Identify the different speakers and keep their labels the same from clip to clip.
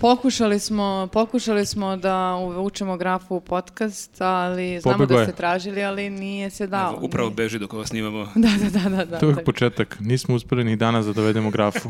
Speaker 1: Pokušali smo, pokušali smo da uvučemo grafu u podcast, ali znamo
Speaker 2: Pobegao
Speaker 1: da
Speaker 2: je.
Speaker 1: ste tražili, ali nije se dao.
Speaker 3: Evo, upravo
Speaker 1: nije.
Speaker 3: beži dok ovo snimamo.
Speaker 1: Da, da, da, da. da
Speaker 2: To je
Speaker 1: tako.
Speaker 2: uvijek početak. Nismo uspeli ni danas da dovedemo grafu.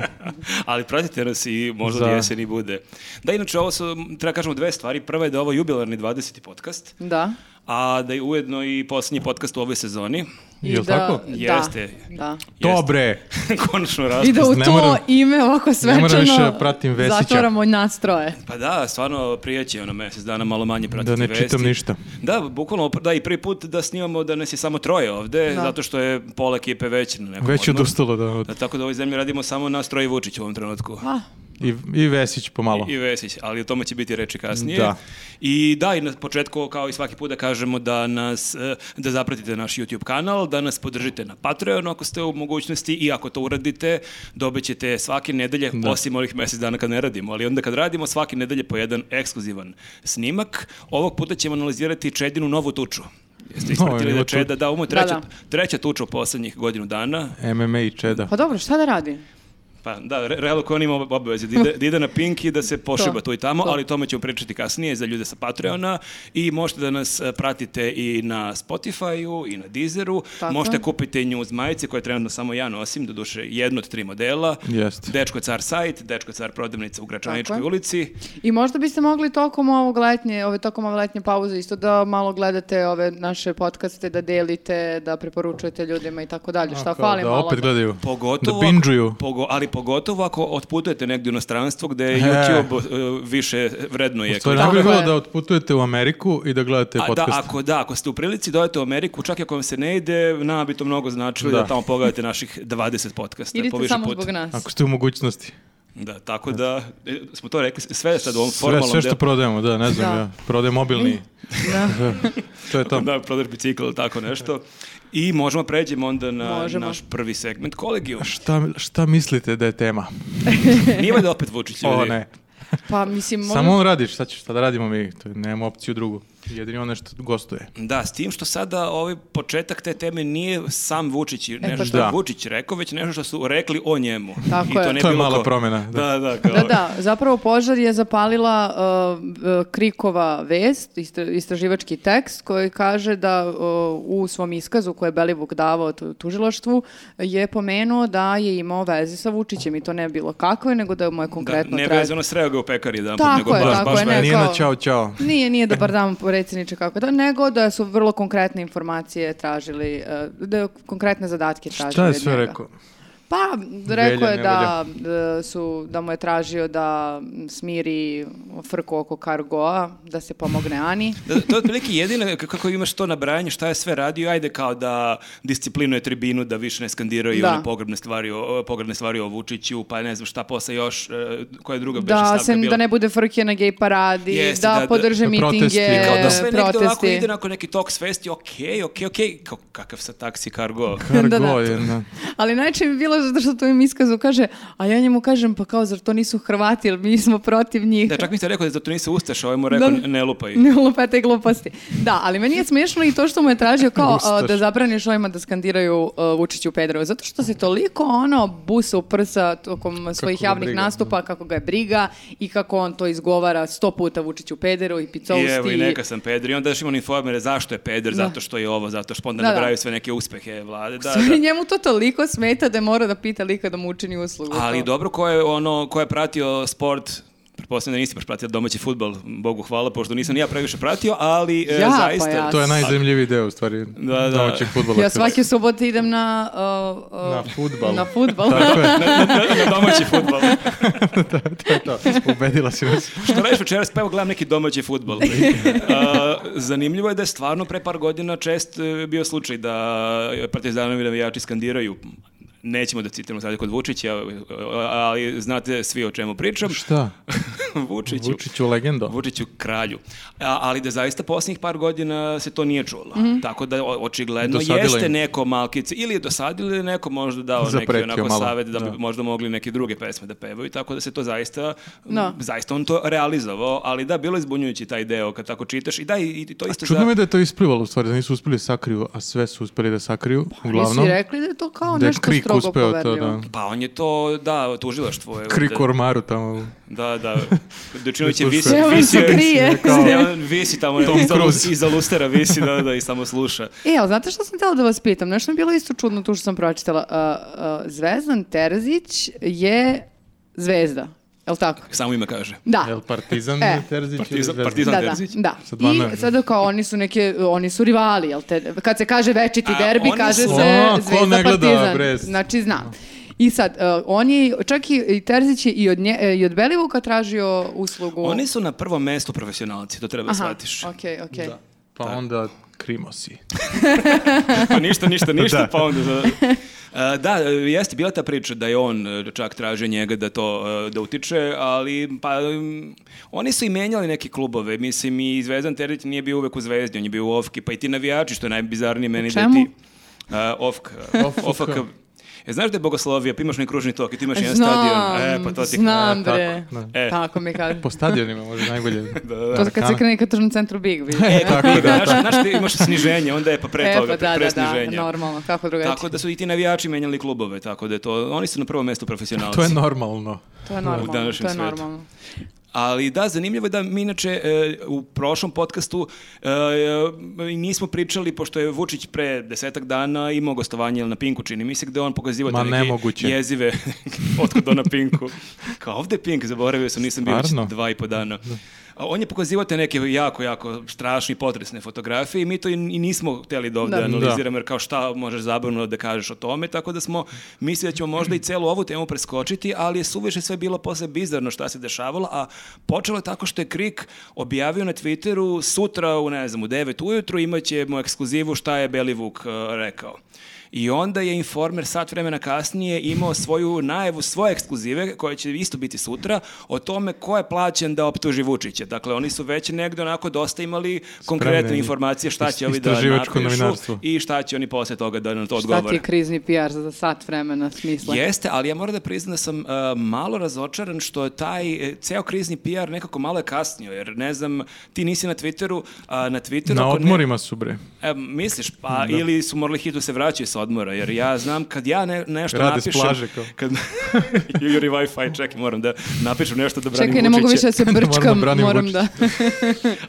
Speaker 3: Ali pratite nas i možda
Speaker 2: Za.
Speaker 3: da jesen i bude. Da, inače, ovo su, treba kažemo dve stvari. Prva je da je ovo jubilarni 20. podcast,
Speaker 1: Da.
Speaker 3: a da je ujedno i posljednji podcast u ovoj sezoni.
Speaker 1: I
Speaker 2: Jel
Speaker 1: da,
Speaker 2: tako?
Speaker 1: da,
Speaker 3: Jeste.
Speaker 1: Da.
Speaker 2: Dobre!
Speaker 3: Jeste. Konačno
Speaker 1: I da
Speaker 3: razpust.
Speaker 1: u
Speaker 2: Ne
Speaker 1: to
Speaker 2: moram-
Speaker 1: ime ovako svečano
Speaker 2: više da pratim Vesića.
Speaker 1: zatvoramo nas troje.
Speaker 3: Pa da, stvarno prijeće ono mjesec dana malo manje pratiti
Speaker 2: Da ne
Speaker 3: vesti.
Speaker 2: čitam ništa.
Speaker 3: Da, bukvalno, da i prvi put da snimamo da nas je samo troje ovde,
Speaker 1: Da.
Speaker 3: zato što je pola ekipe već na nekom
Speaker 2: Već je
Speaker 3: odmoru.
Speaker 2: odustalo da...
Speaker 3: Da, tako da u ovoj zemlji radimo samo nas troje i Vučić u ovom trenutku.
Speaker 1: A,
Speaker 2: I, i Vesić pomalo.
Speaker 3: I Vesić, ali o tome će biti reči kasnije.
Speaker 2: Da.
Speaker 3: I da, i na početku, kao i svaki put da kažemo da nas, e, da zapratite naš YouTube kanal, da nas podržite na Patreonu ako ste u mogućnosti i ako to uradite, dobit ćete svake nedelje, osim ovih mjesec dana kad ne radimo, ali onda kad radimo svake nedelje po jedan ekskluzivan snimak. Ovog puta ćemo analizirati Čedinu novu tuču. Jeste ispratili
Speaker 2: ima
Speaker 3: da
Speaker 2: tu-
Speaker 3: Čeda, da, ovo je treća,
Speaker 1: Da, da.
Speaker 3: treća tuča u poslednjih godinu dana.
Speaker 2: MMA i Čeda.
Speaker 1: pa dobro, šta da radi?
Speaker 3: Pa da, re- realno ko on ima ob- obaveze, da ide, da ide na Pink i da se pošiba
Speaker 1: To,
Speaker 3: tu i tamo,
Speaker 1: to.
Speaker 3: ali o tome ćemo pričati kasnije za ljude sa Patreona i možete da nas e, pratite i na Spotify-u i na Deezeru,
Speaker 1: Tako.
Speaker 3: možete kupiti News majice koje trenutno samo ja nosim, doduše jednu od tri modela,
Speaker 2: Jeste.
Speaker 3: Dečko Car sajt, Dečko Car prodavnica u Gračaničkoj
Speaker 1: Tako je.
Speaker 3: ulici,
Speaker 1: I možda biste mogli tokom ovog letnje, ove tokom ove letnje pauze isto da malo gledate ove naše podcaste, da delite, da preporučujete ljudima i tako dalje. Šta
Speaker 2: A, kao
Speaker 1: fali
Speaker 2: da
Speaker 1: malo?
Speaker 2: opet gledaju.
Speaker 3: pogotovo...
Speaker 2: Da binđuju.
Speaker 3: pogo- ali pogotovo ako otputujete negdje u inostranstvo gde
Speaker 2: E.
Speaker 3: YouTube e, više vrednuje.
Speaker 2: Stvari,
Speaker 1: Tako
Speaker 2: najbolje bi bilo
Speaker 1: je.
Speaker 2: da otputujete u Ameriku i da gledate
Speaker 3: A da,
Speaker 2: podcast.
Speaker 3: ako, da, ako ste u prilici da odete u Ameriku, čak i ako vam se ne ide, nama bi to mnogo značilo da,
Speaker 2: Da.
Speaker 3: tamo pogledate naših 20 podcasta. po
Speaker 1: Idite
Speaker 3: više
Speaker 1: samo
Speaker 3: puta.
Speaker 1: zbog nas.
Speaker 2: Ako ste u mogućnosti.
Speaker 3: Da, tako da, e, smo to rekli, sve je sad u ovom
Speaker 2: Sve,
Speaker 3: formalnom
Speaker 2: sve što
Speaker 3: delu.
Speaker 2: prodajemo, da, ne znam
Speaker 1: Da.
Speaker 2: ja. Prodajem mobilni.
Speaker 1: Da.
Speaker 2: to je to.
Speaker 3: Da, prodaš bicikl ili tako nešto. I možemo pređemo onda na
Speaker 1: Možemo.
Speaker 3: naš prvi segment, kolegijum.
Speaker 2: Šta, šta mislite da je tema?
Speaker 3: Nije valjda opet Vučić ljudi?
Speaker 2: O ne.
Speaker 1: Pa mislim, možda...
Speaker 2: Samo ono- on radi, šta, će, šta da radimo mi? To, je- nemamo opciju drugu. Jedini on nešto gostuje.
Speaker 3: Da, s tim što sada ovaj početak te teme nije sam Vučić, i nešto
Speaker 1: pa
Speaker 3: što
Speaker 2: da.
Speaker 3: je Vučić rekao, već nešto što su rekli o njemu.
Speaker 1: Tako
Speaker 3: I to,
Speaker 1: je.
Speaker 3: ne
Speaker 2: To je
Speaker 3: bilo
Speaker 2: mala
Speaker 3: ko.
Speaker 2: promjena, da.
Speaker 3: Da, da, kao-
Speaker 1: Da, da, zapravo požar je zapalila uh, uh, Krikova vest, istra- istraživački tekst koji kaže da uh, u svom iskazu koje je Belivuk davao tu- tužilaštvu je pomenuo da je imao veze sa Vučićem i to ne bilo kakve, nego da mu je
Speaker 3: Da,
Speaker 1: konkretno
Speaker 3: ne
Speaker 1: tražio-
Speaker 3: vezano sreo ga u pekari jedan
Speaker 1: Tako
Speaker 3: put, nego
Speaker 1: je,
Speaker 3: baš,
Speaker 1: Pa tako
Speaker 3: baš
Speaker 1: je,
Speaker 3: vezano.
Speaker 1: ne,
Speaker 2: Nije
Speaker 1: kao-
Speaker 2: na čao čao.
Speaker 1: Nije, nije dobar dan, predsjedniče, kako da, nego da su vrlo konkretne informacije tražili, e, da konkretne zadatke tražili.
Speaker 2: Šta je
Speaker 1: od
Speaker 2: sve
Speaker 1: njega.
Speaker 2: rekao?
Speaker 1: Pa, rekao je
Speaker 2: nevolja.
Speaker 1: da, e, su, da mu je tražio da smiri frku oko Kargoa, da se pomogne Ani.
Speaker 3: Da, to je otprilike jedino k- kako imaš to nabrajanje šta je sve radio, ajde kao da disciplinuje tribinu, da više ne skandiraju
Speaker 1: Da.
Speaker 3: one pogrebne stvari, o, pogrebne stvari o Vučiću, pa ne znam šta posle još, e, koja je druga beše
Speaker 1: Da,
Speaker 3: stavka
Speaker 1: se,
Speaker 3: bila.
Speaker 1: da ne bude frke na gej paradi,
Speaker 3: Jeste,
Speaker 1: da,
Speaker 3: da-
Speaker 1: podrže
Speaker 2: da protesti.
Speaker 1: mitinge,
Speaker 2: I
Speaker 3: Kao da sve negdje ovako
Speaker 1: protesti.
Speaker 3: ide onako neki talk svesti, okej, okej, okej, kao kakav sa taksi kargo.
Speaker 2: Kargo
Speaker 1: Da, da.
Speaker 2: je, da.
Speaker 1: Ali najče mi bilo zato što to im iskazu kaže, a ja njemu kažem, pa kao, zar to nisu Hrvati, jer mi smo protiv njih.
Speaker 3: Da, čak mi ste rekao da to nisu ustaša, ovaj mu rekao
Speaker 1: Da.
Speaker 3: ne lupaj.
Speaker 1: Ne lupete gluposti. Da, ali meni je smiješno i to što mu je tražio kao
Speaker 2: Ustaš.
Speaker 1: a, da zabraniš ovima da skandiraju a, Vučiću Pedrovu, zato što se toliko ono busa u prsa tokom svojih
Speaker 2: ga
Speaker 1: javnih
Speaker 2: briga,
Speaker 1: nastupa, kako ga je briga i kako on to izgovara sto puta Vučiću Pederu i
Speaker 3: I
Speaker 1: Picousti.
Speaker 3: evo i neka sam Pedri, onda još imamo informere zašto je Pedri, zato što je ovo, zato što pa onda
Speaker 1: Da, da.
Speaker 3: nabraju sve neke uspehe vlade. Da,
Speaker 1: Sorry,
Speaker 3: da.
Speaker 1: njemu to toliko smeta da je mora da pita lika da mu učini uslugu.
Speaker 3: Ali
Speaker 1: To.
Speaker 3: dobro, ko je, ono, ko je pratio sport, pretpostavljam da nisi baš pratio domaći futbol, Bogu hvala, pošto nisam ni ja previše pratio, ali e,
Speaker 1: Ja, pa
Speaker 3: zaista...
Speaker 1: ja.
Speaker 2: To je najzanimljiviji deo, u stvari,
Speaker 3: Da, da.
Speaker 2: domaćeg fudbala.
Speaker 1: Ja svake subote idem na... a, a,
Speaker 2: Na fudbal.
Speaker 1: Na fudbal.
Speaker 2: Tako je,
Speaker 3: Na domaći futbol.
Speaker 2: to je to. Ubedila si nas.
Speaker 3: Što radiš večeras, pa evo gledam neki domaći futbol. E, zanimljivo je da je stvarno pre par godina čest e, bio slučaj da partizanovi navijači skandiraju nećemo da citiramo sad kod Vučića, e, ali znate svi o čemu pričam.
Speaker 2: Šta?
Speaker 3: Vučiću.
Speaker 2: Vučiću legendo.
Speaker 3: Vučiću kralju. A- ali da zaista posljednjih par godina se to nije čulo.
Speaker 1: Mhm.
Speaker 3: Tako da o- očigledno
Speaker 2: Dosadilo
Speaker 3: jeste
Speaker 2: im.
Speaker 3: neko malkice ili je dosadilo ili neko možda dao
Speaker 2: Zapretio
Speaker 3: neki onako
Speaker 2: malo,
Speaker 3: savjet da, bi
Speaker 2: da.
Speaker 3: možda mogli neke druge pesme da pevaju, tako da se to zaista
Speaker 1: Da.
Speaker 3: zaista on to realizovao, ali da bilo je zbunjujući taj deo kad tako čitaš i da i, i to isto
Speaker 2: Čudno
Speaker 3: za-
Speaker 2: mi je da je to isplivalo, u stvari, da nisu uspeli da sakriju, a sve su uspeli da sakriju, uglavnom.
Speaker 1: Nisi rekli da je to kao
Speaker 2: Da je
Speaker 1: Pa, nešto
Speaker 2: Krikov Krik
Speaker 1: strogo
Speaker 2: uspeo to,
Speaker 1: poverljivo.
Speaker 2: da.
Speaker 3: Pa on je to, da, tužilaštvo. evo,
Speaker 2: Krik
Speaker 3: da-
Speaker 2: ormaru tamo.
Speaker 3: Da, da. Dučinović je
Speaker 2: Sluša.
Speaker 3: visi,
Speaker 1: Stevan
Speaker 3: visi,
Speaker 1: se krije.
Speaker 3: Stevan visi tamo
Speaker 2: Tom
Speaker 3: iza,
Speaker 2: Cruise.
Speaker 3: iza lustera visi, da, da, i samo sluša.
Speaker 1: E, ali znate što sam htjela da vas pitam? Nešto mi je bilo isto čudno tu što sam pročitala. A, a, Zvezdan Terzić je zvezda, je li tako?
Speaker 3: Samo ime kaže.
Speaker 1: Da.
Speaker 2: Jel Partizan
Speaker 1: E.
Speaker 2: Terzić? ili
Speaker 3: Partizan-
Speaker 2: Zvezda?
Speaker 3: Partizan.
Speaker 1: Da, da,
Speaker 3: Terzić.
Speaker 1: da.
Speaker 2: Sa dva
Speaker 1: I
Speaker 2: N.
Speaker 1: sada kao oni su neke, oni su rivali, jel te? Kad se kaže večiti
Speaker 3: A,
Speaker 1: derbi,
Speaker 3: oni
Speaker 1: kaže
Speaker 3: su-
Speaker 1: se
Speaker 2: A, ko
Speaker 1: Zvezda
Speaker 2: ne gleda,
Speaker 1: Partizan.
Speaker 2: bre?
Speaker 1: Znači, znam. I sad, uh, on je, čak i, i Terzić je i od, nje, e, i od Belivuka tražio uslugu.
Speaker 3: Oni su na prvom mestu profesionalci, to treba da shvatiš.
Speaker 1: okej, okej.
Speaker 3: Da.
Speaker 2: Pa onda Krimosi.
Speaker 3: pa ništa, ništa, ništa,
Speaker 2: Da.
Speaker 3: pa onda... Da. E, da, e, jeste bila ta priča da je on e, čak tražio njega da to e, da utiče, ali pa mm, oni su i menjali neke klubove, mislim i Zvezdan Terzić nije bio uvek u Zvezdi, on je bio u Ofki, pa i ti navijači što je najbizarnije meni da
Speaker 1: čemu?
Speaker 3: ti e, Ofk,
Speaker 2: Ofk.
Speaker 3: Ofak. E, znaš da je Bogoslovija, pa imaš onaj kružni tok i ti imaš jedan
Speaker 1: Znam,
Speaker 3: stadion. E, pa to ti...
Speaker 1: znam,
Speaker 2: E, tako,
Speaker 1: bre.
Speaker 2: da.
Speaker 3: E.
Speaker 1: Tako mi kaže.
Speaker 2: Po stadionima može najbolje. da, da.
Speaker 1: To kad se krene ka tržnom centru Big, vidiš.
Speaker 2: E, tako
Speaker 3: I
Speaker 2: da.
Speaker 3: Znaš, znaš ti imaš sniženje, onda je pa pre
Speaker 1: E,
Speaker 3: toga,
Speaker 1: pa da,
Speaker 3: pre
Speaker 1: da, da,
Speaker 3: sniženja.
Speaker 1: normalno, kako drugačije.
Speaker 3: Tako da su i ti navijači menjali klubove, tako da je to, oni su na prvom mestu profesionalci.
Speaker 2: To je normalno.
Speaker 1: to je normalno, to
Speaker 3: današnjem
Speaker 1: je
Speaker 3: svetu.
Speaker 1: normalno.
Speaker 3: Ali da, zanimljivo je da mi inače e, u prošlom podcastu e, e, nismo pričali, pošto je Vučić pre desetak dana imao gostovanje na Pinku, čini mi se, gde on pokazivao
Speaker 2: Ma,
Speaker 3: te neke
Speaker 2: nemoguće.
Speaker 3: jezive otkud on na Pinku. Kao ovde je Pink, zaboravio sam, nisam bio već
Speaker 2: Stvarno?
Speaker 3: dva i po dana. A on je pokazivao te neke jako, jako strašni, potresne fotografije i mi to i, i nismo hteli da ovde
Speaker 1: Da.
Speaker 3: analiziramo, jer kao šta možeš zabavno da kažeš o tome, tako da smo mislili da ćemo možda i celu ovu temu preskočiti, ali je suviše sve bilo posle bizarno šta se dešavalo, a počelo je tako što je Krik objavio na Twitteru sutra u, ne znam, u 9 ujutru imaćemo ekskluzivu šta je Belivuk eh, rekao. I onda je Informer sat vremena kasnije imao svoju najavu svoje ekskluzive, koja će isto biti sutra, o tome ko je plaćen da optuži Vučića. Dakle, oni su već negde onako dosta imali konkretne informacije šta
Speaker 2: Ist-
Speaker 3: će ovi da
Speaker 2: istraživačko
Speaker 3: napišu
Speaker 2: novinarstvo.
Speaker 3: i šta će oni posle toga da nam to
Speaker 1: Šta ti
Speaker 3: odgovore.
Speaker 1: je krizni PR za sat vremena smisla?
Speaker 3: Jeste, ali ja moram da priznam da sam uh, malo razočaran što je taj e, ceo krizni PR nekako malo je kasnio, jer ne znam, ti nisi na Twitteru, a na Twitteru...
Speaker 2: Na
Speaker 3: ako ne-
Speaker 2: odmorima su bre.
Speaker 3: E, misliš, pa ili su morali hitno se vraćaju sa odmora, jer ja znam kad ja ne, nešto
Speaker 2: Rade s
Speaker 3: napišem...
Speaker 2: plaže, kao.
Speaker 3: Kad, Juri Wi-Fi, čekaj, moram da napišem nešto da branim
Speaker 1: Čekaj, ne mogu više
Speaker 3: Vučića.
Speaker 1: da se brčkam,
Speaker 2: Moram da branim
Speaker 1: moram da...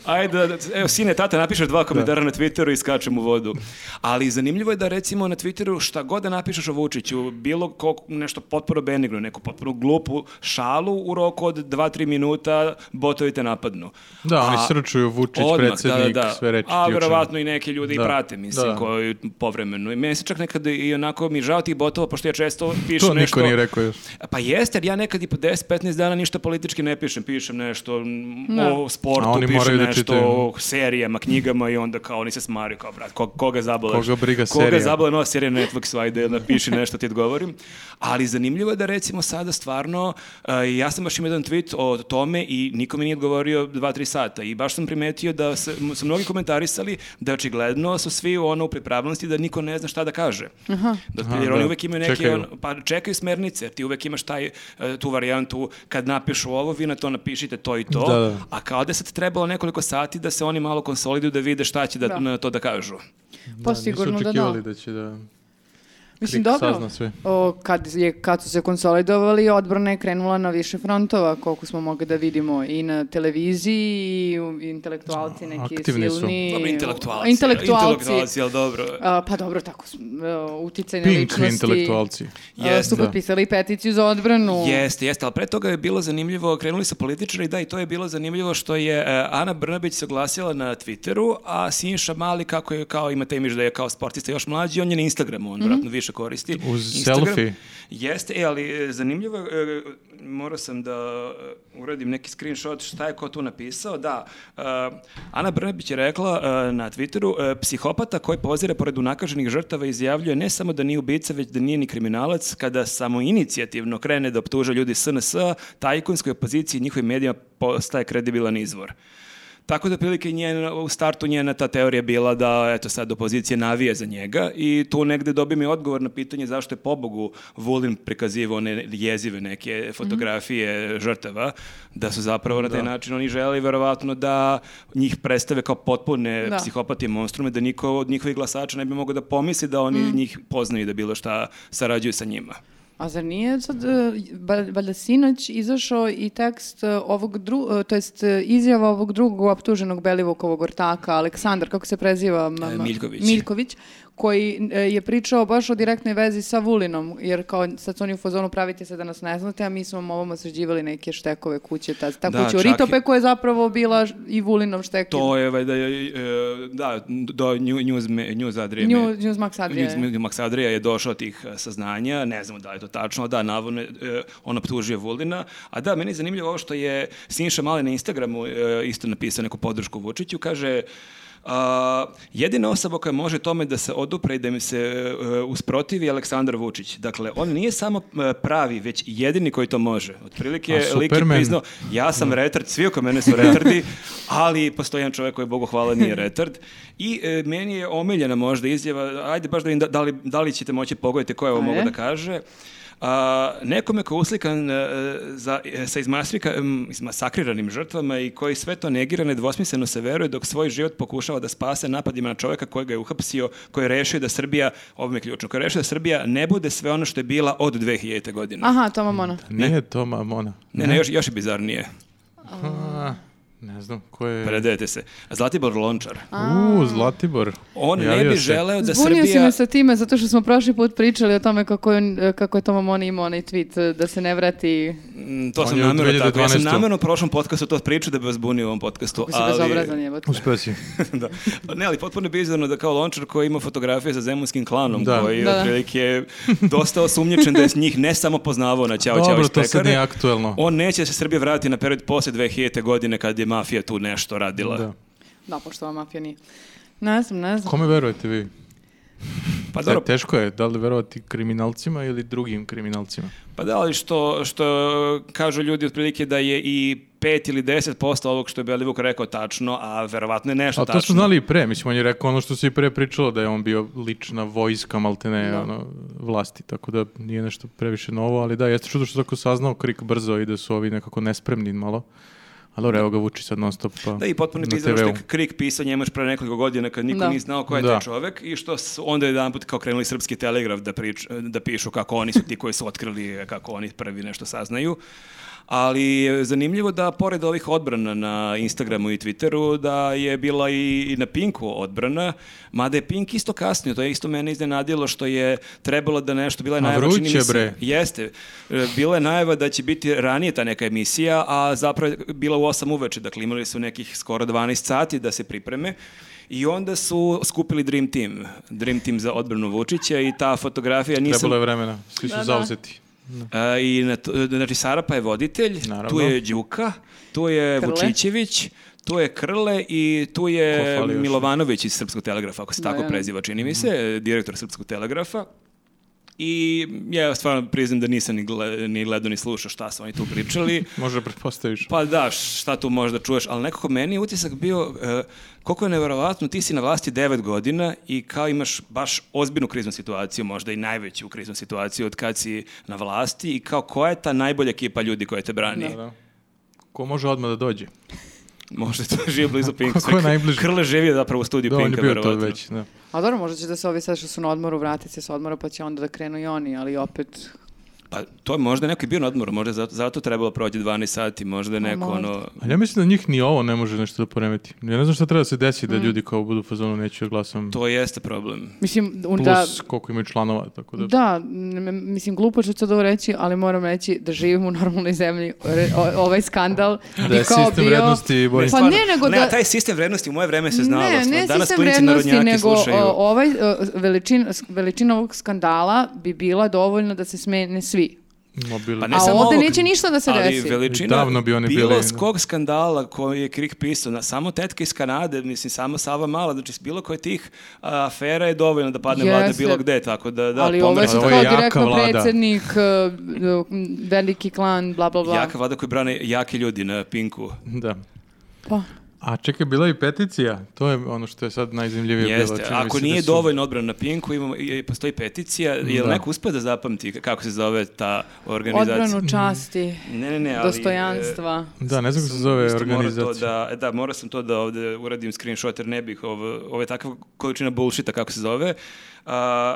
Speaker 3: Ajde, da- da- evo, sine, tata, napišeš dva komentara na Twitteru i skačem u vodu. Ali zanimljivo je da recimo na Twitteru šta god da napišeš o Vučiću, bilo ko, nešto potpuno benigno, neku potpuno glupu šalu u roku od 2-3 minuta, botovi te napadnu.
Speaker 2: Da, oni
Speaker 3: A-
Speaker 2: srčuju Vučić,
Speaker 3: Odmah,
Speaker 2: predsjednik, sve reči.
Speaker 3: A
Speaker 2: ključne.
Speaker 3: verovatno i neke ljude
Speaker 2: Da.
Speaker 3: i prate, mislim,
Speaker 2: Da.
Speaker 3: koji povremeno. I meni se čak nekad i onako mi žao tih botova, pošto ja često pišem
Speaker 2: To
Speaker 3: nešto...
Speaker 2: niko nije rekao još.
Speaker 3: Pa jeste, jer ja nekad i po 10-15 dana ništa politički ne pišem. Pišem nešto m,
Speaker 1: Da.
Speaker 3: o sportu,
Speaker 2: A oni
Speaker 3: pišem
Speaker 2: moraju da
Speaker 3: nešto
Speaker 2: čitaju.
Speaker 3: o serijama, knjigama i onda kao oni se smaraju kao, brat, ko- koga zabolaš?
Speaker 2: Koga briga
Speaker 3: Koga
Speaker 2: serija?
Speaker 3: zabole nova serija Netflix, ajde, napiši nešto, ti odgovorim. Ali zanimljivo je da recimo sada stvarno, e, ja sam baš imao jedan tweet o tome i niko mi nije odgovorio 2-3 sata i baš sam primetio da se, m- su mnogi komentarisali da očigledno su svi ono u pripravnosti da niko ne zna šta da kaže. Da,
Speaker 2: Aha,
Speaker 3: jer oni
Speaker 2: da.
Speaker 3: uvek imaju neki
Speaker 2: Čekaju.
Speaker 3: on, pa čekaju smernice, ti uvek imaš taj, e, tu varijantu kad napišu ovo, vi na to napišite to i to,
Speaker 2: Da, da.
Speaker 3: a kao da je sad trebalo nekoliko sati da se oni malo konsoliduju da vide šta će da,
Speaker 1: Da.
Speaker 3: na to da kažu.
Speaker 1: Pa
Speaker 2: Nisu
Speaker 1: sigurno da da.
Speaker 2: očekivali da će da...
Speaker 1: Mislim,
Speaker 2: Krik
Speaker 1: dobro.
Speaker 2: sazna sve.
Speaker 1: O, kad, je, kad su se konsolidovali, odbrana je krenula na više frontova, koliko smo mogli da vidimo i na televiziji, i u- i intelektualci neki
Speaker 2: Aktivni su.
Speaker 1: silni.
Speaker 3: Dobro, intelektualci.
Speaker 1: Intelektualci.
Speaker 3: Intelektualci, ali dobro.
Speaker 1: A, pa dobro, tako su uh, uticajne
Speaker 2: Pink
Speaker 1: ličnosti.
Speaker 2: intelektualci.
Speaker 1: a,
Speaker 3: Jeste.
Speaker 1: su potpisali peticiju za odbranu.
Speaker 3: Jeste, jeste, ali pre toga je bilo zanimljivo, krenuli su političari, da, i to je bilo zanimljivo što je e, Ana Brnabić se oglasila na Twitteru, a Sinša Mali, kako je, kao imate imiš da je kao sportista još mlađi, on je na Instagramu, on vjerojatno više koristi.
Speaker 2: Uz selfie.
Speaker 3: Jeste, e, ali e, zanimljivo, je, e, morao sam da e, uradim neki screenshot šta je ko tu napisao, da, e, Ana Brnabić je rekla e, na Twitteru, e, psihopata koji pozira pored unakaženih žrtava izjavljuje ne samo da nije ubica, već da nije ni kriminalac, kada samo inicijativno krene da optuže ljudi SNS, tajkunskoj opoziciji i njihovim medijima postaje kredibilan izvor. Tako da prilike njena, u startu njena ta teorija bila da eto sad opozicija navija za njega i tu negde dobijem i odgovor na pitanje zašto je pobogu Vulin prikazivao one jezive neke fotografije žrtava, da su zapravo na taj način oni želi verovatno da njih predstave kao potpune
Speaker 1: Da.
Speaker 3: psihopati i monstrume, da niko od njihovih glasača ne bi mogao da pomisli da oni njih poznaju i da bilo šta sarađuju sa njima.
Speaker 1: A zar nije sad, e, ba- valjda sinoć izašao i tekst e, ovog dru, e, to jest e, izjava ovog drugog optuženog Belivukovog ortaka, Aleksandar, kako se preziva? ma-
Speaker 3: E,
Speaker 1: ma-
Speaker 3: Miljković.
Speaker 1: Miljković, koji e, je pričao baš o direktnoj vezi sa Vulinom, jer kao sad su oni u fazonu pravite se da nas ne znate, a mi smo vam ovom sređivali neke štekove kuće, ta, ta
Speaker 3: Da,
Speaker 1: kuća u
Speaker 3: čak je-
Speaker 1: Ritope koja je zapravo bila ž- i Vulinom štekim.
Speaker 3: To je, valjda, e, e, da, do Nju- news, me- news Adrije. me-
Speaker 1: News- Newsmax Adria.
Speaker 3: News- News- Max Adrija je došao tih e, saznanja, ne znamo da li je to tačno, da, navodno je, e, on optužio Vulina, a da, meni je zanimljivo ovo što je Siniša Mali na Instagramu e, isto napisao neku podršku Vučiću, kaže... a, jedina osoba koja može tome da se odupre i da mi se e, e, usprotivi je Aleksandar Vučić. Dakle, on nije samo e, pravi, već jedini koji to može. Otprilike,
Speaker 2: A
Speaker 3: lik je
Speaker 2: Superman.
Speaker 3: priznao, ja sam retard, svi oko mene su retardi, ali postoji jedan čovjek koji, Bogu hvala, nije retard. I e, meni je omiljena možda izjava, ajde baš da vidim da, da li, da li ćete moći pogoditi ko je ovo
Speaker 1: Ajde.
Speaker 3: mogu da kaže. A, nekome ko je uslikan e, za, e, sa izmasrika- m, izmasakriranim žrtvama i koji sve to negira nedvosmisleno se veruje dok svoj život pokušava da spase napadima na čovjeka kojega je uhapsio, koji je rešio da Srbija, ovo mi je ključno, koji je rešio da Srbija ne bude sve ono što je bila od 2000. godine.
Speaker 1: Aha, Toma Mona.
Speaker 2: Nije to Mamona.
Speaker 3: Ne, ne, još, još je bizarnije.
Speaker 2: A, ne znam, ko je...
Speaker 3: Predajete se. Zlatibor Lončar.
Speaker 2: U, Zlatibor.
Speaker 3: On ne
Speaker 2: Javio
Speaker 3: bi
Speaker 2: se.
Speaker 3: želeo da
Speaker 1: Zbunio si
Speaker 3: Srbija...
Speaker 1: me sa time, zato što smo prošli put pričali o tome kako je, on- kako je Toma Mona imao onaj tweet e, da se ne vrati...
Speaker 3: Mm, To
Speaker 2: On
Speaker 3: sam
Speaker 2: je u
Speaker 3: namjerno tako. Ja sam
Speaker 2: 2012.
Speaker 3: namjerno u prošlom podcastu to pričao da bi vas bunio u ovom podcastu.
Speaker 1: Kako si bezobrazan
Speaker 3: Ali,
Speaker 1: jebote.
Speaker 4: Uspeo si.
Speaker 3: da. Ne, ali potpuno je bizarno da kao lončar koji ima fotografije sa zemunskim klanom,
Speaker 2: Da.
Speaker 3: koji
Speaker 1: Da, da.
Speaker 3: je otprilike dosta osumnjičen da je s njih ne samo poznavao na Ćao Ćao
Speaker 2: Dobro,
Speaker 3: iz
Speaker 2: to sad
Speaker 3: pekare.
Speaker 2: nije aktuelno.
Speaker 3: On neće da se Srbija vratiti na period poslije 2000. godine kad je mafija tu nešto radila.
Speaker 2: Da.
Speaker 1: Da, pošto ova mafija nije. Ne znam, ne znam.
Speaker 2: Kome verujete vi?
Speaker 3: Pa
Speaker 2: Sad,
Speaker 3: dobro,
Speaker 2: teško je, da li verovati kriminalcima ili drugim kriminalcima?
Speaker 3: Pa da, ali što, što kažu ljudi otprilike da je i 5 ili 10% ovog što je Belivuk rekao tačno, a verovatno je nešto
Speaker 2: A
Speaker 3: tačno.
Speaker 2: to smo znali i pre, mislim, on je rekao ono što se i pre pričalo, da je on bio lična vojska, maltene, ono, vlasti, tako da nije nešto previše novo, ali da, jeste čudo što je tako saznao krik brzo i da su ovi nekako nespremni malo, ali dobro, evo ga vuči sad non stop, pa
Speaker 3: Da, i potpuno je
Speaker 2: na
Speaker 3: bizarno što je
Speaker 2: TV-u.
Speaker 3: Krik pisao Njemač pre nekoliko godina kad niko
Speaker 1: Da.
Speaker 3: nije znao ko je
Speaker 2: Da.
Speaker 3: taj čovek i što su onda jedan put kao krenuli srpski telegraf da, prič, da pišu kako oni su ti koji su otkrili, kako oni prvi nešto saznaju. Ali je zanimljivo da pored ovih odbrana na Instagramu i Twitteru da je bila i, i na Pinku odbrana, mada je Pink isto kasnio, to je isto mene iznenadilo što je trebalo da nešto bila je
Speaker 2: A
Speaker 3: najava
Speaker 2: vruće,
Speaker 3: čini mi se-
Speaker 2: bre.
Speaker 3: Jeste. E, Bila je najava da će biti ranije ta neka emisija, a zapravo je bila u 8 uveče, dakle imali su nekih skoro 12 sati da se pripreme. I onda su skupili Dream Team, Dream Team za odbranu Vučića i ta fotografija nisam...
Speaker 2: trebalo je vremena, svi su
Speaker 1: Da, da.
Speaker 2: zauzeti.
Speaker 3: A, I na to- znači Sarapa je voditelj,
Speaker 2: Naravno.
Speaker 3: tu je Đuka, tu je
Speaker 1: Krle.
Speaker 3: Vučićević, tu je Krle i tu je
Speaker 2: Ko fali još?
Speaker 3: Milovanović iz Srpskog telegrafa, ako se
Speaker 1: Da,
Speaker 3: tako
Speaker 1: ja.
Speaker 3: preziva, čini mi se,
Speaker 2: Mhm.
Speaker 3: direktor Srpskog telegrafa. I ja stvarno priznam da nisam ni, gle- ni gledao ni slušao šta su oni tu pričali.
Speaker 2: Može da pretpostaviš.
Speaker 3: Pa da, šta tu možda čuješ, ali nekako meni je utisak bio e, koliko je neverovatno, ti si na vlasti 9 godina i kao imaš baš ozbiljnu kriznu situaciju, možda i najveću kriznu situaciju od kad si na vlasti i kao koja je ta najbolja ekipa ljudi koja te brani?
Speaker 2: Da, da. Ko može odmah da dođe?
Speaker 3: Možda to živi blizu Pinka.
Speaker 2: Ko je najbliži?
Speaker 3: Krle živi zapravo u studiju
Speaker 2: Da, on je
Speaker 3: Pinka,
Speaker 2: bio to
Speaker 3: verovatno.
Speaker 2: već, da.
Speaker 1: A dobro, možda će da se ovi sad što su na odmoru vratiti se s odmora, pa će onda da krenu i oni, ali opet...
Speaker 3: Pa to je možda neko i bio na odmoru, možda je zato, zato trebalo prođe 12 sati, možda je neko
Speaker 1: Pa možda.
Speaker 3: ono...
Speaker 2: Ali ja mislim da njih ni ovo ne može nešto da poremeti. Ja ne znam šta treba da se desi da ljudi kao budu u fazonu neću da glasam.
Speaker 3: Mm. To jeste problem.
Speaker 1: Mislim,
Speaker 2: plus
Speaker 1: da...
Speaker 2: koliko imaju članova, tako da...
Speaker 1: Da, m- m- mislim, glupo ću sad ovo reći, ali moram reći da živim u normalnoj zemlji. Re- o- ovaj skandal
Speaker 2: Da je sistem vrednosti bolji.
Speaker 1: Pa
Speaker 3: Stvarno,
Speaker 1: ne, nego
Speaker 3: ne,
Speaker 1: da...
Speaker 3: a taj sistem vrednosti u moje vreme se znalo.
Speaker 1: Ne, ne
Speaker 3: Danas
Speaker 1: sistem
Speaker 3: klinci
Speaker 1: vrednosti,
Speaker 3: narodnjaki
Speaker 1: nego
Speaker 3: slušaju.
Speaker 1: o, ovaj, o, veličin, veličina ovog skandala bi bila dovoljna da se smene svi.
Speaker 2: Mobili.
Speaker 3: Pa
Speaker 1: A
Speaker 3: ne samo
Speaker 1: ovde
Speaker 3: ovog,
Speaker 1: neće ništa da se
Speaker 3: ali
Speaker 1: desi.
Speaker 3: veličina
Speaker 2: Davno bi oni bili,
Speaker 3: bilo s
Speaker 2: da.
Speaker 3: kog skandala koji je Krik pisao, na samo tetka iz Kanade, mislim, samo Sava Mala, znači s bilo koje tih a, afera je dovoljno da padne vlada
Speaker 1: Jeste.
Speaker 3: bilo gde, tako da, da
Speaker 1: ali ovo
Speaker 3: pomeri
Speaker 1: je sad
Speaker 2: pomeramo.
Speaker 3: se
Speaker 1: kao
Speaker 2: Ovo je jaka
Speaker 1: direktno
Speaker 2: vlada.
Speaker 1: predsjednik, eh, m, veliki klan, bla, bla, bla.
Speaker 3: Jaka vlada koji brane jake ljudi na Pinku.
Speaker 2: Da.
Speaker 1: Pa,
Speaker 2: A čekaj, bila je i peticija. To je ono što je sad najzimljivije
Speaker 3: Jeste,
Speaker 2: bilo. Čini mi
Speaker 3: ako
Speaker 2: se da
Speaker 3: nije
Speaker 2: su-
Speaker 3: dovoljno odbrana na Pinku, imamo, i- postoji peticija, je
Speaker 2: Da.
Speaker 3: li neko uspio da zapamti kako se zove ta organizacija?
Speaker 1: Odbranu časti,
Speaker 3: Ne, ne, ne, ali... e,
Speaker 1: dostojanstva.
Speaker 2: Da, ne znam kako se zove
Speaker 3: isto morao
Speaker 2: organizacija.
Speaker 3: To da, e, da, morao sam to da ovde uradim screenshot jer ne bih ovo, ovo je takva količina bullshita kako se zove. A,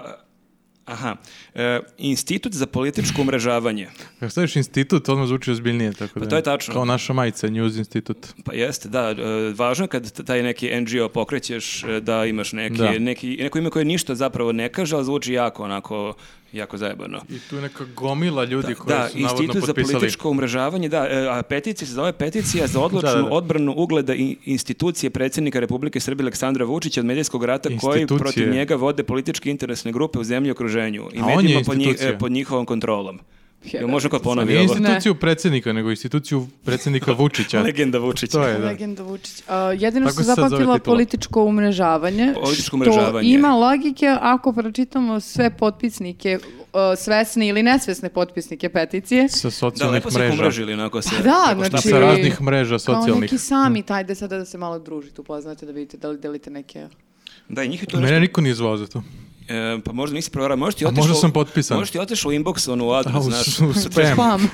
Speaker 3: aha, e, Institut za političko umrežavanje.
Speaker 2: Kako staviš institut, odmah zvuči ozbiljnije. Tako da,
Speaker 3: Pa to je tačno.
Speaker 2: Kao naša majica, News Institut.
Speaker 3: Pa jeste, da, e, važno je kad t- taj neki NGO pokrećeš e, da imaš neki,
Speaker 2: Da.
Speaker 3: neki, neko ime koje ništa zapravo ne kaže, ali zvuči jako onako, jako zajebano.
Speaker 2: I tu je neka gomila ljudi koji
Speaker 3: Da,
Speaker 2: su navodno
Speaker 3: Institut za
Speaker 2: potpisali.
Speaker 3: političko umrežavanje, da, e, a peticija se zove peticija za odlučnu
Speaker 2: Da, da, da.
Speaker 3: odbranu ugleda i institucije predsjednika Republike Srbije Aleksandra Vučića od medijskog rata koji
Speaker 2: Institucije.
Speaker 3: protiv njega vode političke interesne grupe u zemlji i okruženju i
Speaker 2: A on je
Speaker 3: medijima po, nji-
Speaker 2: institucija.
Speaker 3: e, pod njihovom kontrolom.
Speaker 1: Jebe.
Speaker 3: ono, Jel možda ko
Speaker 2: Pa
Speaker 3: ponovi
Speaker 2: nije
Speaker 3: ovo?
Speaker 1: institut-
Speaker 2: instituciju predsjednika, nego instituciju predsjednika Vučića.
Speaker 3: Legenda Vučića.
Speaker 2: to je, da.
Speaker 1: Legenda Vučić. A, jedino
Speaker 2: Tako
Speaker 1: sam
Speaker 2: se sad zove
Speaker 1: zapamtila
Speaker 2: titula.
Speaker 1: političko umrežavanje.
Speaker 3: Političko umrežavanje.
Speaker 1: Što ima logike ako pročitamo sve potpisnike, a, svesne ili nesvesne potpisnike peticije.
Speaker 2: Sa
Speaker 3: Da,
Speaker 2: socijalnih
Speaker 3: lepo se
Speaker 2: mreža.
Speaker 3: pomrežili onako se.
Speaker 1: Pa da,
Speaker 3: tako šta-
Speaker 1: znači...
Speaker 2: Sa raznih mreža
Speaker 1: Kao
Speaker 2: socijalnih.
Speaker 1: neki sami, tajde sada da se malo družite, upoznate, da vidite da li delite neke...
Speaker 3: Da, i njih je tu nešto-
Speaker 2: Mene niko nije zvao za to.
Speaker 3: E, pa možda nisi provara, možda ti
Speaker 2: A
Speaker 3: otišao...
Speaker 2: možda sam potpisan.
Speaker 3: Možda ti otišao u inbox, ono, u adres,
Speaker 2: A, u-
Speaker 3: znaš.
Speaker 2: u spam.
Speaker 1: Pam.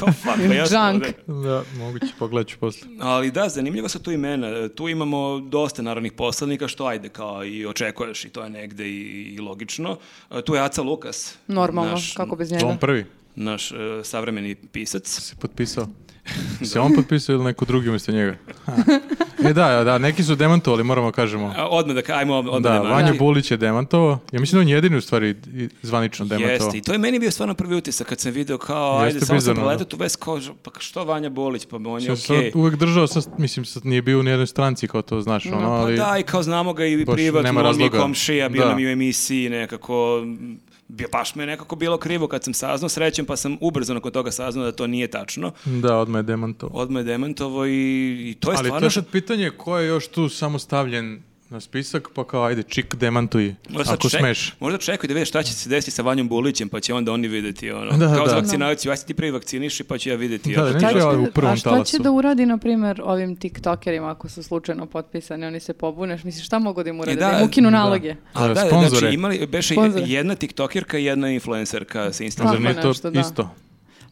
Speaker 3: Pa, fuck, pa jasno,
Speaker 1: Junk.
Speaker 3: da.
Speaker 2: Da, moguće, pogledat ću posle.
Speaker 3: Ali da, zanimljiva su tu imena. E, Tu imamo dosta narodnih poslanika, što ajde, kao i očekuješ i to je negde i, i logično. E, Tu je Aca Lukas.
Speaker 1: Normalno,
Speaker 3: naš,
Speaker 1: kako bez
Speaker 2: On
Speaker 1: njega.
Speaker 2: prvi
Speaker 3: Naš e, savremeni pisac.
Speaker 2: se potpisao. Se on potpisao ili neko drugi umjesto njega? Ha. E da, da, neki su demantovali, moramo kažemo.
Speaker 3: A, E, Odmah da, ka- ajmo od- odmah
Speaker 2: Da,
Speaker 3: da,
Speaker 2: Vanja Bulić je demantovao. Ja mislim da on jedini u stvari i- zvanično demantovao.
Speaker 3: Jeste, i to je meni bio stvarno prvi utisak kad sam video kao,
Speaker 2: Jeste
Speaker 3: ajde, samo sam
Speaker 2: bizarno, da.
Speaker 3: proletao tu vest, kao, pa što Vanja Bolić, pa on je
Speaker 2: Ja sam
Speaker 3: okej.
Speaker 2: uvek držao, sa, mislim, sad nije bio u nijednoj stranci kao to, znaš, ono,
Speaker 3: Pa
Speaker 2: ali...
Speaker 3: da, i kao znamo ga i
Speaker 2: baš nema
Speaker 3: privatno, on mi
Speaker 2: razloga.
Speaker 3: komšija, bio
Speaker 2: Da.
Speaker 3: nam i u emisiji nekako, m, bio- baš me je nekako bilo krivo kad sam saznao, srećem pa sam ubrzo nakon toga saznao da to nije tačno.
Speaker 2: Da, odmah je demantovao.
Speaker 3: Odmah je demantovo i, i to je
Speaker 2: Ali to
Speaker 3: stvarno
Speaker 2: je
Speaker 3: što...
Speaker 2: sad pitanje ko je još tu samo stavljen na spisak, pa kao, ajde, čik, demantuj,
Speaker 3: Možda sad
Speaker 2: ako
Speaker 3: ček-
Speaker 2: smeš.
Speaker 3: Možda čekaj da vidiš šta će se desiti sa Vanjom Bulićem, pa će onda oni videti ono.
Speaker 2: Da,
Speaker 3: kao za
Speaker 2: da.
Speaker 3: vakcinaciju, aj se ti prvi vakciniši, pa ću ja videti.
Speaker 2: Da,
Speaker 3: ako
Speaker 2: ne
Speaker 3: ti-
Speaker 1: Šta
Speaker 2: Kaže
Speaker 1: će-
Speaker 2: ovaj u prvom
Speaker 1: a šta će
Speaker 2: talasu.
Speaker 1: da uradi, na primjer, ovim tiktokerima ako su slučajno potpisani, oni se pobuneš? Misliš, šta mogu da im urade?
Speaker 3: E,
Speaker 1: Da,
Speaker 3: da,
Speaker 1: im ukinu
Speaker 2: da.
Speaker 1: naloge?
Speaker 3: A,
Speaker 2: E,
Speaker 3: da,
Speaker 2: sponzore.
Speaker 3: znači imali, beše
Speaker 1: Sponzore.
Speaker 3: jedna tiktokerka i jedna influencerka sa Instagrama.
Speaker 2: Zar nije to
Speaker 1: nešto, da.
Speaker 2: isto?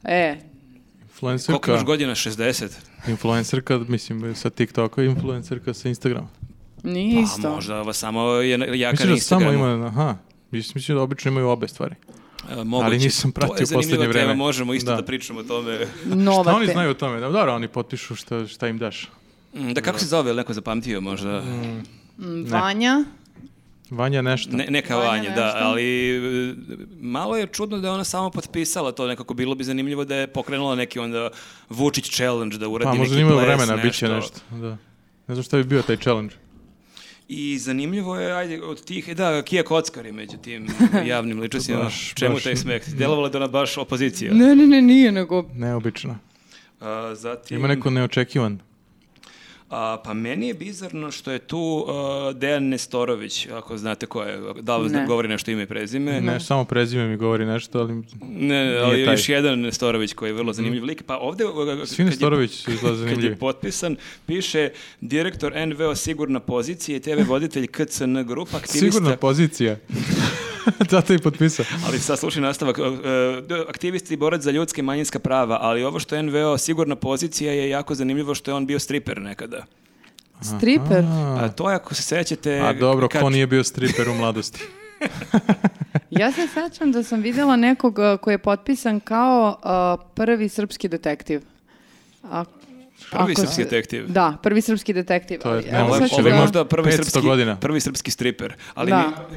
Speaker 1: E,
Speaker 3: Koliko
Speaker 2: Influencerka,
Speaker 3: imaš godina? 60?
Speaker 2: influencerka, mislim, sa TikToka, influencerka sa Instagrama.
Speaker 1: nije isto.
Speaker 3: Pa možda ova samo je na- jaka
Speaker 2: Mislim
Speaker 3: na
Speaker 2: da samo
Speaker 3: Instagramu.
Speaker 2: ima, aha, mislim mislim da obično imaju obe stvari.
Speaker 3: E, Moguće.
Speaker 2: Ali nisam pratio
Speaker 3: To je zanimljiva
Speaker 2: poslednje
Speaker 3: tema,
Speaker 2: vreme.
Speaker 3: Možemo isto da,
Speaker 2: Da.
Speaker 3: pričamo o tome.
Speaker 1: Nova
Speaker 2: Šta oni
Speaker 1: tema.
Speaker 2: znaju o tome? Da, dobro, oni potpišu šta, šta im daš.
Speaker 3: Mm, Da kako se zove, jel neko zapamtio možda.
Speaker 1: Mm, Vanja,
Speaker 2: Vanja nešto.
Speaker 3: Ne, neka
Speaker 1: Vanja
Speaker 3: Vanja, da,
Speaker 1: nešto.
Speaker 3: ali e, malo je čudno da je ona samo potpisala to, nekako bilo bi zanimljivo da je pokrenula neki onda Vučić challenge da uradi
Speaker 2: pa možda
Speaker 3: neki
Speaker 2: imaju
Speaker 3: ples,
Speaker 2: vremena, bit će nešto. Da. Ne znam šta bi bio taj challenge.
Speaker 3: I zanimljivo je, ajde, od tih, da, Kija Kockar je među tim javnim ličnostima,
Speaker 2: baš-
Speaker 3: čemu
Speaker 2: baš-
Speaker 3: taj smeh? Djelovala je da je ona baš opozicija.
Speaker 1: Ne, ne, ne, nije, nego...
Speaker 2: Neobično.
Speaker 3: A, zatim,
Speaker 2: Ima neko neočekivan.
Speaker 3: a, pa meni je bizarno što je tu a, Dejan Nestorović, ako znate ko je, da li zna-
Speaker 1: Ne.
Speaker 3: govori nešto ime i prezime.
Speaker 2: Ne, samo prezime mi govori nešto, ali
Speaker 3: Ne, ali
Speaker 2: Nije taj. Mm.
Speaker 3: još jedan Nestorović koji je vrlo zanimljiv lik. Pa ovde... uh, kad
Speaker 2: svi
Speaker 3: je-
Speaker 2: Nestorović su izgleda
Speaker 3: Kad je
Speaker 2: zanimljivi.
Speaker 3: potpisan, piše direktor NVO sigurna pozicija i TV voditelj KCN grupa aktivista.
Speaker 2: Sigurna pozicija. Zato je potpisao.
Speaker 3: Ali sad slušaj nastavak. Uh, uh, Aktivist i borac za ljudske i manjinska prava, ali ovo što je NVO sigurna pozicija je jako zanimljivo što je on bio striper nekada.
Speaker 1: Striper?
Speaker 2: A,
Speaker 3: A to je ako se sećate...
Speaker 2: a dobro,
Speaker 3: kad-
Speaker 2: ko nije bio striper u mladosti?
Speaker 1: Ja se sećam da sam vidjela nekog uh, koji je potpisan kao uh, prvi srpski detektiv. A-
Speaker 3: Prvi
Speaker 1: ako
Speaker 3: srpski
Speaker 1: se-
Speaker 3: detektiv.
Speaker 1: Da, prvi srpski detektiv.
Speaker 2: To je-
Speaker 1: Ali,
Speaker 2: ne,
Speaker 1: evo
Speaker 3: Ovo
Speaker 2: može.
Speaker 1: sad
Speaker 3: je,
Speaker 1: ću
Speaker 3: ovo je
Speaker 1: da-
Speaker 3: možda prvi
Speaker 2: 500
Speaker 3: srpski,
Speaker 2: godina.
Speaker 3: prvi srpski striper. Ali
Speaker 1: Da.
Speaker 3: mi-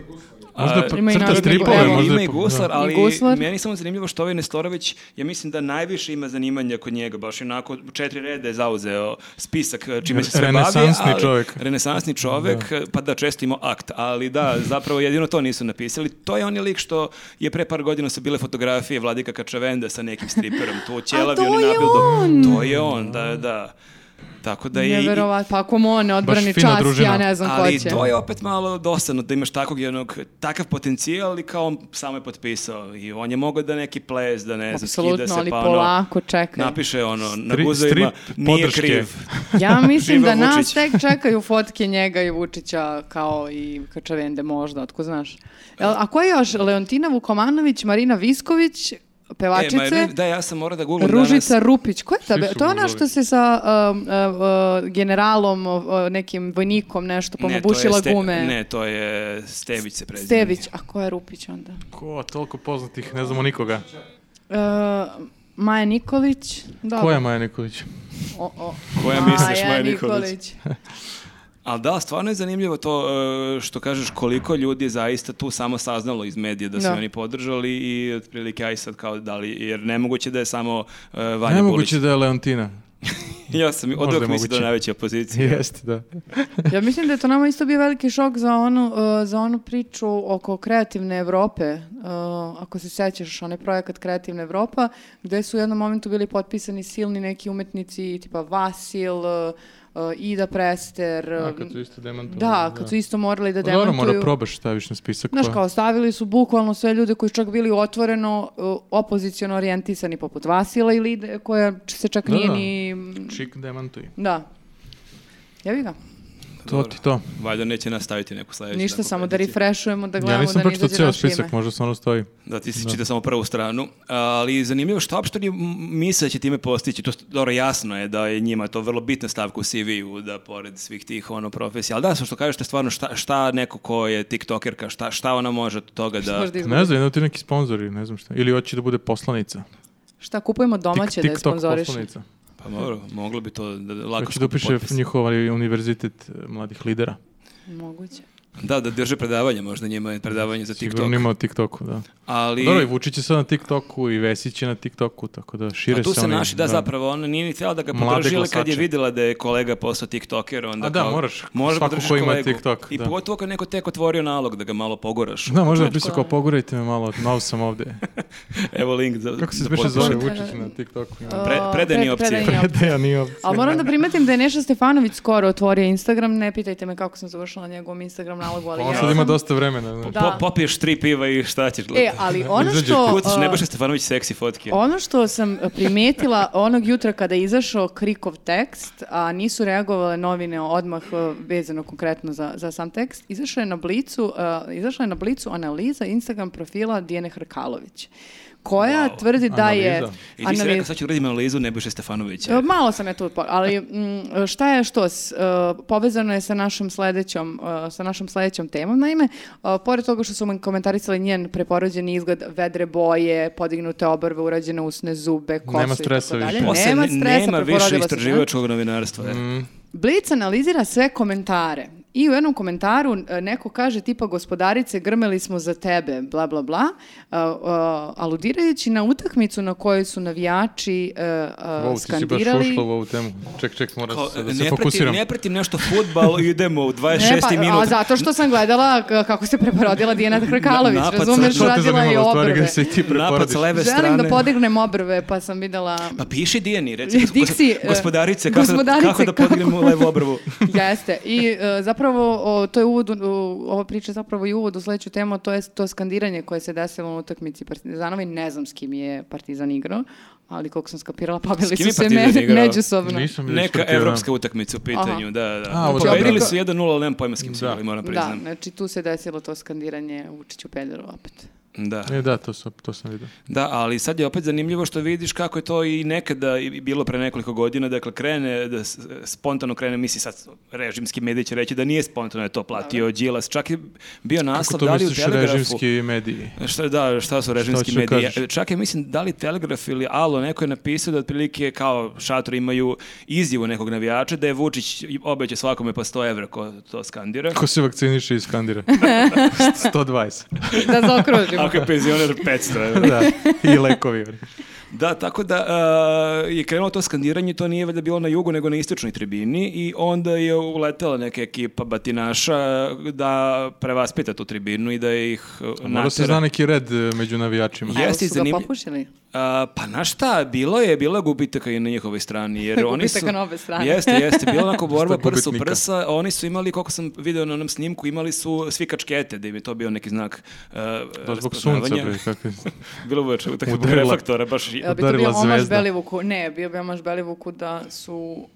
Speaker 2: Možda
Speaker 1: Ima i
Speaker 2: pa, crta
Speaker 1: narodni
Speaker 2: stripove,
Speaker 1: govor.
Speaker 2: možda
Speaker 3: ima
Speaker 2: je
Speaker 3: i
Speaker 2: po-
Speaker 3: Guslar,
Speaker 2: da.
Speaker 3: ali
Speaker 1: I Guslar.
Speaker 3: meni je samo zanimljivo što ovaj Nestorović, ja mislim da najviše ima zanimanja kod njega, baš onako četiri rede je zauzeo spisak e, čime se sve bavi.
Speaker 2: Renesansni
Speaker 3: ali-
Speaker 2: čovek.
Speaker 3: Renesansni čovek, e, pa da često imao akt, ali da, zapravo jedino to nisu napisali. To je onaj lik što je pre par godina su bile fotografije Vladika Kačavenda sa nekim striperom, tu ćelavi,
Speaker 1: to
Speaker 3: on
Speaker 1: je
Speaker 3: nabildo.
Speaker 1: on!
Speaker 3: To je on, da, da. Tako da i- i...
Speaker 1: Neverovatno. Pa ako mu on ne odbrani
Speaker 2: Baš fina
Speaker 1: čast,
Speaker 2: družina.
Speaker 1: ja ne znam
Speaker 3: ali
Speaker 1: ko će.
Speaker 3: to je opet malo dosadno da imaš takvog jednog, takav potencijal i kao on samo je potpisao i on je mogao da neki ples, da ne znam, skida
Speaker 1: Apsolutno,
Speaker 3: se
Speaker 1: ali
Speaker 3: pa ono,
Speaker 1: polako čekaj.
Speaker 3: napiše ono na
Speaker 2: Stri-
Speaker 3: guzovima,
Speaker 2: strip
Speaker 3: nije
Speaker 2: podrške.
Speaker 3: kriv. E,
Speaker 1: Ja mislim da
Speaker 3: Živeo
Speaker 1: nas
Speaker 3: Vučić.
Speaker 1: tek čekaju fotke njega i Vučića kao i Kačavende možda, otko znaš. Jel, a ko je još? Leontina Vukomanović, Marina Visković,
Speaker 3: E, ma,
Speaker 1: pevačice,
Speaker 3: ne- da, ja sam morao da googlam
Speaker 1: Ružica
Speaker 3: danas.
Speaker 1: Rupić. Ko je ta?
Speaker 2: Svi
Speaker 1: be-
Speaker 2: su
Speaker 1: To je ona
Speaker 2: guzovi.
Speaker 1: što se sa um, uh, uh, generalom, uh, uh, nekim vojnikom nešto, pa mu
Speaker 3: Ne, to je
Speaker 1: bušila
Speaker 3: Ste-
Speaker 1: gume.
Speaker 3: Ne, to je Stević se prezime.
Speaker 1: Stević, a ko je Rupić onda?
Speaker 2: Ko, toliko poznatih, ne znamo nikoga.
Speaker 1: Uh, Maja Nikolić. Dobro.
Speaker 2: Ko je Maja Nikolić?
Speaker 1: O, o.
Speaker 3: Koja misliš, Maja Nikolić?
Speaker 1: Nikolić.
Speaker 3: Ali da, stvarno je zanimljivo to e, što kažeš koliko ljudi je zaista tu samo saznalo iz medija da su
Speaker 1: Da.
Speaker 3: je oni podržali i otprilike aj sad kao da li, jer nemoguće da je samo e, Vanja
Speaker 2: Nemoguće
Speaker 3: Bulić.
Speaker 2: da je Leontina.
Speaker 3: Ja sam
Speaker 2: Možda
Speaker 3: odvijek
Speaker 2: je
Speaker 3: mislio da je
Speaker 2: moguće.
Speaker 3: najveća opozicija.
Speaker 2: Jeste, da.
Speaker 1: Ja mislim da je to nama isto bio veliki šok za onu, uh, za onu priču oko kreativne Evrope. Uh, ako se sećaš, onaj projekat Kreativna Evropa, gde su u jednom momentu bili potpisani silni neki umetnici tipa Vasil, uh, uh, Ida Prester.
Speaker 2: A,
Speaker 1: uh,
Speaker 2: kad su isto demantovali.
Speaker 1: da, kad su isto morali da
Speaker 2: Pa Dobro,
Speaker 1: demantuju.
Speaker 2: mora probaš staviš na spisak.
Speaker 1: Znaš
Speaker 2: pa-
Speaker 1: kao, stavili su bukvalno sve ljude koji su čak bili otvoreno uh, opozicijono orijentisani poput Vasila ili Ide, koja č- se čak
Speaker 2: Da,
Speaker 1: nije
Speaker 2: da.
Speaker 1: ni...
Speaker 2: Čik demantuj.
Speaker 1: Da. Ja ga.
Speaker 2: To ti to.
Speaker 3: Valjda neće nastaviti neku sledeću.
Speaker 1: Ništa,
Speaker 3: takvu
Speaker 1: samo da
Speaker 3: peticiju.
Speaker 1: refrešujemo, da
Speaker 2: Ja
Speaker 1: gledamo
Speaker 2: nisam
Speaker 1: da ne
Speaker 2: pročitao
Speaker 1: izađe
Speaker 2: ceo
Speaker 1: naše
Speaker 2: spisak,
Speaker 1: ime.
Speaker 2: možda stvarno stoji.
Speaker 3: Da, ti si čitao samo prvu stranu, ali zanimljivo što uopšte oni misle da će time postići. To, dobro, jasno je da je njima to vrlo bitna stavka u CV-u, da pored svih tih ono, profesija. Ali da, sa što kažeš, to je stvarno šta, šta neko ko je tiktokerka, šta, šta ona može od toga da...
Speaker 1: Možda izgleda.
Speaker 2: Ne znam, jedno ti neki sponzori, ne znam šta. Ili hoće da bude poslanica.
Speaker 1: Šta, kupujemo domaće da je
Speaker 2: TikTok
Speaker 1: sponzoriš?
Speaker 2: poslanica.
Speaker 3: Pa dobro, moglo bi to da, da lako
Speaker 2: Hoće da
Speaker 3: skupi
Speaker 2: upiše
Speaker 3: potpis.
Speaker 2: njihov ovaj univerzitet eh, mladih lidera.
Speaker 1: Moguće.
Speaker 3: Da, da drže predavanje, možda njima je predavanje za TikTok.
Speaker 2: Sigurno ima na TikToku, da. Pa
Speaker 3: Ali...
Speaker 2: Dobro, i Vučić je sad na TikToku i Vesić je na TikToku, tako da šire
Speaker 3: Pa tu se
Speaker 2: oni,
Speaker 3: naši, da, zapravo, ona nije ni htjela da ga
Speaker 2: Mlade
Speaker 3: podrži, ali kad je
Speaker 2: glasače.
Speaker 3: vidjela da je kolega postao tiktoker, onda
Speaker 2: A da,
Speaker 3: kao,
Speaker 2: moraš,
Speaker 3: možda
Speaker 2: svako
Speaker 3: podržiš
Speaker 2: ko ima
Speaker 3: kolegu.
Speaker 2: TikTok,
Speaker 3: I
Speaker 2: da.
Speaker 3: pogotovo kad neko tek otvorio nalog da ga malo pogoraš.
Speaker 2: Da, možda je
Speaker 1: Početku,
Speaker 2: prisakao,
Speaker 1: ali-
Speaker 2: pogurajte me malo, malo sam ovde.
Speaker 3: Evo link za
Speaker 2: Kako se
Speaker 3: za
Speaker 2: više
Speaker 3: potpis.
Speaker 2: zove
Speaker 1: Vučić?
Speaker 2: Vučić na TikToku?
Speaker 1: O,
Speaker 3: Pre- predajni
Speaker 1: pre-
Speaker 3: opcije.
Speaker 1: predajni opcije.
Speaker 2: Predaja nije opcija.
Speaker 1: Ali moram da primetim da je Neša Stefanović skoro otvorio Instagram, ne pitajte me kako sam završila na njegovom Instagram nalogu, ali
Speaker 2: On
Speaker 1: ja
Speaker 2: sad ima
Speaker 1: sam-
Speaker 2: dosta vremena, znaš.
Speaker 1: Da.
Speaker 3: Po- popiješ tri piva i šta ćeš
Speaker 1: E,
Speaker 3: gledati?
Speaker 1: ali ono
Speaker 2: Izađe
Speaker 1: što...
Speaker 3: Kucaš
Speaker 1: uh,
Speaker 3: Nebojša Stefanović seksi fotke.
Speaker 1: Ono što sam primetila onog jutra kada je izašao krikov tekst, a nisu reagovale novine odmah e, vezano konkretno za, za sam tekst, izašao je na blicu, e, izašla je na blicu analiza Instagram profila Dijene Hrkalović, koja
Speaker 3: Wow.
Speaker 1: tvrdi da je...
Speaker 2: Analiza.
Speaker 3: I ti si rekao, sad ću radim analizu Nebojša Stefanovića.
Speaker 1: E, Malo sam je tu, po- ali mm, šta je što? s- e, Povezano je sa našom sledećom, e, sa našom sledećom temom. Naime, e, pored toga što su mi komentarisali njen preporođeni izgled vedre boje, podignute obrve, urađene usne zube, kosu
Speaker 2: Nema
Speaker 1: i
Speaker 2: stresa
Speaker 1: tako dalje.
Speaker 2: više.
Speaker 3: Posle
Speaker 1: Nema
Speaker 3: ne-
Speaker 1: stresa,
Speaker 3: nema više
Speaker 1: preporodila se, da?
Speaker 3: istraživačkog novinarstva.
Speaker 2: Mm,
Speaker 3: e.
Speaker 1: Blic analizira sve komentare i u jednom komentaru e, neko kaže tipa gospodarice grmeli smo za tebe, bla bla bla, a, a, aludirajući na utakmicu na kojoj su navijači e, a,
Speaker 2: Wow, ti si baš
Speaker 1: skandirali.
Speaker 2: ušla u ovu temu. Ček, ček, moram
Speaker 3: Kao,
Speaker 2: se da se
Speaker 3: ne, pratim,
Speaker 2: fokusiram.
Speaker 3: ne pratim nešto futbal, idemo u 26.
Speaker 1: Ne, pa,
Speaker 3: E, minut.
Speaker 1: A zato što sam gledala k- kako se preporodila Dijana Hrkalović,
Speaker 3: Na- pa napad
Speaker 1: razumeš,
Speaker 2: Što te
Speaker 1: radila je
Speaker 2: zanimalo, u stvari,
Speaker 1: obrve.
Speaker 2: kada se i ti
Speaker 3: Napad
Speaker 2: preporodiš?
Speaker 3: s leve strane.
Speaker 1: Želim da podignem obrve, pa sam videla...
Speaker 3: Pa piši Dijani, reci gos-
Speaker 1: Diksi, e,
Speaker 3: gospodarice, kako,
Speaker 1: gospodarice,
Speaker 3: da, kako da podignemo levu obrvu.
Speaker 1: Jeste. I e, zapravo o, to je uvod, u- u- ova priča je zapravo i uvod u sledeću temu, a to je to skandiranje koje se desilo na utakmici Partizanova i ne znam s kim je Partizan igrao, ali koliko sam skapirala, pobili
Speaker 3: kim je
Speaker 1: su se
Speaker 3: Partizan
Speaker 1: me,
Speaker 3: igrao?
Speaker 1: međusobno.
Speaker 2: Nisam je
Speaker 3: Neka
Speaker 2: ispratio, da.
Speaker 3: evropska utakmica u pitanju,
Speaker 1: Aha.
Speaker 3: da, da.
Speaker 2: A, ovo
Speaker 3: Pobedili
Speaker 1: dobro.
Speaker 3: su 1-0, ali nemam pojma s kim su
Speaker 2: Da.
Speaker 3: igrali, moram
Speaker 1: Da,
Speaker 3: priznam.
Speaker 1: znači tu se desilo to skandiranje Vučiću Peljeru opet.
Speaker 3: Da.
Speaker 2: E, da, to sam, to sam vidio.
Speaker 3: Da, ali sad je opet zanimljivo što vidiš kako je to i nekada i bilo pre nekoliko godina, dakle krene, da s- spontano krene, misli sad režimski mediji će reći da nije spontano je to platio Đilas, čak je bio
Speaker 2: Kako
Speaker 3: naslov
Speaker 2: to
Speaker 3: da li u
Speaker 2: misliš
Speaker 3: Telegrafu.
Speaker 2: režimski mediji?
Speaker 3: Šta, da, šta su režimski
Speaker 2: ću da
Speaker 3: mediji?
Speaker 2: kažeš?
Speaker 3: Čak je, mislim, da li Telegraf ili Alo, neko je napisao da otprilike kao šator imaju izjavu nekog navijača da je Vučić obeće svakome po 100 evra ko to skandira.
Speaker 2: Ko se vakciniše i skandira? 120.
Speaker 1: Da zaokružimo.
Speaker 3: Ako je penzioner 500 evra.
Speaker 2: da, i lekovi.
Speaker 3: Da, tako da e, je krenulo to skandiranje, to nije valjda bilo na jugu, nego na istočnoj tribini i onda je uletela neka ekipa batinaša da prevaspita tu tribinu i da ih e,
Speaker 2: Mora se zna
Speaker 3: natera.
Speaker 2: neki red e, među navijačima.
Speaker 3: Je.
Speaker 1: Evo
Speaker 3: jeste
Speaker 1: su ga
Speaker 3: zanimljiv-
Speaker 1: popušili.
Speaker 3: A, pa na šta, bilo je, bilo je gubitaka i na njihovoj strani. Jer oni su,
Speaker 1: Gubitaka na obe strane.
Speaker 3: Jeste, jeste, bilo je onako borba
Speaker 2: Dosta
Speaker 3: prsu
Speaker 2: gubitnika.
Speaker 3: prsa. Oni su imali, koliko sam video na onom snimku, imali su svi kačkete, da im je to bio neki znak uh,
Speaker 2: Da, Pa zbog sunca, bre, kakve-
Speaker 3: Bilo bi tako zbog
Speaker 2: Udarila.
Speaker 3: reflektora, baš i-
Speaker 1: Jel E, bi to
Speaker 2: Udarila
Speaker 1: bio omaž
Speaker 2: zvezda.
Speaker 1: Belivuku? Ne, bio bi omaž Belivuku da su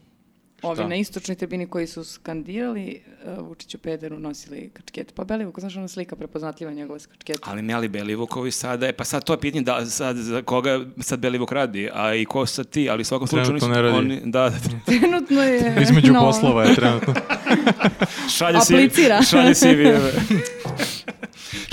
Speaker 1: ovi na istočnoj tribini koji su skandirali e, Vučiću Pederu nosili kačkete. Pa Belivuku, znaš ona slika prepoznatljiva njegova s kačketom.
Speaker 3: Ali ne, ali Belivukovi sada, je, pa sad to je pitanje da, sad, za koga sad Belivuk radi, a i ko sad ti, ali u svakom slučaju...
Speaker 2: Trenutno
Speaker 3: oni su-
Speaker 2: ne radi.
Speaker 3: Oni, da, da,
Speaker 1: Trenutno je...
Speaker 2: Između
Speaker 1: no,
Speaker 2: poslova je trenutno.
Speaker 3: šalje si...
Speaker 1: Aplicira.
Speaker 3: Šalje si vijeve.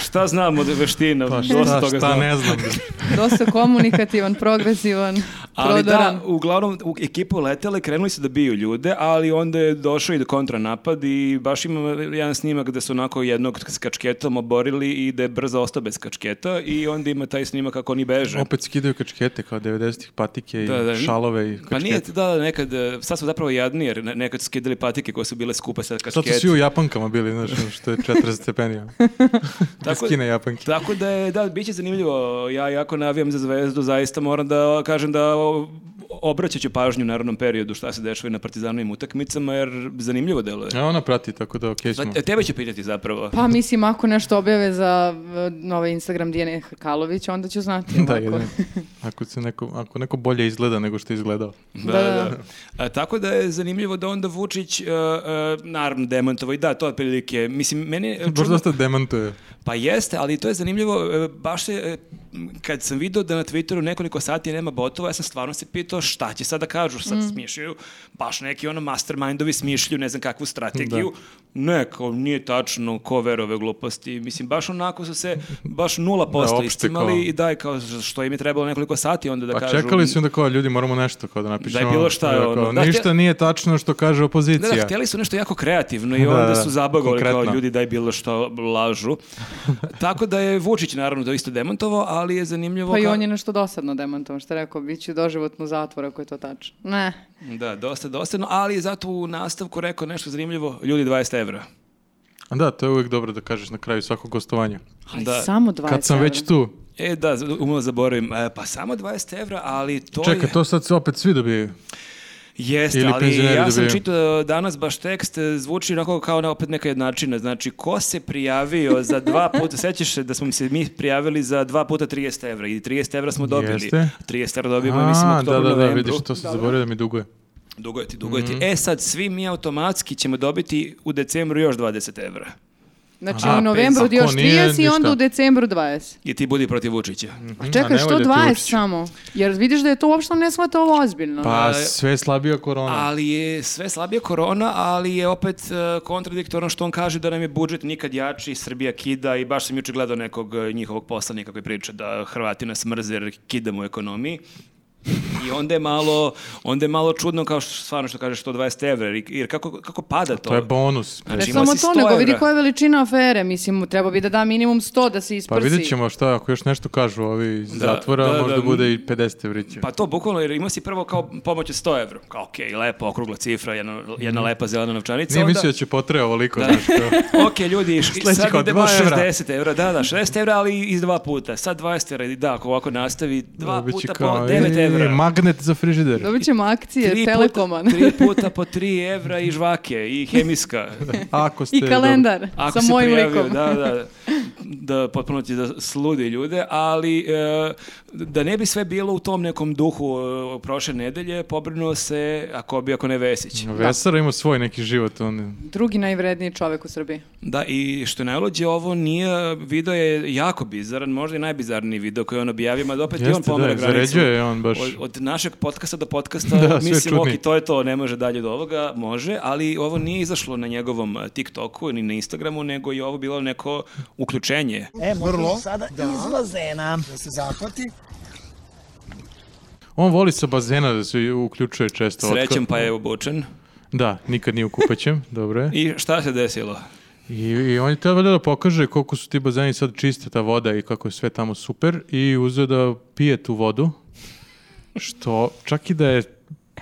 Speaker 3: šta znam od veština?
Speaker 2: Pa
Speaker 3: dosta
Speaker 2: šta,
Speaker 3: toga
Speaker 2: šta
Speaker 3: znam.
Speaker 2: ne znam.
Speaker 1: Dosta komunikativan, progresivan,
Speaker 3: Ali
Speaker 1: prodoran.
Speaker 3: da, uglavnom, u ekipu letele, krenuli su da biju ljude, ali onda je došao i do kontranapad i baš imam jedan snimak gde su onako jednog s kačketom oborili i da je brzo ostao bez kačketa i onda ima taj snimak kako oni beže.
Speaker 2: Opet skidaju kačkete kao 90-ih patike i
Speaker 3: Da, da.
Speaker 2: šalove i kačkete.
Speaker 3: Pa nije, da, da, nekad, e, sad smo zapravo jadni, jer ne- nekad su skidali patike koje su bile skupe, sad
Speaker 2: Sad
Speaker 3: kaskete.
Speaker 2: su svi u Japankama bili, znaš, ono što je 40 stepenija.
Speaker 3: Tako-
Speaker 2: Tako... Skine Japanke.
Speaker 3: Tako da je, da, bit će zanimljivo. Ja jako navijam za zvezdu, zaista moram da kažem da o- obraćat ću pažnju u narodnom periodu šta se dešava i na partizanovim utakmicama, jer zanimljivo deluje.
Speaker 2: A ona prati, tako da okej smo.
Speaker 3: E, Tebe će pitati zapravo.
Speaker 1: Pa mislim, ako nešto objave za e, nove Instagram Dijane Hrkalović, onda ću znati.
Speaker 2: Da,
Speaker 1: ovako.
Speaker 2: jedino. Ako, se neko, ako neko bolje izgleda nego što je izgledao.
Speaker 3: Da,
Speaker 1: Da,
Speaker 3: da.
Speaker 1: da.
Speaker 3: A, tako da je zanimljivo da onda Vučić, e, e, naravno, demantovo i da, to je otprilike. Mislim, meni... je
Speaker 2: Baš
Speaker 3: čudno-
Speaker 2: dosta demantuje.
Speaker 3: Pa jeste, ali to je zanimljivo, e, baš je, e, m, kad sam vidio da na Twitteru nekoliko sati nema botova, ja sam stvarno se pitao šta će sada kažu, sad
Speaker 2: Mm.
Speaker 3: smišljaju, baš neki ono mastermindovi smišlju, ne znam kakvu strategiju, ne, kao nije tačno, ko verove gluposti, mislim, baš onako su se, baš nula posto
Speaker 2: opšte
Speaker 3: iscimali
Speaker 2: kao.
Speaker 3: i daj, kao, što im je trebalo nekoliko sati onda da
Speaker 2: Pa
Speaker 3: kažu.
Speaker 2: čekali su onda kao, ljudi, moramo nešto kao da napišemo.
Speaker 3: bilo šta,
Speaker 2: Kao,
Speaker 3: ono, da,
Speaker 2: ništa
Speaker 3: htje-
Speaker 2: nije tačno što kaže
Speaker 3: Da,
Speaker 2: opozicija.
Speaker 3: da, htjeli su nešto jako kreativno i
Speaker 2: Da,
Speaker 3: onda
Speaker 2: da,
Speaker 3: su zabagovali kao
Speaker 2: konkretno.
Speaker 3: ljudi daj bilo što lažu. Tako da je Vučić naravno to isto demantovao, ali je zanimljivo...
Speaker 1: Pa i
Speaker 3: kao-
Speaker 1: on je nešto dosadno demantovan, što je rekao, bit ću doživotno zatvor ako je to tačno. Ne.
Speaker 3: Da, dosta dosadno, ali je zato u nastavku rekao nešto zanimljivo, ljudi 20 evra.
Speaker 2: A Da, to je uvijek dobro da kažeš na kraju svakog gostovanja.
Speaker 1: Ali
Speaker 3: Da.
Speaker 1: samo 20
Speaker 2: Kad sam već
Speaker 1: evra.
Speaker 2: tu,
Speaker 3: E, da, umalo zaboravim, e, pa samo 20 evra, ali to
Speaker 2: čekaj,
Speaker 3: je...
Speaker 2: to sad se opet svi dobiju.
Speaker 3: Jeste,
Speaker 2: Ili
Speaker 3: ali
Speaker 2: penzioneri
Speaker 3: ja sam
Speaker 2: dobijaju.
Speaker 3: čitao danas baš tekst, e, zvuči onako kao na opet neka jednačina, znači ko se prijavio za dva puta, sećaš se da smo se mi prijavili za dva puta 30 evra i 30 evra smo dobili.
Speaker 2: Jeste.
Speaker 3: 30 evra dobijemo, mislim, u
Speaker 2: da,
Speaker 3: oktobru,
Speaker 2: da, da,
Speaker 3: novembru.
Speaker 2: vidiš, to Mhm. sam zaboravio da mi duguje.
Speaker 3: Dugo je ti, dugo je ti. E sad, svi mi automatski ćemo dobiti u decembru još 20 evra.
Speaker 1: Znači
Speaker 2: Aha,
Speaker 1: u novembru
Speaker 2: penzija.
Speaker 1: još
Speaker 2: Ako nije,
Speaker 1: 30 i onda
Speaker 2: ništa.
Speaker 1: u decembru 20.
Speaker 3: I ti budi protiv Vučića.
Speaker 1: A
Speaker 2: A
Speaker 1: Pa čekaj,
Speaker 2: ne
Speaker 1: što
Speaker 2: valja ti
Speaker 1: 20
Speaker 2: Vučić.
Speaker 1: samo? Jer vidiš da je to uopšte ne shvata ovo ozbiljno.
Speaker 2: Pa
Speaker 3: A-
Speaker 2: sve je slabija korona.
Speaker 3: Ali je sve slabije korona, ali je opet e, kontradiktorno što on kaže da nam je budžet nikad jači, Srbija kida i baš sam juče gledao nekog e, njihovog poslanika koji priča da Hrvati nas mrze jer kidamo u ekonomiji. I onda je malo, onda je malo čudno kao što, stvarno što kažeš 120 evra, jer- jer kako, kako pada to?
Speaker 2: Pa To je bonus.
Speaker 1: Ne
Speaker 3: Znači, imao
Speaker 1: samo
Speaker 3: si
Speaker 1: to,
Speaker 3: 100
Speaker 1: nego
Speaker 3: evra.
Speaker 1: vidi koja je veličina afere. Mislim, treba bi da da minimum 100 da se
Speaker 2: Pa
Speaker 1: isprsi.
Speaker 2: vidjet ćemo šta, ako još nešto kažu ovi iz
Speaker 3: Da,
Speaker 2: zatvora,
Speaker 3: da,
Speaker 2: možda
Speaker 3: da.
Speaker 2: bude i 50 evrića.
Speaker 3: Pa to bukvalno, jer imao si prvo kao pomoć od 100 evra. Kao okej, lepa, okrugla cifra, jedna, jedna lepa zelena novčanica.
Speaker 2: Mhm. Nije
Speaker 3: onda-
Speaker 2: mislio da će potreba ovoliko, znaš, kao-
Speaker 3: ok, ljudi, š-
Speaker 2: Sledeći
Speaker 3: sad
Speaker 2: kao
Speaker 3: idemo
Speaker 2: 2 evra.
Speaker 3: 60 evra, da, da, 60 evra, ali iz dva puta. Sad 20 evra, i da, ako ovako nastavi, dva
Speaker 2: Dobit će
Speaker 3: puta po
Speaker 2: kao,
Speaker 3: 9
Speaker 2: e,
Speaker 3: evra.
Speaker 2: Magnet za frižider.
Speaker 1: Dobit ćemo akcije
Speaker 3: Tri
Speaker 1: Telekoma.
Speaker 3: Puta, tri puta po 3 evra i žvake, i hemiska.
Speaker 2: Ako ste...
Speaker 1: I kalendar
Speaker 3: Ako
Speaker 1: sa
Speaker 3: si
Speaker 1: mojim
Speaker 3: prijavio,
Speaker 1: likom.
Speaker 3: Da, da, da potpuno ti da sludi ljude, ali e, da ne bi sve bilo u tom nekom duhu e, prošle nedelje, pobrinuo se, ako bi, ako ne Vesić.
Speaker 2: dobro. Vesara ima svoj neki život, on je-
Speaker 1: Drugi najvredniji čovek u Srbiji.
Speaker 3: Da, i što je najluđe, ovo nije, video je jako bizaran, možda i najbizarniji video koji je on objavio, ma opet i Pa on
Speaker 2: Jeste,
Speaker 3: pomera
Speaker 2: da,
Speaker 3: granicu.
Speaker 2: zaređuje on baš.
Speaker 3: Od, od našeg podcasta do podcasta,
Speaker 2: Da, sve je
Speaker 3: mislim, ok,
Speaker 2: čudniji.
Speaker 3: to je to, ne može dalje od ovoga, može, ali ovo nije izašlo na njegovom eh, TikToku ni na Instagramu, nego je ovo bilo neko uključenje.
Speaker 4: E, Vrlo. sada iz bazena. Da se zahvati.
Speaker 2: On voli sa bazena da se uključuje često. otka-
Speaker 3: Srećem pa je obučen.
Speaker 2: Da, nikad nije u kupećem, dobro je.
Speaker 3: I šta se desilo?
Speaker 2: I, i on je teo valjda da pokaže koliko su ti bazeni sad čiste ta voda i kako je sve tamo super i uzeo da pije tu vodu, što čak i da je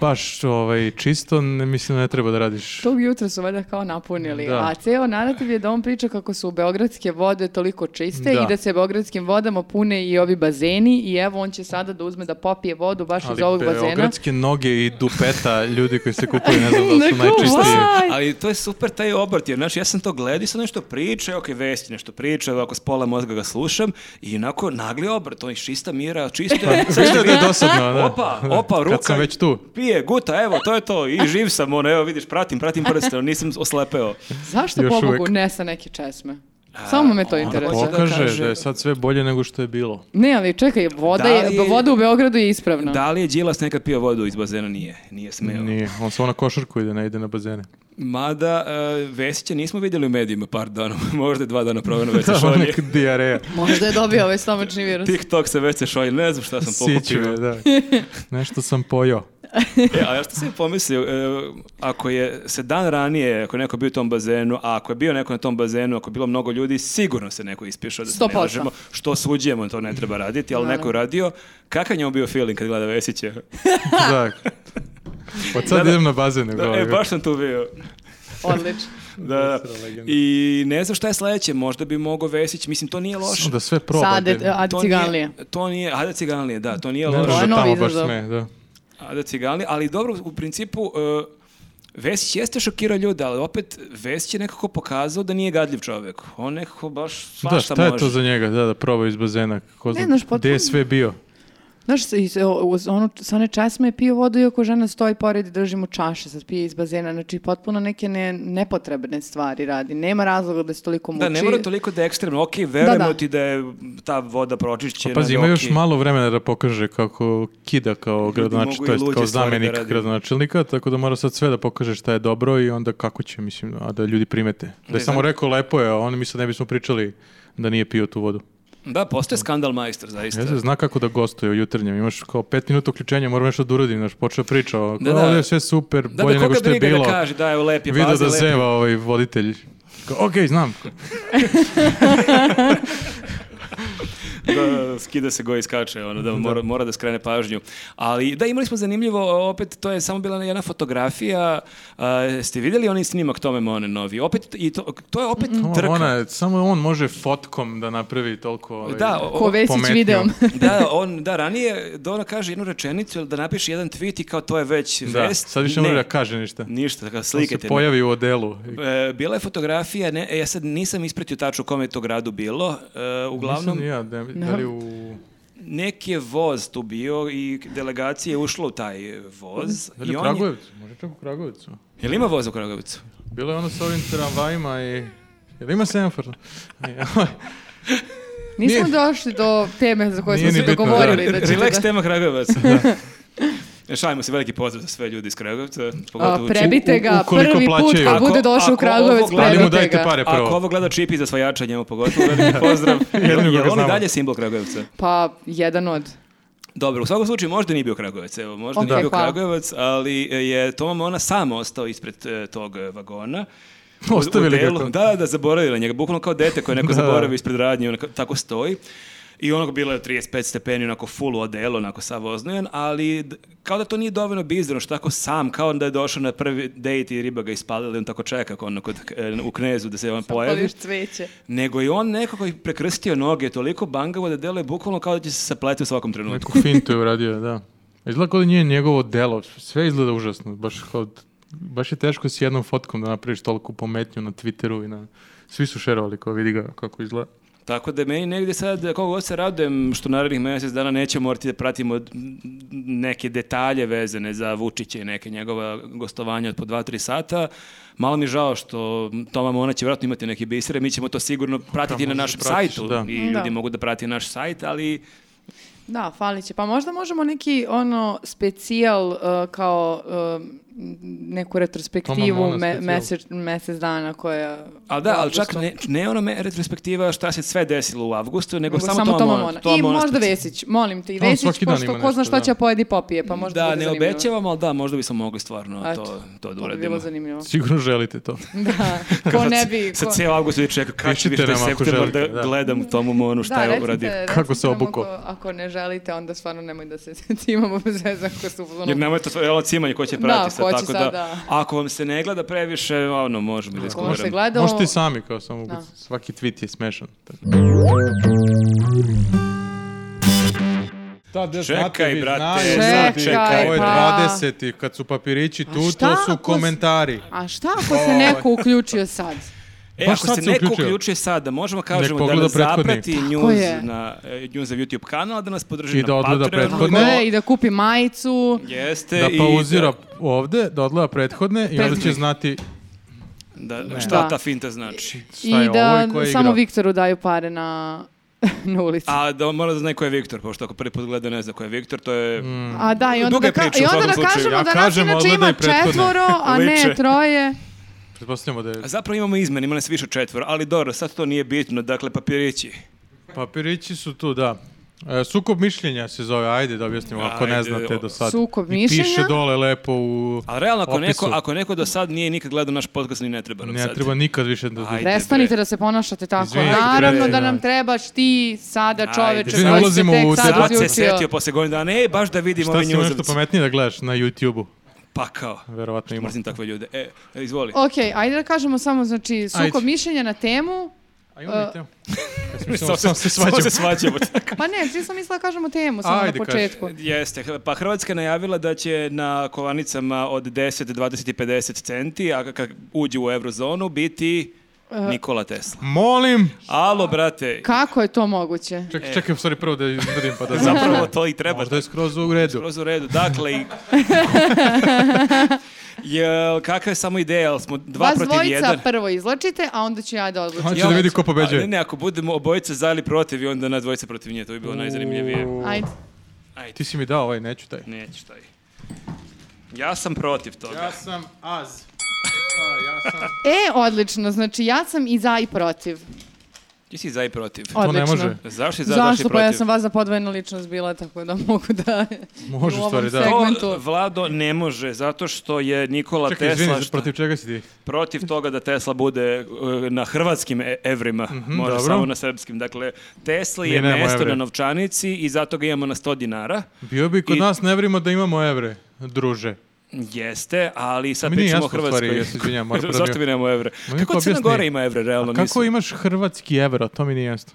Speaker 2: baš ovaj, čisto, ne, mislim da ne treba da radiš.
Speaker 1: Tog jutra su valjda kao napunili.
Speaker 2: Da.
Speaker 1: A ceo narativ je da on priča kako su beogradske vode toliko čiste
Speaker 2: Da.
Speaker 1: i da se beogradskim vodama pune i ovi bazeni i evo on će sada da uzme da popije vodu baš iz
Speaker 2: Ali
Speaker 1: ovog bazena.
Speaker 2: beogradske noge i dupeta ljudi koji se kupuju, ne znam da li
Speaker 1: Neko,
Speaker 2: su najčistiji.
Speaker 1: why?
Speaker 3: Ali to je super taj obrt, jer znaš, ja sam to gledao i sad nešto priča, ok, vesti nešto priča, ovako s pola mozga ga slušam i onako nagli obrt, on iz čista mira, čista... sad
Speaker 2: Viš
Speaker 3: ćete
Speaker 2: Pa, da je
Speaker 3: vidjeti-
Speaker 2: dosadno, da.
Speaker 3: Opa, opa, ruka.
Speaker 2: Kad sam već tu.
Speaker 3: Pije, guta, evo, to je to. I živ sam, ono, evo, vidiš, pratim, pratim prstenom, nisam oslepeo.
Speaker 1: Zašto
Speaker 2: Još
Speaker 1: pobogu
Speaker 2: uvek.
Speaker 1: neke neke česme? Samo me to
Speaker 3: ona
Speaker 1: interesuje.
Speaker 3: hoće da
Speaker 2: Pokaže
Speaker 3: kaže-
Speaker 2: da je sad sve bolje nego što je bilo.
Speaker 1: Ne, ali čekaj, voda,
Speaker 3: Da
Speaker 1: je,
Speaker 3: li-
Speaker 1: voda u Beogradu je ispravna.
Speaker 3: Da li je Đilas nekad pio vodu iz bazena? Nije, nije smeo.
Speaker 2: Nije, on samo na košarku ide, ne ide na bazene.
Speaker 3: Mada, uh, Vesića nismo vidjeli u medijima par dana, možda je dva dana provjerno već se
Speaker 2: Samo
Speaker 3: šolje.
Speaker 2: neka dijareja.
Speaker 1: Možda je dobio ovaj stomačni virus.
Speaker 3: TikTok se već se šolje, ne znam šta sam
Speaker 2: Siću
Speaker 3: pokupio.
Speaker 2: me, da. Nešto sam pojao.
Speaker 3: E, a ja što sam pomislio, e, ako je se dan ranije, ako je neko bio u tom bazenu, a ako je bio neko na tom bazenu, ako je bilo mnogo ljudi, sigurno se neko ispišao da se ne
Speaker 1: 100%.
Speaker 3: lažemo. Što suđujemo, to ne treba raditi, ali neko je radio. Kakav je njemu bio feeling kad gleda Vesića?
Speaker 2: Da. Pa sad idem na bazene.
Speaker 3: Da, e, baš sam tu bio.
Speaker 1: Odlično.
Speaker 3: Da, da. I ne znam šta je sledeće, možda bi mogao Vesić, mislim, to nije loše.
Speaker 2: Da sve probate.
Speaker 1: Sade, Adi
Speaker 3: To
Speaker 1: Ciganlije.
Speaker 3: Nije, to nije, Ada Ciganlije, da, to nije
Speaker 2: Ne
Speaker 3: loše.
Speaker 1: ono
Speaker 2: može
Speaker 1: je novi
Speaker 2: tamo baš
Speaker 1: izazov.
Speaker 2: sme, da.
Speaker 3: Ada Ciganli, ali dobro, u principu, e, Vesić jeste šokirao ljude, ali opet Vesić je nekako pokazao da nije gadljiv čovjek. On nekako baš svašta
Speaker 2: Da, šta je
Speaker 3: može.
Speaker 2: to za njega, da, da proba iz bazena, ko zna,
Speaker 1: znaš, potpuno-
Speaker 2: gde je sve bio.
Speaker 1: Znaš, s- iz- o- uz onu, sa one časme je pio vodu i ako žena stoji pored i drži mu čaše, sad pije iz bazena, znači potpuno neke ne, nepotrebne stvari radi. Nema razloga da se toliko muči.
Speaker 3: Da, ne mora toliko da je ekstremno. Ok, verujemo
Speaker 1: Znači- Da, da.
Speaker 3: ti da je ta voda pročišćena.
Speaker 2: Pazi,
Speaker 3: da
Speaker 2: ima Pa, još
Speaker 3: okej.
Speaker 2: malo vremena da pokaže kako kida kao gradonačelnik,
Speaker 3: mogu i
Speaker 2: to jest
Speaker 3: luđe
Speaker 2: kao
Speaker 3: stvari da
Speaker 2: zamjenik
Speaker 3: rade.
Speaker 2: gradonačelnika, tako da mora sad sve da pokaže šta je dobro i onda kako će, mislim, a da ljudi primete. Da
Speaker 3: Ne
Speaker 2: je samo
Speaker 3: znam.
Speaker 2: rekao lepo je, a oni mi sad ne bismo pričali da nije pio tu vodu.
Speaker 3: Da, postoje skandal majster, zaista.
Speaker 2: Ja se zna kako da gostuje u jutarnjem. Imaš kao pet minuta uključenja, moram nešto da uradim, znaš, počeo priča. o,
Speaker 3: Da,
Speaker 2: "O,
Speaker 3: da.
Speaker 2: ovdje je sve super,
Speaker 3: da,
Speaker 2: bolje
Speaker 3: da,
Speaker 2: nego
Speaker 3: koga
Speaker 2: što je
Speaker 3: briga
Speaker 2: bilo.
Speaker 3: da kaže, da, evo, lep je,
Speaker 2: Vidio
Speaker 3: pazi,
Speaker 2: da
Speaker 3: lep je.
Speaker 2: zeva ovaj voditelj. Kao, ok, znam.
Speaker 3: da skida se go i skače, ono, da mora, mora da skrene pažnju. Ali da, imali smo zanimljivo, opet to je samo bila jedna fotografija, a, ste vidjeli onaj snimak Tome Mone novi, opet, i to, to je opet trka.
Speaker 2: "Ono, Ona, je- samo on može fotkom da napravi toliko... ovaj,
Speaker 3: Da, o-
Speaker 1: Ko Vesić
Speaker 2: Pometnio.
Speaker 1: videom.
Speaker 3: da, on, da, ranije da ona kaže jednu rečenicu ili da napiše jedan tweet i kao to je već
Speaker 2: Da,
Speaker 3: vest.
Speaker 2: sad više ne
Speaker 3: Ne,
Speaker 2: može da kaže ništa.
Speaker 3: Ništa, kao
Speaker 2: On
Speaker 3: slike
Speaker 2: se
Speaker 3: te ne-
Speaker 2: pojavi u odelu.
Speaker 3: E, bila je fotografija, ne, e, ja sad nisam ispratio tačno u kom je to gradu bilo, e, uglavnom...
Speaker 2: Nisam ni ja, da, da li u...
Speaker 3: neki je voz tu bio i delegacija je ušla u taj voz.
Speaker 2: Da li
Speaker 3: i
Speaker 2: u
Speaker 3: on je-
Speaker 2: Kragujevcu? Može čak u Kragujevcu.
Speaker 3: Jel ima voz u Kragujevcu?
Speaker 2: Bilo je ono sa ovim tramvajima i... Jel ima semafor?
Speaker 1: Nismo
Speaker 2: Nije-
Speaker 1: došli do teme za koje
Speaker 2: Nije
Speaker 1: smo
Speaker 2: ni
Speaker 1: se
Speaker 2: bitno,
Speaker 1: dogovorili.
Speaker 2: da.
Speaker 1: Da, ćete
Speaker 3: Relax
Speaker 1: da-
Speaker 3: tema Kragujevac. E, Šaljemo se veliki pozdrav za sve ljude iz Kragujevca.
Speaker 1: A,
Speaker 3: pogotovo u Čipu.
Speaker 1: prebite ga
Speaker 2: ukoliko
Speaker 1: prvi put
Speaker 2: plaćaju.
Speaker 1: kad
Speaker 3: Ako-
Speaker 1: bude došao
Speaker 3: ako
Speaker 1: u Kragovec,
Speaker 3: ovo gledate-
Speaker 2: Ali mu
Speaker 1: prebite
Speaker 2: dajte
Speaker 1: ga.
Speaker 2: pare prvo.
Speaker 3: Ako ovo gleda Čipi za svajača njemu pogotovo, veliki pozdrav. Jel,
Speaker 2: Jedino ga
Speaker 3: jel on i
Speaker 2: znamo.
Speaker 3: dalje simbol Kragujevca?
Speaker 1: Pa, jedan od.
Speaker 3: Dobro, u svakom slučaju možda nije bio Kragujevac, evo, možda
Speaker 1: Ok,
Speaker 3: nije bio
Speaker 1: hvala.
Speaker 3: Kragujevac, ali e, je Toma Mona sam ostao ispred e, tog e, vagona. U- u
Speaker 2: Ostavili ga
Speaker 3: delu-
Speaker 2: kao-
Speaker 3: Da, da, zaboravila njega, bukvalno kao dete koje neko
Speaker 2: Da.
Speaker 3: zaboravi ispred radnje, onako, tako stoji. I onako bilo je 35 stepeni, onako full u odelu, onako sav oznojen, ali d- kao da to nije dovoljno bizarno, što tako sam, kao da je došao na prvi dejt i riba ga ispalila, on tako čeka kao ono kod, e, u knezu da se on pojavi.
Speaker 1: Poliš cveće.
Speaker 3: Nego i on nekako je prekrstio noge, toliko bangavo da deluje bukvalno kao da će se sapleti u svakom trenutku.
Speaker 2: Neku fintu je uradio, da. Izgleda kao da nije njegovo delo, sve izgleda užasno, baš kao, baš je teško s jednom fotkom da napraviš toliku pometnju na Twitteru i na, svi su šerovali kao vidi ga kako izgleda.
Speaker 3: Tako da meni negdje sad, kako god se radujem, što narednih mjesec dana nećemo morati da pratimo d- neke detalje vezane za Vučića i neke njegova gostovanja od po 2-3 sata, malo mi je žao što Toma Mona će vjerojatno imati neke bisere, mi ćemo to sigurno pratiti na
Speaker 2: možeš
Speaker 3: našem
Speaker 2: da pratiš,
Speaker 3: sajtu
Speaker 2: da.
Speaker 3: i
Speaker 1: Mm,
Speaker 3: ljudi
Speaker 1: da.
Speaker 3: mogu da prati naš sajt, ali
Speaker 1: Da, falit će. Pa možda možemo neki ono specijal uh, kao um, neku retrospektivu
Speaker 2: Toma Mona
Speaker 1: me,
Speaker 2: specijal.
Speaker 1: mesec, mesec dana koja...
Speaker 3: Ali da,
Speaker 1: u
Speaker 3: ali čak
Speaker 1: avgustu.
Speaker 3: ne, ne ona me retrospektiva šta se sve desilo u avgustu, nego,
Speaker 1: Nego
Speaker 3: samo, samo Toma Mona. Toma
Speaker 1: I
Speaker 3: Mona
Speaker 1: možda
Speaker 3: specijalno.
Speaker 1: Vesić, molim te, i
Speaker 2: A on
Speaker 1: Vesić,
Speaker 2: svaki dan
Speaker 1: pošto
Speaker 2: ima
Speaker 1: ko zna
Speaker 2: nešto,
Speaker 1: šta
Speaker 2: da.
Speaker 1: će pojedi i popije, pa možda
Speaker 3: Da,
Speaker 1: bude
Speaker 3: ne
Speaker 1: zanimljivo.
Speaker 3: obećavam, ali da, možda bismo mogli stvarno
Speaker 1: Eto,
Speaker 3: to, to
Speaker 1: To
Speaker 3: da
Speaker 1: bi
Speaker 3: uradimo.
Speaker 1: bilo zanimljivo.
Speaker 2: Sigurno želite to.
Speaker 1: Da, ko Pa ne bi...
Speaker 3: Sa
Speaker 1: ko-
Speaker 3: cijel avgust ljudi čeka, kada će
Speaker 2: Pišite
Speaker 3: biti taj
Speaker 2: nam ako
Speaker 3: septembar da,
Speaker 2: želite, da.
Speaker 3: gledam Tomu Monu šta
Speaker 1: da,
Speaker 3: je
Speaker 1: recite- ono-
Speaker 3: uradio.
Speaker 2: Kako se
Speaker 1: recite nam
Speaker 2: obuko?
Speaker 1: Ako, ako ne želite, onda stvarno nemoj da se cimamo bez veze ako su... ono-
Speaker 3: Jer nema je to sve, jel, cimanje ko će pratiti sad,
Speaker 1: ko će
Speaker 3: tako
Speaker 1: sad,
Speaker 3: da,
Speaker 1: da.
Speaker 3: Ako vam se ne gleda previše, ono, možemo da
Speaker 1: Ko se
Speaker 3: iskumiramo.
Speaker 1: gleda...
Speaker 2: Možete
Speaker 1: ovo-
Speaker 2: i sami, kao samo
Speaker 1: Da.
Speaker 2: svaki tweet je smešan. tako. Ta, da
Speaker 3: Čekaj,
Speaker 2: znate, vi
Speaker 3: brate,
Speaker 2: znate,
Speaker 1: Čekaj,
Speaker 2: znate, ovo je
Speaker 1: pa.
Speaker 2: 20. kad su papirići tu,
Speaker 1: šta
Speaker 2: to su
Speaker 1: ako s-
Speaker 2: komentari.
Speaker 1: A šta ako se
Speaker 3: Ovaj.
Speaker 1: neko uključio sad?
Speaker 3: E,
Speaker 2: Baš
Speaker 3: ako
Speaker 2: sad
Speaker 3: se
Speaker 2: se
Speaker 3: neko
Speaker 2: uključio.
Speaker 3: uključuje sad, da možemo kažemo da
Speaker 2: pogleda
Speaker 3: nas
Speaker 2: prethodni.
Speaker 3: zaprati
Speaker 1: Tako
Speaker 3: news
Speaker 1: je.
Speaker 3: na, e, news YouTube kanal, da nas podrži
Speaker 2: I
Speaker 3: na
Speaker 2: da odgleda
Speaker 3: Patreonu.
Speaker 2: prethodne.
Speaker 1: Gore Pa i da kupi majicu.
Speaker 3: Jeste.
Speaker 2: Da
Speaker 3: i
Speaker 2: pauzira ovde, da odgleda prethodne i onda će
Speaker 1: Prethodne.
Speaker 2: znati
Speaker 3: Da, da, šta
Speaker 1: Da.
Speaker 3: ta finta znači.
Speaker 2: šta
Speaker 1: I
Speaker 2: je ovo
Speaker 1: da
Speaker 2: i ko je
Speaker 1: samo
Speaker 2: igrao.
Speaker 1: Viktoru daju pare na, na ulici. A,
Speaker 3: A da mora da zna ko je Viktor, pošto ako prvi put gleda ne zna ko je Viktor, to je...
Speaker 2: Mm.
Speaker 1: da, i onda,
Speaker 3: Duga
Speaker 1: da,
Speaker 3: je
Speaker 1: ka- i
Speaker 3: priča u
Speaker 1: onda da
Speaker 3: svakom slučaju.
Speaker 1: kažemo da
Speaker 2: Ja
Speaker 1: nas
Speaker 2: kažem,
Speaker 1: inače
Speaker 2: odgledaj
Speaker 1: ima
Speaker 2: prethodne.
Speaker 1: četvoro, a ne
Speaker 3: Liče.
Speaker 1: troje.
Speaker 2: Pretpostavljamo da je
Speaker 3: A Zapravo imamo izmene, ima nas više od četvora, ali dobro, sad to nije bitno, dakle papirići.
Speaker 2: Papirići su tu, da. E, sukob mišljenja se zove, ajde da objasnimo ako ne
Speaker 3: Ajde,
Speaker 2: znate do sad.
Speaker 1: Sukob
Speaker 2: I piše
Speaker 1: mišljenja?
Speaker 2: dole lepo u
Speaker 3: Ali realno, ako
Speaker 2: opisu.
Speaker 3: neko, ako neko do sad nije nikad gledao naš podcast, ni ne treba nam
Speaker 2: ne
Speaker 3: sad.
Speaker 2: treba nikad više da...
Speaker 3: Ajde,
Speaker 1: Prestanite
Speaker 3: bre.
Speaker 1: da se ponašate tako.
Speaker 2: Izvinite,
Speaker 1: Naravno
Speaker 2: bre,
Speaker 1: da
Speaker 2: da.
Speaker 1: nam trebaš ti sada čoveče
Speaker 3: Izvini,
Speaker 1: koji se
Speaker 2: ulazimo u
Speaker 1: tek sad
Speaker 2: debat.
Speaker 3: Sad se
Speaker 1: uključio.
Speaker 3: setio posle godina dana, ej, baš da vidim
Speaker 2: Šta
Speaker 3: ove
Speaker 2: si imao nešto
Speaker 3: njuzovce.
Speaker 2: pametnije da gledaš na YouTube-u?
Speaker 3: Pa kao,
Speaker 2: Verovatno ima.
Speaker 3: mrzim takve ljude. E, e, izvoli.
Speaker 1: Ok, ajde da kažemo samo, znači, sukob
Speaker 2: Ajde.
Speaker 1: mišljenja na temu.
Speaker 2: A imamo
Speaker 1: e,
Speaker 2: i temu. Ja sam mislio,
Speaker 3: Samo
Speaker 2: sam se svađam.
Speaker 3: Samo se svađamo.
Speaker 1: Pa ne, ti sam mislila da kažemo temu, samo
Speaker 2: Ajde,
Speaker 1: na
Speaker 2: kaži.
Speaker 1: početku.
Speaker 3: Jeste, H- pa Hrvatska je najavila da će na kovanicama od 10, 20 i 50 centi, a kad uđe u eurozonu, biti
Speaker 1: E,
Speaker 3: Nikola Tesla.
Speaker 2: Molim!
Speaker 3: Alo, brate,
Speaker 1: Kako je to moguće?
Speaker 2: Čekaj, čekaj, sorry, prvo da izmerim pa da zapravo.
Speaker 3: E. zapravo to i treba.
Speaker 2: Možda je skroz u redu.
Speaker 3: Skroz u redu. Dakle, i... Jel, kakva je samo ideja, jel smo dva
Speaker 1: Vas
Speaker 3: protiv
Speaker 1: dvojica
Speaker 3: jedan?
Speaker 1: prvo izločite, a onda ću ja da odlučim.
Speaker 2: On će da vidi ko
Speaker 3: A Ne,
Speaker 2: pobeđuje.
Speaker 3: ne, ako budemo obojica za ili protiv i onda na dvojica protiv nje, to bi bilo najzanimljivije.
Speaker 1: Ajde.
Speaker 3: Ajde,
Speaker 2: Ti si mi dao ovaj, neću taj.
Speaker 3: nećeš taj. Ja sam protiv toga.
Speaker 2: Ja sam az. ja sam...
Speaker 1: E, odlično, znači ja sam i za i protiv.
Speaker 3: Ti si za i protiv.
Speaker 2: To ne
Speaker 1: Odlično.
Speaker 2: može.
Speaker 3: Zašto je za, zašto je
Speaker 1: Zašto?
Speaker 3: protiv?
Speaker 1: Pa ja sam vas za podvojena ličnost bila, tako da mogu da...
Speaker 2: Može,
Speaker 1: U ovom
Speaker 2: stvari, da.
Speaker 1: segmentu.
Speaker 3: To Vlado ne može, zato što je Nikola
Speaker 2: Čekaj,
Speaker 3: Tesla
Speaker 2: izvini,
Speaker 3: šta-
Speaker 2: protiv čega si ti?
Speaker 3: protiv toga da Tesla bude uh, na hrvatskim e- evrima, može
Speaker 2: Mhm, dobro.
Speaker 3: samo na srpskim. Dakle, Tesla
Speaker 2: Mi
Speaker 3: je
Speaker 2: nemamo
Speaker 3: mesto
Speaker 2: evre.
Speaker 3: na novčanici i zato ga imamo na 100 dinara.
Speaker 2: Bio bi kod
Speaker 3: I-
Speaker 2: nas nevrimo da imamo evre, druže.
Speaker 3: Jeste, ali sad
Speaker 2: Mi nije
Speaker 3: pričamo o
Speaker 2: jasno u
Speaker 3: Hrvatskoj.
Speaker 2: stvari, ja se izvinjam, moram da
Speaker 3: Zašto
Speaker 2: mi-
Speaker 3: mi nemamo evre?
Speaker 2: Ma niko
Speaker 3: Kako Crna
Speaker 2: objasni.
Speaker 3: Gora ima evre, realno?
Speaker 2: Kako
Speaker 3: Ono, mislim?
Speaker 2: imaš hrvatski evro, to mi nije jasno.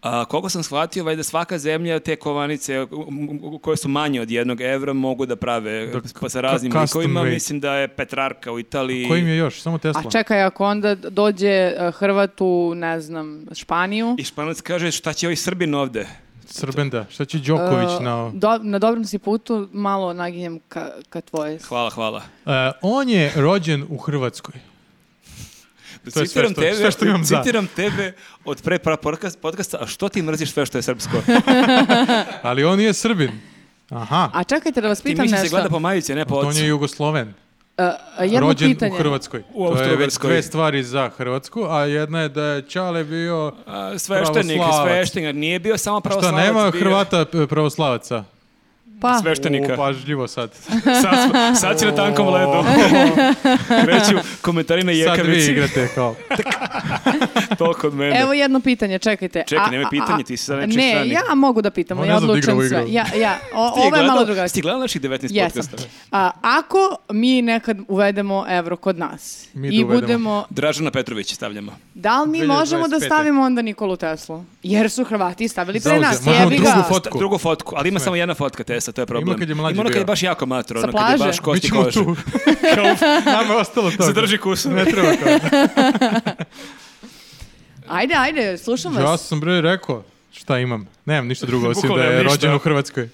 Speaker 3: A, koliko sam shvatio, valjda svaka zemlja te kovanice u- u- u- koje su manje od jednog evra mogu da prave
Speaker 2: Da,
Speaker 3: pa sa
Speaker 2: ka-
Speaker 3: raznim
Speaker 2: custom
Speaker 3: likovima.
Speaker 2: made.
Speaker 3: Mislim da je Petrarka u Italiji.
Speaker 2: Kojim je još? Samo Tesla.
Speaker 1: A čekaj, ako onda dođe eh, Hrvatu, ne znam, Španiju...
Speaker 3: I Španac kaže šta će ovaj Srbin ovde?
Speaker 2: Srbenda. Šta će Đoković
Speaker 1: E,
Speaker 2: na...
Speaker 1: do- na dobrom si putu, malo naginjem ka, ka tvoje.
Speaker 3: Hvala, hvala.
Speaker 2: E, on je rođen u Hrvatskoj. To je sve
Speaker 3: citiram
Speaker 2: što-
Speaker 3: tebe,
Speaker 2: sve što imam za.
Speaker 3: citiram tebe od pre pra podcast, podcasta, a što ti mrziš sve što je srpsko?
Speaker 2: Ali on nije Srbin. Aha.
Speaker 1: A čekajte da vas
Speaker 3: ti
Speaker 1: pitam
Speaker 3: mislim se
Speaker 1: nešto.
Speaker 3: gleda po majici, ne po
Speaker 2: On je
Speaker 3: ocu.
Speaker 2: Jugosloven.
Speaker 1: Eh, jedno
Speaker 2: rođen
Speaker 1: pitanje.
Speaker 2: u Hrvatskoj. to
Speaker 3: U
Speaker 2: je već
Speaker 3: Austrougarskoj.
Speaker 2: dve stvari za Hrvatsku, a jedna je da je Čale bio...
Speaker 3: A, Sveštenik,
Speaker 2: pravoslavac.
Speaker 3: sveštenik, nije bio samo
Speaker 2: Šta,
Speaker 3: pravoslavac.
Speaker 2: nema
Speaker 3: bio-
Speaker 2: Hrvata p- pravoslavaca?
Speaker 1: Pa,
Speaker 3: Sveštenika.
Speaker 2: O, pažljivo sad.
Speaker 3: Sad, smo- sad si na tankom ledu. Kreću komentari na
Speaker 2: Sad vi
Speaker 3: jekavici.
Speaker 2: igrate kao...
Speaker 3: To kod mene.
Speaker 1: Evo jedno pitanje, čekajte.
Speaker 3: Čekaj,
Speaker 1: A-
Speaker 3: nemoj
Speaker 1: a- a-
Speaker 3: pitanje, ti si sad nečiji
Speaker 1: Ne,
Speaker 3: strani.
Speaker 1: ja mogu da pitam,
Speaker 2: On
Speaker 1: ja
Speaker 2: ne zna da igra
Speaker 1: odlučujem
Speaker 2: ovu
Speaker 1: sve.
Speaker 2: igru.
Speaker 1: Ja, ja, o-
Speaker 3: Ti
Speaker 1: ovo
Speaker 3: je
Speaker 1: je malo
Speaker 3: gledao-
Speaker 1: drugačije.
Speaker 3: Si gledala naših 19
Speaker 1: Jesam.
Speaker 3: podcasta?
Speaker 1: A, ako mi nekad uvedemo evro kod nas
Speaker 2: Mi da
Speaker 1: i
Speaker 2: uvedemo.
Speaker 1: budemo,
Speaker 3: Dražana Petrović stavljamo.
Speaker 1: da li mi
Speaker 2: 2025.
Speaker 1: možemo da stavimo onda Nikolu Teslu? Jer su Hrvati stavili pre
Speaker 2: Zauze-
Speaker 1: nas,
Speaker 2: možemo
Speaker 1: jebi
Speaker 2: drugu
Speaker 1: ga.
Speaker 2: fotu. Fotku.
Speaker 3: Fotku. Drugu fotku, ali ima samo jedna fotka Tesla, to je problem.
Speaker 2: Ima kad je mlađi
Speaker 3: Ima ono kad je
Speaker 2: bio.
Speaker 3: baš jako matro,
Speaker 1: Sa
Speaker 3: ono kad je baš
Speaker 1: plaže.
Speaker 2: Mi
Speaker 3: kosti
Speaker 2: ćemo
Speaker 3: kože.
Speaker 2: tu. Nama je ostalo to.
Speaker 3: Zadrži kus.
Speaker 2: Ne treba kao.
Speaker 1: Ajde, ajde, slušam
Speaker 2: Ja
Speaker 1: vas.
Speaker 2: sam bre rekao šta imam. Nemam ništa drugo osim
Speaker 3: Bukvalno
Speaker 2: da je
Speaker 3: nemam ništa.
Speaker 2: rođen u Hrvatskoj.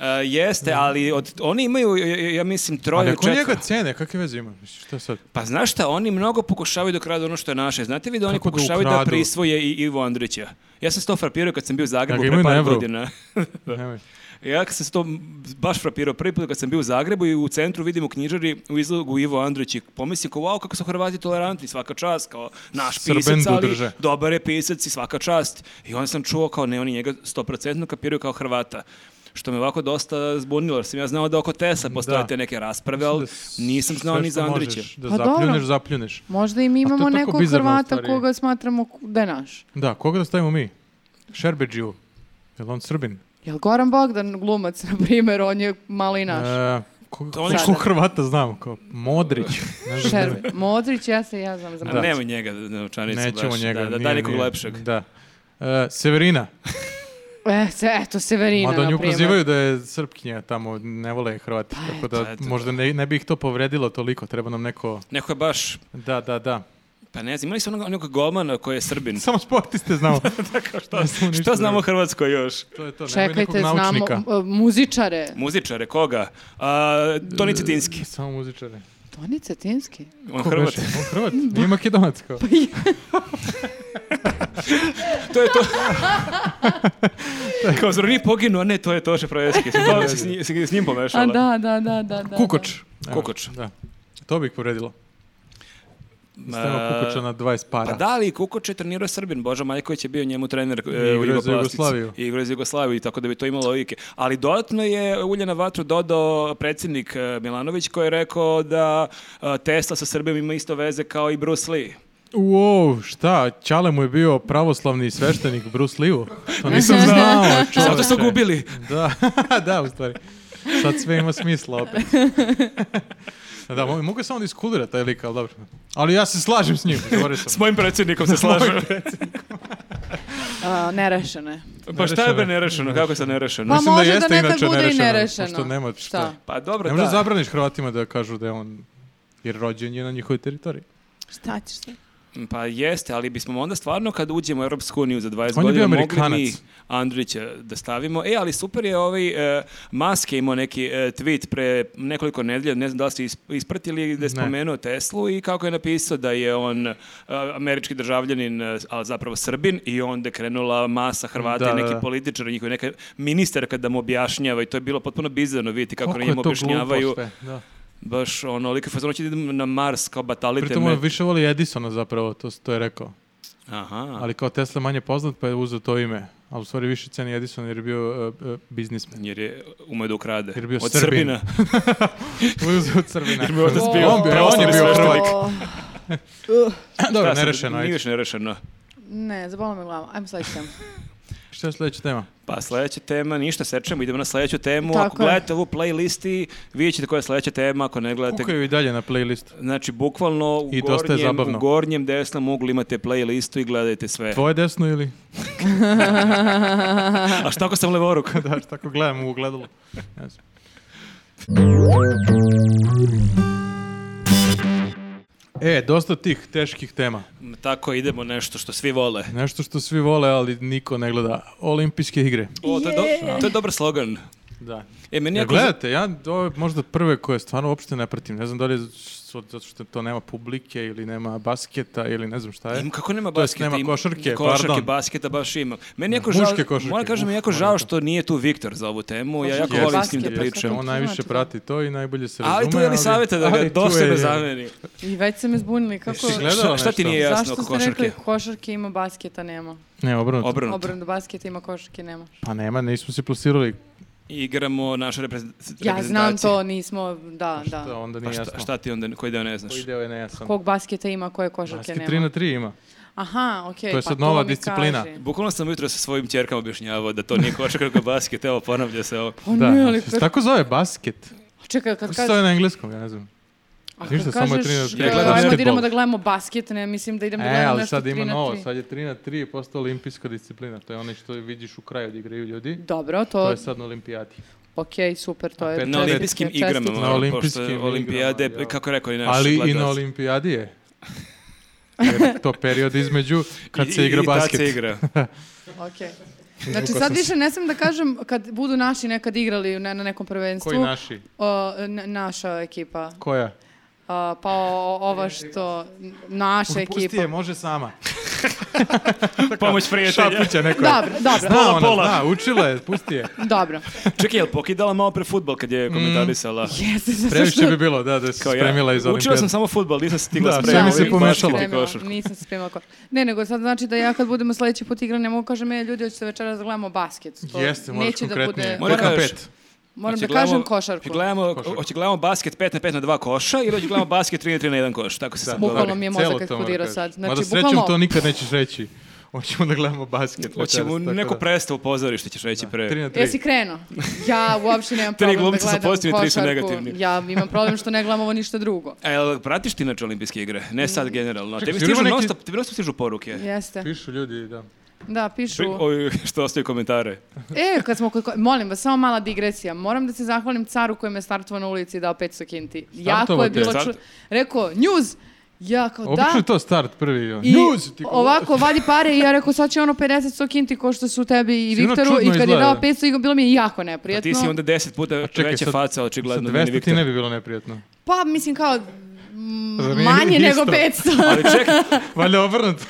Speaker 3: E, jeste, ali od, oni imaju, ja- ja, ja mislim,
Speaker 2: A
Speaker 3: troje ili
Speaker 2: neko
Speaker 3: četvoro.
Speaker 2: njega cene, kakve veze ima? Mislim, šta sad?
Speaker 3: Pa znaš šta, oni mnogo pokušavaju da kradu ono što je naše. Znate vi da oni
Speaker 2: Kako ga
Speaker 3: pokušavaju da
Speaker 2: ukradu?
Speaker 3: prisvoje i Ivo Andrića? Ja sam se to frapirao kad sam bio u Zagrebu
Speaker 2: Ja ga
Speaker 3: pre
Speaker 2: imaju na
Speaker 3: par
Speaker 2: evru.
Speaker 3: godina.
Speaker 2: Nemoj.
Speaker 3: Ja sam se to baš frapirao prvi put kad sam bio u Zagrebu i u centru vidim u knjižari u izlogu Ivo Andrić i pomislim kao, wow, kako su Hrvati tolerantni, svaka čast, kao naš pisac,
Speaker 2: Srbendu
Speaker 3: ali
Speaker 2: drže.
Speaker 3: dobar je pisac i svaka čast. I onda sam čuo kao, ne, oni njega stoprocentno kapiraju kao Hrvata što me ovako dosta zbunilo, jer sam ja znao da oko Tesa postoje
Speaker 2: Da.
Speaker 3: te neke rasprave, ali
Speaker 2: Mislim da
Speaker 3: nisam
Speaker 2: s-
Speaker 3: znao
Speaker 2: sve
Speaker 3: ni
Speaker 2: što
Speaker 3: za
Speaker 2: možeš,
Speaker 3: Andrića.
Speaker 2: Da
Speaker 1: Pa dobro.
Speaker 2: zapljuneš, zapljuneš.
Speaker 1: Možda i mi
Speaker 2: A to je
Speaker 1: imamo
Speaker 2: tako
Speaker 1: nekog
Speaker 2: bizarno,
Speaker 1: Hrvata
Speaker 2: stvari.
Speaker 1: koga smatramo ku- da je naš.
Speaker 2: Da, koga da stavimo mi? Šerbeđiju. Jel on Srbin?
Speaker 1: Jel Goran Bogdan glumac, na primjer, on je malo i naš.
Speaker 2: E, koga,
Speaker 3: To oni
Speaker 2: koliko
Speaker 1: što-
Speaker 2: Hrvata znam? Kao Modrić. Ne znam, ne znam.
Speaker 1: Šerbe. Modrić, ja se ja znam za
Speaker 3: A
Speaker 1: Modrića.
Speaker 3: Nemoj njega, novčanicu
Speaker 2: Nećemo
Speaker 3: baš.
Speaker 2: njega.
Speaker 3: Da, da,
Speaker 2: nije,
Speaker 3: daj nekog
Speaker 2: nije.
Speaker 3: lepšeg.
Speaker 2: Da. E, Severina.
Speaker 1: E, se- eto, Severina,
Speaker 2: Mada nju
Speaker 1: na primjer.
Speaker 2: prozivaju da je Srpkinja tamo, ne vole je Hrvati. tako da
Speaker 3: eto,
Speaker 2: možda ne, ne bi ih to povredilo toliko. Treba nam neko...
Speaker 3: Neko je baš,
Speaker 2: Da, da, da.
Speaker 3: pa ne znam, imali su onog, onog golmana koji je srbin.
Speaker 2: Samo sportiste znamo. Ne znamo ništa
Speaker 3: Šta znamo o
Speaker 2: drugo.
Speaker 3: Hrvatskoj još?
Speaker 2: To je to, nemoj
Speaker 1: Čekajte,
Speaker 2: nekog
Speaker 1: znamo
Speaker 2: naučnika.
Speaker 1: e, muzičare.
Speaker 3: Muzičare, koga? A, Toni Cetinski.
Speaker 2: Samo muzičare.
Speaker 1: Toni Cetinski.
Speaker 3: On
Speaker 2: Ko
Speaker 3: Hrvat.
Speaker 2: beše? On Hrvat. Nije makedonac kao.
Speaker 1: Pa
Speaker 3: To je to. Kao zar nije poginuo? A Ne, to je Toše Projeski. Se to se s, njim- se s njim
Speaker 1: A
Speaker 3: pomešala.
Speaker 1: da, da, da, da. da
Speaker 2: Kukoč. Evo,
Speaker 3: Kukoč.
Speaker 2: Da. To bi ih povredilo. Stavimo
Speaker 3: Ma,
Speaker 2: Kukoča na 20 para.
Speaker 3: Pa da, ali Kukoč je trenirao Srbin. Boža Maljković je bio njemu trener e,
Speaker 2: igrao je za
Speaker 3: u Jugoplastici.
Speaker 2: Jugoslaviju.
Speaker 3: I igrao je za Jugoslaviju, tako da bi to imalo logike. Ali dodatno je ulje na vatru dodao predsjednik e, Milanović koji je rekao da e, Tesla sa Srbijom ima isto veze kao i Bruce Lee.
Speaker 2: Wow, šta? Ćale mu je bio pravoslavni sveštenik Bruce Lee-u? To
Speaker 3: Nisam znao.
Speaker 2: čoveče.
Speaker 3: Zato su gubili.
Speaker 2: Da, da, u stvari. Sad sve ima smisla opet. Da, mo- mogu samo da iskulira taj lik, ali dobro. Ali ja se slažem s njim, govorio
Speaker 3: S
Speaker 2: sam.
Speaker 3: mojim predsjednikom se slažem.
Speaker 1: A, nerešene.
Speaker 3: Pa šta je be nerešeno? Kako je sad nerešeno?
Speaker 1: Pa
Speaker 2: Mislim da
Speaker 1: može da
Speaker 2: jeste
Speaker 1: nekad
Speaker 2: inače
Speaker 1: bude i
Speaker 2: nerešeno,
Speaker 1: nerešeno.
Speaker 2: pošto nema šta.
Speaker 1: Šta?
Speaker 3: Pa dobro,
Speaker 2: Ne možeš
Speaker 3: da.
Speaker 2: zabraniš Hrvatima da kažu da je on jer rođen je na njihovoj teritoriji.
Speaker 1: Šta ćeš ti?
Speaker 3: Pa jeste, ali bismo onda stvarno kad uđemo u Europsku uniju za 20
Speaker 2: On je
Speaker 3: godina
Speaker 2: bio
Speaker 3: mogli mi
Speaker 2: Amerikanac.
Speaker 3: Andrića da stavimo. E, ali super je ovaj e, Maske imao neki e, tweet pre nekoliko nedelja, ne znam da li ste is- ispratili, da je
Speaker 2: Ne.
Speaker 3: spomenuo Teslu i kako je napisao da je on e, američki državljanin, e, ali zapravo Srbin i onda je krenula masa Hrvata
Speaker 2: Da, da,
Speaker 3: i neki
Speaker 2: da.
Speaker 3: političari, njihovi neka ministarka da mu objašnjava i to je bilo potpuno bizarno vidjeti kako
Speaker 2: Koliko je
Speaker 3: im
Speaker 2: to
Speaker 3: objašnjavaju
Speaker 2: glupo sve, Da.
Speaker 3: baš ono, onoliko fazon hoće da idem na Mars kao batalite
Speaker 2: Pritom ono
Speaker 3: me.
Speaker 2: on više voli Edisona zapravo, to, s- to je rekao.
Speaker 3: Aha.
Speaker 2: Ali kao Tesla manje poznat pa je uzeo to ime. Ali u stvari više ceni Edison jer je bio uh, uh, biznismen.
Speaker 3: Jer je umeo da ukrade.
Speaker 2: Jer je bio
Speaker 3: Od
Speaker 2: Srbin.
Speaker 3: Srbina.
Speaker 2: Uzeo od Crvina.
Speaker 3: Jer mi je otac
Speaker 2: on,
Speaker 3: bio
Speaker 2: bi- on je
Speaker 3: pravoslavni
Speaker 2: bio
Speaker 3: sveštenik.
Speaker 2: Hrvat. Dobro,
Speaker 3: Šta sad,
Speaker 2: nerešeno.
Speaker 3: Nije
Speaker 2: Ajde.
Speaker 3: više nerešeno.
Speaker 1: Ne, zabavila me glava. Ajmo sledeći temu.
Speaker 2: Šta je sledeća tema?
Speaker 3: Pa sledeća tema, ništa sečemo, idemo na sledeću temu.
Speaker 1: Tako
Speaker 3: Ako
Speaker 1: je.
Speaker 3: gledate ovu playlisti, vidjet ćete koja je sledeća tema, ako ne gledate...
Speaker 2: Kukaju i dalje na playlistu.
Speaker 3: Znači, bukvalno u
Speaker 2: I dosta je
Speaker 3: gornjem,
Speaker 2: zabavno.
Speaker 3: u gornjem desnom uglu imate playlistu i gledajte sve.
Speaker 2: Tvoje desno ili?
Speaker 3: A šta ako sam levoruk?
Speaker 2: da, šta ako gledam u ogledalu. Ne znam. E, dosta tih teških tema.
Speaker 3: Tako idemo nešto što svi vole.
Speaker 2: Nešto što svi vole, ali niko ne gleda. Olimpijske igre.
Speaker 3: O, to, je do- to je dobar slogan.
Speaker 2: Da.
Speaker 3: E, meni
Speaker 2: Ja
Speaker 3: jako-
Speaker 2: gledate, ja ove možda prve koje stvarno uopšte ne pratim. Ne znam da li je s- zato što to nema publike ili nema basketa ili ne znam šta je.
Speaker 3: Im, kako nema
Speaker 2: E? To jest,
Speaker 3: basketa?
Speaker 2: nema
Speaker 3: Im-
Speaker 2: košarke,
Speaker 3: košarke,
Speaker 2: pardon.
Speaker 3: basketa baš ima. Meni je jako
Speaker 2: Muške
Speaker 3: žao,
Speaker 2: košarke,
Speaker 3: moram kažem,
Speaker 2: uf,
Speaker 3: jako
Speaker 2: moram
Speaker 3: žao
Speaker 2: to.
Speaker 3: što nije tu Viktor za ovu temu. Ja jako
Speaker 1: Košarke,
Speaker 3: volim s njim da
Speaker 1: basket,
Speaker 3: pričam.
Speaker 1: kako
Speaker 2: On
Speaker 1: to
Speaker 2: najviše
Speaker 1: znači?
Speaker 2: prati to i najbolje se razume.
Speaker 3: Ali tu je mi savjeta da ga
Speaker 2: ali tu
Speaker 3: dosta
Speaker 2: je-
Speaker 3: ne zameni.
Speaker 1: I već se me zbunili. Kako...
Speaker 2: Jesi gledala
Speaker 3: Šta, šta ti
Speaker 2: nešto?
Speaker 3: nije jasno
Speaker 1: Zašto
Speaker 3: oko
Speaker 1: ste
Speaker 3: košarke?
Speaker 1: rekli košarke ima, basketa nema?
Speaker 2: Ne, obrnuto.
Speaker 3: Obrnuto.
Speaker 1: Obrnuto, basketa ima, košarke nema.
Speaker 2: Pa nema, nismo se plasirali.
Speaker 3: Igramo naše reprezent- reprezentacije.
Speaker 1: Ja znam to, nismo, da,
Speaker 2: Šta,
Speaker 1: da.
Speaker 2: onda
Speaker 3: Pa
Speaker 2: nije
Speaker 3: šta,
Speaker 2: jasno.
Speaker 3: šta ti onda, koji deo ne znaš?
Speaker 2: Koji deo je nejasan?
Speaker 1: Kog basketa ima, koje košarke
Speaker 2: Basket 3 na
Speaker 1: nema?
Speaker 2: 3 ima.
Speaker 1: Aha, okej,
Speaker 2: To je
Speaker 1: pa
Speaker 2: sad nova
Speaker 1: mi
Speaker 2: disciplina.
Speaker 1: kaži.
Speaker 3: Bukvalno sam jutro sa svojim ćerkama objašnjavao da to nije košarka kako basket, evo ponavlja se ovo.
Speaker 1: Pa ne, ali... Pa
Speaker 2: se tako zove basket.
Speaker 1: Čekaj, kad
Speaker 2: Kako se zove
Speaker 1: kažeš...
Speaker 2: na engleskom, ja ne znam.
Speaker 1: A
Speaker 2: Ništa,
Speaker 1: kad
Speaker 2: samo je
Speaker 1: kažeš,
Speaker 2: 13.
Speaker 3: Ja
Speaker 1: e, ajmo
Speaker 3: gledam
Speaker 1: da idemo
Speaker 2: basketbol.
Speaker 1: da gledamo basket, ne, mislim da idemo da
Speaker 2: E,
Speaker 1: gledamo
Speaker 2: ali
Speaker 1: nešto
Speaker 2: sad
Speaker 1: 3
Speaker 2: ima
Speaker 1: na
Speaker 2: novo,
Speaker 1: 3.
Speaker 2: sad je 3 na 3 postao olimpijska disciplina. To je onaj što vidiš u kraju da igraju ljudi.
Speaker 1: Dobro,
Speaker 2: To
Speaker 1: to,
Speaker 2: je sad na olimpijadi.
Speaker 1: ok, super, to je...
Speaker 2: pet
Speaker 3: Na
Speaker 2: Čestitke,
Speaker 3: olimpijskim igrama,
Speaker 1: čestitke.
Speaker 2: Na
Speaker 3: ono,
Speaker 2: olimpijskim
Speaker 3: pošto je
Speaker 2: igrama,
Speaker 3: olimpijade,
Speaker 2: ja.
Speaker 3: kako je rekao i naš
Speaker 2: Ali i
Speaker 3: gledalac.
Speaker 2: na olimpijadi je. Jer je to period između kad se igra
Speaker 3: I, i tad
Speaker 2: basket.
Speaker 3: se igra.
Speaker 1: Ok. Znači
Speaker 2: Izvukao
Speaker 1: sad
Speaker 2: sam
Speaker 1: više ne sam da kažem kad budu naši nekad igrali na, na nekom prvenstvu.
Speaker 2: Koji naši?
Speaker 1: O, n- naša ekipa.
Speaker 2: Koja?
Speaker 1: A, pa o- ova što... Naša
Speaker 2: Pusti
Speaker 1: ekipa.
Speaker 2: je, može sama.
Speaker 3: Pomoć prijatelja.
Speaker 2: Šapuća neko. je.
Speaker 1: Dobro, dobro,
Speaker 2: Zna ona,
Speaker 3: pola.
Speaker 2: zna, učila je, pusti je.
Speaker 1: dobro.
Speaker 3: Čekaj, je li pokidala malo pre futbal kad je komentarisala?
Speaker 1: Jeste, zato
Speaker 2: Previše
Speaker 1: što-
Speaker 2: bi bilo, da, da se
Speaker 3: Kao ja.
Speaker 2: Mm. spremila iz olimpijade.
Speaker 3: Učila sam samo futbal, nisam stigla
Speaker 2: Da, sve
Speaker 3: spremiti.
Speaker 2: mi se
Speaker 1: nisam
Speaker 2: pomešalo.
Speaker 1: spremila,
Speaker 3: Košarku.
Speaker 1: Nisam se spremila košarku. Ne, nego sad znači da ja kad budemo sledeći put igra ne mogu kažem, e, ljudi, hoćete večeras da gledamo basket. To
Speaker 2: Jeste, moraš
Speaker 1: neće da
Speaker 2: konkretnije.
Speaker 1: bude,
Speaker 3: Moram
Speaker 2: Moram
Speaker 3: da kažeš-
Speaker 2: pet.
Speaker 1: moram da
Speaker 3: Hoće Znači, gledamo-
Speaker 1: kažem košarku.
Speaker 3: hoće Gledamo, hoće gledamo basket 5 na 5 na 2 koša ili hoće gledamo basket 3 na 3 na 1 koš. Tako se sad
Speaker 1: Bukvalno
Speaker 3: dogovori.
Speaker 2: Dobro,
Speaker 1: mi je mozak
Speaker 2: celo to moram
Speaker 1: eksplodirao
Speaker 2: kažeš.
Speaker 1: sad. Znači,
Speaker 2: Mada srećom
Speaker 1: bukvalno-
Speaker 2: to nikad nećeš reći. Hoćemo da gledamo basket.
Speaker 3: Hoćemo
Speaker 2: večeras, tako
Speaker 3: neku
Speaker 2: da.
Speaker 3: predstavu pozorište ćeš reći
Speaker 2: Tri
Speaker 3: pre.
Speaker 2: na tri.
Speaker 1: Jesi krenuo? Ja uopšte nemam
Speaker 3: Tri
Speaker 1: problem da
Speaker 3: glumci su
Speaker 1: gledam
Speaker 3: pozitivni, tri su
Speaker 1: košarku.
Speaker 3: negativni.
Speaker 1: Ja imam problem što ne gledam ovo ništa drugo.
Speaker 3: A E, jel pratiš ti inače olimpijske igre? Ne
Speaker 1: Mm.
Speaker 3: sad generalno.
Speaker 2: Čekaj,
Speaker 3: Tebi
Speaker 2: sigurno
Speaker 3: stižu
Speaker 2: neki-
Speaker 3: non stop, tebi non stop stižu poruke.
Speaker 1: Jeste.
Speaker 2: Pišu ljudi, da.
Speaker 1: Da, pišu.
Speaker 3: Ovi što ostaju komentare.
Speaker 1: E, kad smo kod, ko- molim vas, samo mala digresija. Moram da se zahvalim caru koji me startovao na ulici i dao 500 kinti. Jako
Speaker 2: Startovao
Speaker 1: je
Speaker 2: te?
Speaker 1: bilo ču...
Speaker 3: Start-
Speaker 1: Rekao, news! Ja kao, da.
Speaker 2: Obično je to start prvi. I,
Speaker 1: I
Speaker 2: News! Ti ko-
Speaker 1: ovako vadi pare i ja rekao sad će ono 50 100 kinti ko što su tebi i
Speaker 2: Sigurno
Speaker 1: Viktoru i
Speaker 2: čudno
Speaker 1: kad je
Speaker 2: izgleda.
Speaker 1: dao 500 i bilo mi je jako
Speaker 3: Pa
Speaker 1: neprijatno.
Speaker 3: ti si onda 10 puta
Speaker 2: Čekaj,
Speaker 3: veća
Speaker 2: sad-
Speaker 3: faca očigledno.
Speaker 2: Sa
Speaker 3: meni
Speaker 2: 200 ti
Speaker 3: Viktor.
Speaker 2: ne bi bilo neprijatno.
Speaker 1: Pa mislim kao mm,
Speaker 2: Zar nije
Speaker 1: manje
Speaker 2: isto?
Speaker 1: nego 500.
Speaker 3: Ali čekaj,
Speaker 2: Valjda obrnuto.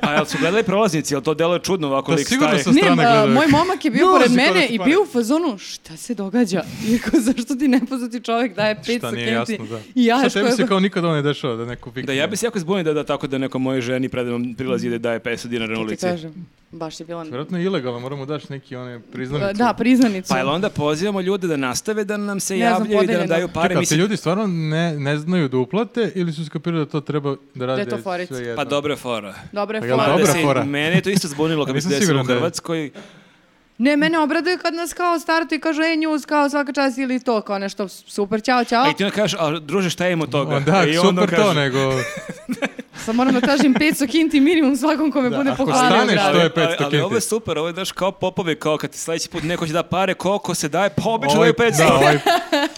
Speaker 3: a jel su gledali prolaznici, jel to delo čudno ovako
Speaker 2: Da,
Speaker 3: lik
Speaker 2: sigurno
Speaker 3: staje?
Speaker 2: sam-
Speaker 1: Ne,
Speaker 2: strane
Speaker 1: a,
Speaker 2: gledaju.
Speaker 1: moj momak je bio
Speaker 2: Nulazi
Speaker 1: pored
Speaker 2: kod
Speaker 1: mene
Speaker 2: nas
Speaker 1: i
Speaker 2: pare.
Speaker 1: bio u fazonu, šta se događa? I kao, zašto ti nepoznati čovjek daje 500 kinti?
Speaker 2: Šta nije jasno, da.
Speaker 1: I ja
Speaker 2: Šta
Speaker 1: još
Speaker 2: tebi
Speaker 1: koja-
Speaker 2: se kao nikad ovo ne dešava, da neko pikne.
Speaker 3: Da, ja bi se jako zbunio da, da tako da neko mojoj ženi predamom prilazi i da daje 500 dinara na
Speaker 1: Ti
Speaker 3: ulici.
Speaker 1: kažem, baš je bila...
Speaker 2: Vjerojatno je ilegalno, moramo daš neki one priznanice.
Speaker 1: Da, priznanicu.
Speaker 3: Pa jel onda pozivamo ljude da nastave da nam se
Speaker 1: Ne znam,
Speaker 3: javljaju i da nam
Speaker 1: podeljeno.
Speaker 3: daju pare.
Speaker 2: Čekaj,
Speaker 3: Mislim,
Speaker 2: se ljudi stvarno ne, ne znaju da uplate ili su skapirali da to treba da rade
Speaker 1: to forica.
Speaker 2: sve jedno?
Speaker 3: Pa dobra fora.
Speaker 1: Dobro
Speaker 2: Pa
Speaker 1: je
Speaker 2: jel
Speaker 1: fora.
Speaker 2: dobro?
Speaker 3: Mada
Speaker 2: dobra
Speaker 3: se i
Speaker 2: fora.
Speaker 3: Mene je to isto zbunilo kad bi se
Speaker 2: Nisam
Speaker 3: desilo u
Speaker 2: siguran da je.
Speaker 3: Hrvatskoj.
Speaker 1: Ne, mene obraduje kad nas kao startu i kažu, ej, news, kao svaka čast ili to, kao nešto super, čao, čao.
Speaker 3: A i ti onda kažeš, a druže šta ima od toga?
Speaker 2: Onda,
Speaker 3: I onda
Speaker 2: Pa super to,
Speaker 3: kaže,
Speaker 2: nego...
Speaker 1: Sad moram da tražim 500 kinti minimum svakom kome bude
Speaker 2: ako
Speaker 1: pohvalio.
Speaker 2: staneš,
Speaker 1: brate.
Speaker 2: to je
Speaker 3: Ali,
Speaker 2: 500
Speaker 3: ali ovo je
Speaker 2: kinti.
Speaker 3: super, ovo je daš kao popovi, kao kad ti sledeći put neko će da pare, koliko se daje, pa obično
Speaker 2: Ovaj-
Speaker 3: daju 500.
Speaker 2: Da, ovaj,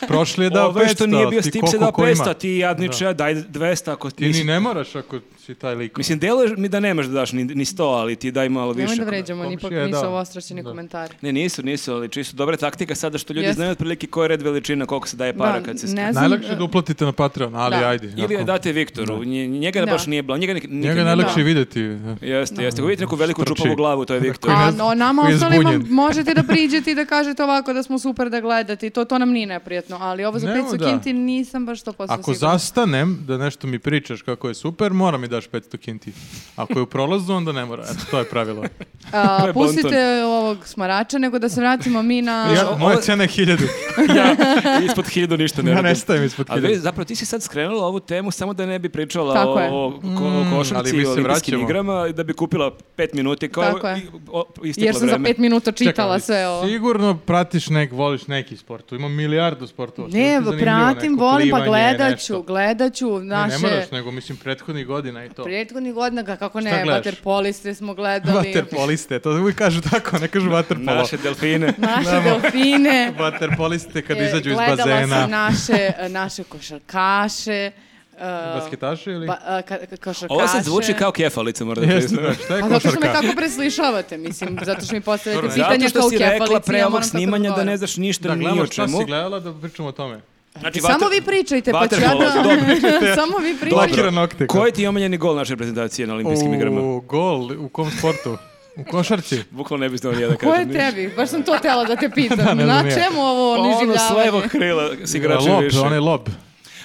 Speaker 2: prošli je dao 500,
Speaker 3: Ovo što nije bio
Speaker 2: ti
Speaker 3: stip se dao
Speaker 2: koliko ko
Speaker 3: 500,
Speaker 2: ima?
Speaker 3: ti jadniče, daj 200 ako
Speaker 2: Ti ni
Speaker 3: nisi-
Speaker 2: ne moraš ako si taj lik.
Speaker 3: Mislim, deluje mi da nemaš da daš ni, ni 100, ali ti daj malo više.
Speaker 1: Nemoj da vređamo,
Speaker 2: komšija,
Speaker 1: ipak
Speaker 2: da.
Speaker 1: nisu ovo ostrašćeni
Speaker 2: Da.
Speaker 1: komentari.
Speaker 3: Ne, nisu, nisu, ali čisto dobra taktika sada što ljudi
Speaker 1: Jeste.
Speaker 3: znaju otprilike koji je red veličina, koliko se daje para
Speaker 1: Da,
Speaker 3: kad se...
Speaker 1: ne
Speaker 3: skine.
Speaker 1: znam,
Speaker 2: Najlakše
Speaker 1: e,
Speaker 2: je da uplatite na Patreon, ali
Speaker 1: Da.
Speaker 2: ajde.
Speaker 3: Ili je
Speaker 2: ako-
Speaker 3: date Viktoru, nje- njega
Speaker 1: Da.
Speaker 3: baš nije bila, njega nik, nikad
Speaker 2: Njega
Speaker 3: nije
Speaker 2: je najlakše
Speaker 1: Da.
Speaker 2: vidjeti. da.
Speaker 3: bila. Jeste, jeste, ako vidite neku veliku
Speaker 2: Štrči.
Speaker 3: čupavu glavu, to je Viktor.
Speaker 2: Koji ne
Speaker 1: A
Speaker 2: zna-
Speaker 1: o nama
Speaker 2: koji je
Speaker 1: ostalima
Speaker 2: zbunjen.
Speaker 1: možete da priđete i da kažete ovako da smo super da gledate i to, to nam nije neprijatno, ali ovo za
Speaker 2: Nemo
Speaker 1: 500
Speaker 2: da.
Speaker 1: kinti nisam baš to posto
Speaker 2: Ako zastanem da nešto mi pričaš kako je super, mora mi daš 500 kinti. Ako je u prolazu, onda ne mora. Eto, to je pravilo.
Speaker 1: A,
Speaker 3: To je
Speaker 1: pustite ovog smarača, nego da se vratimo mi na...
Speaker 2: Ja, moja cena je 1000.
Speaker 3: ja ispod hiljadu ništa ne
Speaker 2: Ja ne
Speaker 3: radim.
Speaker 2: stavim ispod
Speaker 3: A vidi,
Speaker 2: 1000.
Speaker 3: zapravo ti si sad skrenula ovu temu samo da ne bi pričala
Speaker 1: Tako je.
Speaker 3: o, o ko, o
Speaker 2: Mm, ali
Speaker 3: košarci
Speaker 2: mi
Speaker 3: i
Speaker 2: se
Speaker 3: olimpijskim
Speaker 2: vraćamo.
Speaker 3: igrama i da bi kupila pet minuti kao
Speaker 1: Tako je.
Speaker 3: i- o, isteklo
Speaker 1: Jer sam za
Speaker 3: vreme.
Speaker 1: pet minuta čitala
Speaker 2: ali
Speaker 1: sve ovo.
Speaker 2: Sigurno pratiš nek, voliš neki sport. Tu Ima milijardu sportova. što je
Speaker 1: Ne,
Speaker 2: zanimljivo,
Speaker 1: pratim,
Speaker 2: neko
Speaker 1: volim, pa
Speaker 2: plivanje,
Speaker 1: gledat
Speaker 2: nešto.
Speaker 1: ću, gledat ću
Speaker 2: Ne,
Speaker 1: naše...
Speaker 2: ne moraš, nego mislim prethodnih godina i to.
Speaker 1: Prethodnih godina, ga- kako
Speaker 2: Šta
Speaker 1: ne,
Speaker 2: gledaš?
Speaker 1: vaterpoliste smo gledali.
Speaker 2: Vaterpoliste, to uvijek kažu tako, ne kažu vaterpolo.
Speaker 3: Naše delfine.
Speaker 1: Naše
Speaker 2: Znamo.
Speaker 1: delfine.
Speaker 2: Vaterpoliste kad
Speaker 1: E,
Speaker 2: izađu iz
Speaker 1: Gledala
Speaker 2: bazena.
Speaker 1: sam naše, naše košarkaše. e,
Speaker 2: Basketaši ili?
Speaker 1: ba- e, ka- ka- košarkaše.
Speaker 3: Ovo sad zvuči kao kefalica, moram da
Speaker 2: Jeste, da,
Speaker 3: priznam.
Speaker 2: šta je
Speaker 1: Pa zato što me
Speaker 2: košarka?
Speaker 1: tako preslišavate, mislim, zato što mi postavljate
Speaker 2: Dobro,
Speaker 1: pitanja
Speaker 3: Zato
Speaker 1: kao
Speaker 3: što
Speaker 1: u
Speaker 3: si rekla
Speaker 1: kefalici,
Speaker 3: pre
Speaker 1: ja
Speaker 3: ovog
Speaker 1: moram tako
Speaker 3: snimanja da
Speaker 1: odgovaram.
Speaker 3: ne znaš ništa
Speaker 2: Da
Speaker 3: ni
Speaker 2: gledamo
Speaker 3: o
Speaker 2: šta
Speaker 3: čemu.
Speaker 2: si gledala da pričamo o tome.
Speaker 3: Znači,
Speaker 1: Samo
Speaker 3: vater-
Speaker 1: vi pričajte, pa ću ja
Speaker 3: vaterpolo,
Speaker 1: da...
Speaker 3: dobro.
Speaker 1: Samo vi pričajte.
Speaker 2: Lakiran nokte.
Speaker 3: Koji ti je omiljeni gol naše prezentacije na olimpijskim igrama?
Speaker 2: U gol, u kom sportu? U košarci?
Speaker 3: Bukvalno ne bi znao ni ja da
Speaker 1: Ko
Speaker 3: kažem.
Speaker 1: je tebi? Baš sam to tela da te pitam.
Speaker 2: ne
Speaker 1: Na
Speaker 2: znam ja.
Speaker 1: čemu ovo
Speaker 3: Pa ono s levog
Speaker 1: niživljavanje?
Speaker 3: krila s igračem
Speaker 2: lob,
Speaker 3: više.
Speaker 2: onaj lob.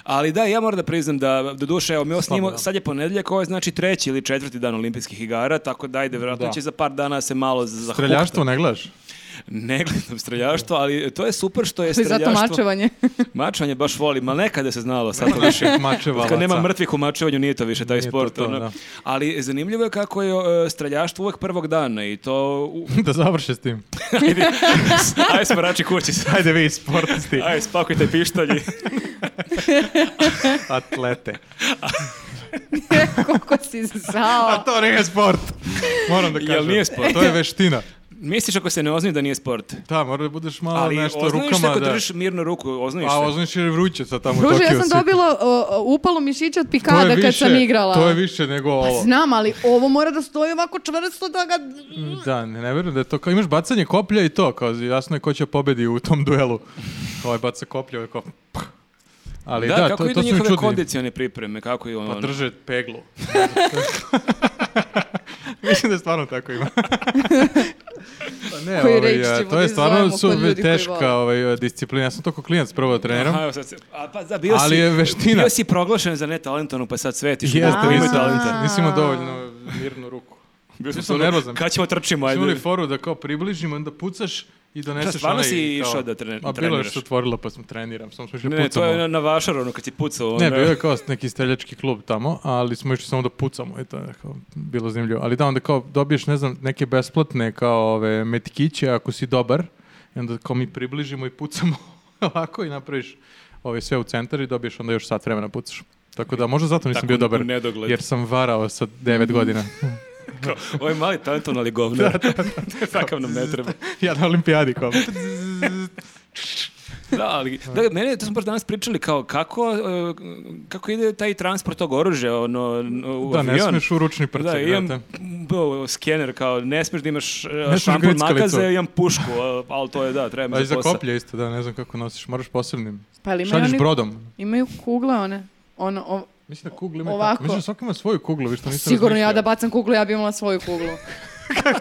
Speaker 3: Ali da, ja moram da priznam da, do duše, evo, mi ovo snimamo,
Speaker 2: da.
Speaker 3: sad je ponedeljak, ovo je znači treći ili četvrti dan olimpijskih igara, tako da ajde, vjerojatno
Speaker 2: Da.
Speaker 3: će za par dana se malo zahukta.
Speaker 2: Streljaštvo ne gledaš?
Speaker 3: Ne gledam streljaštvo, ali to je super što je
Speaker 1: Ali Zato
Speaker 3: streljaštvo.
Speaker 1: mačevanje.
Speaker 3: Mačevanje baš volim, ali nekada se znalo, sad to više.
Speaker 2: Mačeva.
Speaker 3: Kad nema mrtvih u mačevanju, nije to više taj
Speaker 2: Nije
Speaker 3: sport.
Speaker 2: to to,
Speaker 3: ono.
Speaker 2: da.
Speaker 3: Ali zanimljivo je kako je e, streljaštvo uvek prvog dana i to... U...
Speaker 2: da završe s tim.
Speaker 3: Ajde, ajde smarači kući sad.
Speaker 2: Ajde vi sportisti,
Speaker 3: Ajde, spakujte pištolji.
Speaker 2: atlete.
Speaker 1: Koliko si zao.
Speaker 2: To nije sport. Moram da
Speaker 3: Jel
Speaker 2: kažem.
Speaker 3: nije sport?
Speaker 2: To je veština.
Speaker 3: Misliš ako se ne ozni da nije sport?
Speaker 2: Da, mora da budeš malo
Speaker 3: Ali
Speaker 2: nešto
Speaker 3: oznaviš se
Speaker 2: rukama.
Speaker 3: ako
Speaker 2: da... Pa,
Speaker 3: držiš mirno ruku, oznaviš
Speaker 2: A
Speaker 3: se.
Speaker 2: oznaš jer je vruće sad tamo u
Speaker 1: Druže, ja
Speaker 2: Tokiju
Speaker 1: sam
Speaker 2: svi.
Speaker 1: dobila o, o, upalo mišića od
Speaker 2: To je
Speaker 1: pikada kad sam
Speaker 2: više-
Speaker 1: igrala. Pa
Speaker 2: To je više nego ovo.
Speaker 1: Znam, ali ovo mora da stoji ovako čvrsto da ga...
Speaker 2: Da, ne, ne verujem da je to kao, imaš bacanje koplja i to, kao jasno je ko će pobedi u tom duelu. Ovaj baca koplja, ovaj kao... pah. Ali da,
Speaker 3: Da, kako
Speaker 2: to,
Speaker 3: idu
Speaker 2: to su mi
Speaker 3: njihove
Speaker 2: čudni.
Speaker 3: kondicione pripreme, kako je
Speaker 2: Pa
Speaker 3: ono...
Speaker 2: drže peglu. Mislim da stvarno tako ima. pa ne,
Speaker 1: Koju
Speaker 2: ovaj,
Speaker 1: reč
Speaker 2: a,
Speaker 1: ćemo
Speaker 2: to
Speaker 1: da
Speaker 2: je stvarno
Speaker 1: izdvajamo
Speaker 2: su
Speaker 1: kod ljudi koji vole?
Speaker 2: teška ovaj, a, disciplina. Ja sam to kao klijent spravo treniram.
Speaker 3: Aha, evo sad se- a pa da, bio
Speaker 2: Ali
Speaker 3: si,
Speaker 2: je veština.
Speaker 3: Bio si proglašen za netalentovanu, pa sad svetiš.
Speaker 2: Jeste,
Speaker 3: Da,
Speaker 2: nisam,
Speaker 3: talenta.
Speaker 2: nisam imao dovoljno mirnu ruku.
Speaker 3: Bio
Speaker 2: sam nervozan.
Speaker 3: Kad ćemo trčimo,
Speaker 2: Ajde. Imali
Speaker 3: ajde.
Speaker 2: foru da kao približimo, onda pucaš i doneseš
Speaker 3: Šta, stvarno si
Speaker 2: kao-
Speaker 3: išao da trene-
Speaker 2: A bilo je
Speaker 3: treniraš?
Speaker 2: što otvorilo pa sam treniram, samo smo išli
Speaker 3: Ne, ne, to
Speaker 2: pucamo.
Speaker 3: je na, na vašar, ono, kad si pucao.
Speaker 2: Ne,
Speaker 3: ono-
Speaker 2: bio je kao neki streljački klub tamo, ali smo išli samo da pucamo i to je kao bilo zanimljivo. Ali da, onda kao dobiješ, ne znam, neke besplatne kao ove metkiće ako si dobar i onda kao mi približimo i pucamo ovako i napraviš ove sve u centar i dobiješ onda još sat vremena pucaš. Tako da možda zato nisam
Speaker 3: Tako
Speaker 2: bio
Speaker 3: u
Speaker 2: dobar,
Speaker 3: nedogled.
Speaker 2: jer sam varao sa 9 godina.
Speaker 3: Kao, Ovo je mali talentovan, ali govnar. Takav nam ne treba.
Speaker 2: ja na olimpijadi kao.
Speaker 3: Da, ali, da, mene, to smo baš danas pričali, kao kako, e, kako ide taj transport tog oružja, ono, n- u
Speaker 2: Da, ne
Speaker 3: avion.
Speaker 2: smiješ u ručni prceg.
Speaker 3: Da, imam
Speaker 2: brate.
Speaker 3: m, b- skener, kao ne smiješ da imaš e,
Speaker 2: smiješ
Speaker 3: šampon
Speaker 2: grickalicu.
Speaker 3: makaze, imam pušku, a, ali to je da, treba
Speaker 2: A
Speaker 3: mi
Speaker 2: i
Speaker 3: za
Speaker 2: za
Speaker 3: posao.
Speaker 2: koplje isto, da, ne znam kako nosiš, moraš posebnim.
Speaker 1: Pa jel imaju
Speaker 2: Šalješ
Speaker 1: oni-
Speaker 2: brodom.
Speaker 1: Imaju kugle one. Ono, o-
Speaker 2: Mislim da kugle ima
Speaker 1: Ovako. Pa
Speaker 2: tako. Mislim da svaki ima svoju kuglu, vi što Pa nisam
Speaker 1: sigurno ja da bacam kuglu, ja bi imala svoju kuglu.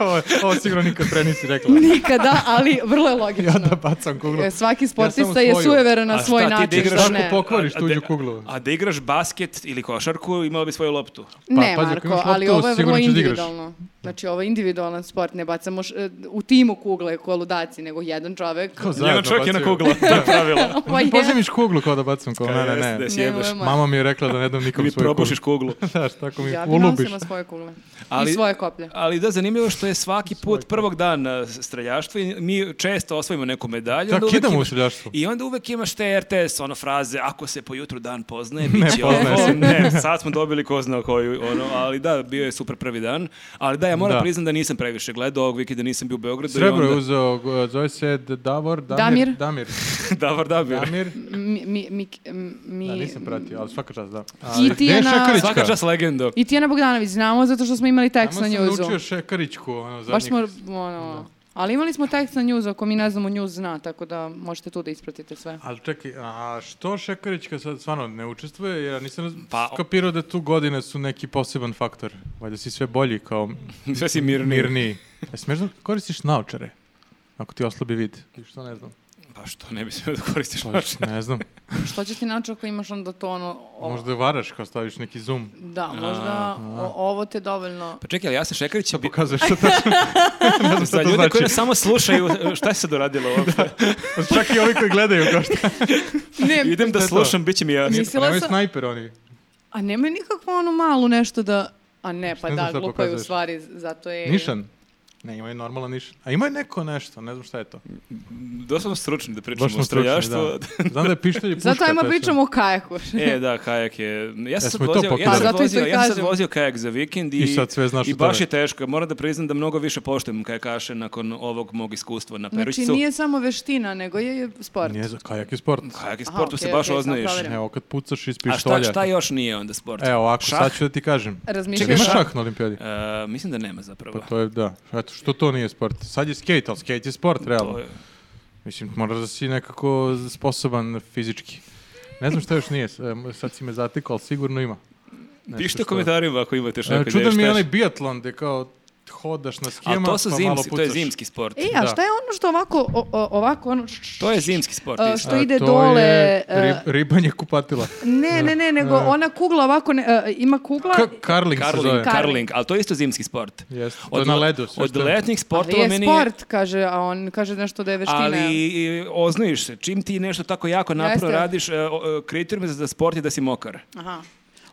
Speaker 2: ovo, ovo sigurno nikad pre nisi rekla.
Speaker 1: Nikada, ali vrlo je logično.
Speaker 2: ja da bacam kuglu.
Speaker 1: E, Svaki sportista
Speaker 2: Ja
Speaker 1: je
Speaker 2: samo svoju.
Speaker 1: sujeveran na
Speaker 3: A
Speaker 1: svoj
Speaker 3: šta ti da
Speaker 1: način,
Speaker 3: igraš
Speaker 1: što
Speaker 2: Tako
Speaker 1: ne.
Speaker 2: pokvariš
Speaker 3: A- a
Speaker 2: tuđu
Speaker 3: de-
Speaker 2: kuglu.
Speaker 3: A da igraš basket ili košarku, imao bi svoju loptu.
Speaker 2: Pa,
Speaker 1: ne,
Speaker 2: pazi, ako
Speaker 1: Marko,
Speaker 2: imaš loptu,
Speaker 1: ali ovo je vrlo
Speaker 2: sigurno ćeš da igraš.
Speaker 1: individualno. Znači, ovo je individualan sport, ne bacamo š- e, u timu kugle ko ludaci, nego jedan čovek.
Speaker 2: Kao zajedno
Speaker 3: Jedan čovjek je na
Speaker 2: bacaju.
Speaker 3: kugla, to je pravilo.
Speaker 1: Ovo je-
Speaker 2: Pozemiš kuglu kao da bacam kuglu. Ne, ne,
Speaker 3: Jeste, da
Speaker 2: ne.
Speaker 3: si
Speaker 1: Ne,
Speaker 3: jebeš.
Speaker 1: ovo je moje.
Speaker 2: Mama mi je rekla da ne dam nikom
Speaker 3: Mi
Speaker 2: svoju kuglu.
Speaker 3: probušiš kuglu.
Speaker 2: Znaš, tako mi
Speaker 1: Ja bi
Speaker 2: ulubiš.
Speaker 1: nosila svoje kugle.
Speaker 3: Ali-
Speaker 1: I svoje koplje.
Speaker 3: Ali da, zanimljivo što je svaki put prvog dana streljaštva i mi često osvojimo neku medalju.
Speaker 2: Da,
Speaker 3: onda uvek
Speaker 2: kidamo u
Speaker 3: imaš-
Speaker 2: streljaštvu.
Speaker 3: I onda uvek imaš te RTS, ono fraze, ako se po jutru dan poznaje, bit će
Speaker 2: poznaje
Speaker 3: ovo.
Speaker 2: se.
Speaker 3: Ne, sad smo dobili ko zna koju, ono, ali da, bio je super prvi dan. Ali da, ja moram
Speaker 2: Da.
Speaker 3: priznam da nisam previše gledao ovog vikenda, nisam bio u Beogradu. i
Speaker 2: Srebro je
Speaker 3: onda-
Speaker 2: uzeo, go- zove se D- Davor,
Speaker 1: Damir.
Speaker 2: Damir, Damir,
Speaker 3: Davor Dabir.
Speaker 2: Damir.
Speaker 1: Mi, mi, mi, m- mi-
Speaker 2: Da, nisam pratio, ali svaka čast, da.
Speaker 1: I ti je na-
Speaker 3: Svaka
Speaker 2: Svaka
Speaker 3: čast legendo.
Speaker 1: I Tijana Bogdanović, znamo zato što smo imali tekst na
Speaker 2: Samo sam
Speaker 1: njuzu.
Speaker 2: naučio Šekarićku, ono, zadnjih...
Speaker 1: Baš smo, ono... Ali imali smo tekst na njuzu, ako mi ne znamo njuz zna, tako da možete tu da ispratite sve.
Speaker 2: Ali čekaj, a što Šekarićka sad stvarno ne učestvuje? Ja nisam raz-
Speaker 3: Pa-
Speaker 2: skapirao da tu godine su neki poseban faktor. Valjda si sve bolji kao
Speaker 3: Sve si mirni.
Speaker 2: mirniji. E, smiješ da koristiš naočare? Ako ti oslabi vid. I što ne znam.
Speaker 3: Pa što ne bi smio da koristiš
Speaker 2: Pa,
Speaker 3: naočare?
Speaker 2: ne znam.
Speaker 1: Što će ti naći ako imaš onda to ono... o-
Speaker 2: Možda varaš kao staviš neki zoom.
Speaker 1: Da, možda o- ovo te dovoljno...
Speaker 3: Pa čekaj, ali ja sam Šekarić je bio...
Speaker 2: Pokazuješ što tačno. ne znam
Speaker 3: Za
Speaker 2: što to
Speaker 3: ljude koji
Speaker 2: znači.
Speaker 3: nas samo slušaju, šta se sad uradilo ovdje?
Speaker 2: Čak i ovi koji gledaju kao što. Pa,
Speaker 1: Ne,
Speaker 3: Idem da
Speaker 2: To je to.
Speaker 3: slušam, bit će mi jasno.
Speaker 1: Mislim- Mislila
Speaker 2: Nemaju
Speaker 1: sam-
Speaker 2: snajper oni.
Speaker 1: a nemaju nikakvu onu malu nešto da... A ne, pa
Speaker 2: Ne znam
Speaker 1: da,
Speaker 2: šta
Speaker 1: glupo je u
Speaker 2: pokazuješ.
Speaker 1: stvari, zato je...
Speaker 2: Nišan. Ne, imaju normalan nišan. A imaju neko nešto, ne znam šta je to.
Speaker 3: Dosta smo stručni da pričamo
Speaker 2: Baš
Speaker 3: o
Speaker 2: smo stručni,
Speaker 3: streljaštvu.
Speaker 2: da. Znam da je pištolj i puška.
Speaker 1: Zato ajmo
Speaker 2: to je sve.
Speaker 1: pričamo o kajaku.
Speaker 3: E, da, kajak je... Ja sam sad
Speaker 2: Jesmo i to
Speaker 3: vozio, ja
Speaker 2: pokidali?
Speaker 3: sam
Speaker 1: Pa, zato
Speaker 3: sad
Speaker 1: i to
Speaker 3: vozio,
Speaker 1: i
Speaker 3: ja sam sad
Speaker 1: kažem.
Speaker 3: vozio kajak za vikend i,
Speaker 2: I sad sve znaš
Speaker 3: i
Speaker 2: o
Speaker 3: baš
Speaker 2: tome.
Speaker 3: je teško. Moram da priznam da mnogo više poštujem kajakaše nakon ovog mog iskustva na Perućicu.
Speaker 1: Znači, nije samo veština, nego je i sport.
Speaker 2: Nije za kajak i sport.
Speaker 3: Kajak je
Speaker 1: Aha,
Speaker 3: sport, tu se
Speaker 1: okej,
Speaker 3: baš
Speaker 1: okej, sam
Speaker 3: oznaješ.
Speaker 1: proverila.
Speaker 2: Evo, kad pucaš iz
Speaker 3: A šta,
Speaker 2: pištolja.
Speaker 3: šta još nije onda sport?
Speaker 2: Evo, ako
Speaker 3: Šah?
Speaker 2: sad ću da ti kažem.
Speaker 1: Razmišljaš-
Speaker 2: Čekaj, ima šah na olimpijadi?
Speaker 3: E, mislim da nema zapravo.
Speaker 2: Pa to je, da. Eto, što to nije sport? Sad je skate, ali skate je sport, realno.
Speaker 3: To je-
Speaker 2: Mislim, moraš da si nekako sposoban fizički. Ne znam šta još nije, s- em, sad si me zatekao, ali sigurno ima. Nešto
Speaker 3: Pišite u
Speaker 2: što-
Speaker 3: komentarima ako imate šta
Speaker 2: E,
Speaker 3: kad ideš
Speaker 2: Čudan mi je
Speaker 3: teš.
Speaker 2: onaj biatlon gde kao hodaš na
Speaker 3: Ali
Speaker 2: skijama,
Speaker 3: to su
Speaker 2: pa malo
Speaker 3: zimski, to je
Speaker 2: pucaš.
Speaker 3: zimski sport.
Speaker 1: E, a
Speaker 2: Da.
Speaker 1: šta je ono što ovako, o- o- ovako ono... š-
Speaker 3: To je zimski sport
Speaker 1: A,
Speaker 3: isto.
Speaker 1: što ide
Speaker 2: A, to
Speaker 1: dole,
Speaker 2: je
Speaker 1: e,
Speaker 2: rib- ribanje kupatila.
Speaker 1: Ne, ne, ne,
Speaker 2: E.
Speaker 1: nego ona kugla ovako, ne, e, ima kugla...
Speaker 2: K- karling se
Speaker 3: Karling,
Speaker 2: zove.
Speaker 1: Ka-
Speaker 3: karling, ali to je isto zimski sport.
Speaker 2: Jeste, to je na ledu, sve
Speaker 3: Od
Speaker 2: što je.
Speaker 3: letnih
Speaker 1: Ali
Speaker 3: sportova
Speaker 1: je
Speaker 3: meni...
Speaker 1: sport, kaže, a on kaže nešto da je veština.
Speaker 3: Ali i, oznojiš se. Čim ti nešto tako jako napravo
Speaker 1: Jeste.
Speaker 3: radiš, e, o, e, kriterijum za sport je da si mokar.
Speaker 1: Aha.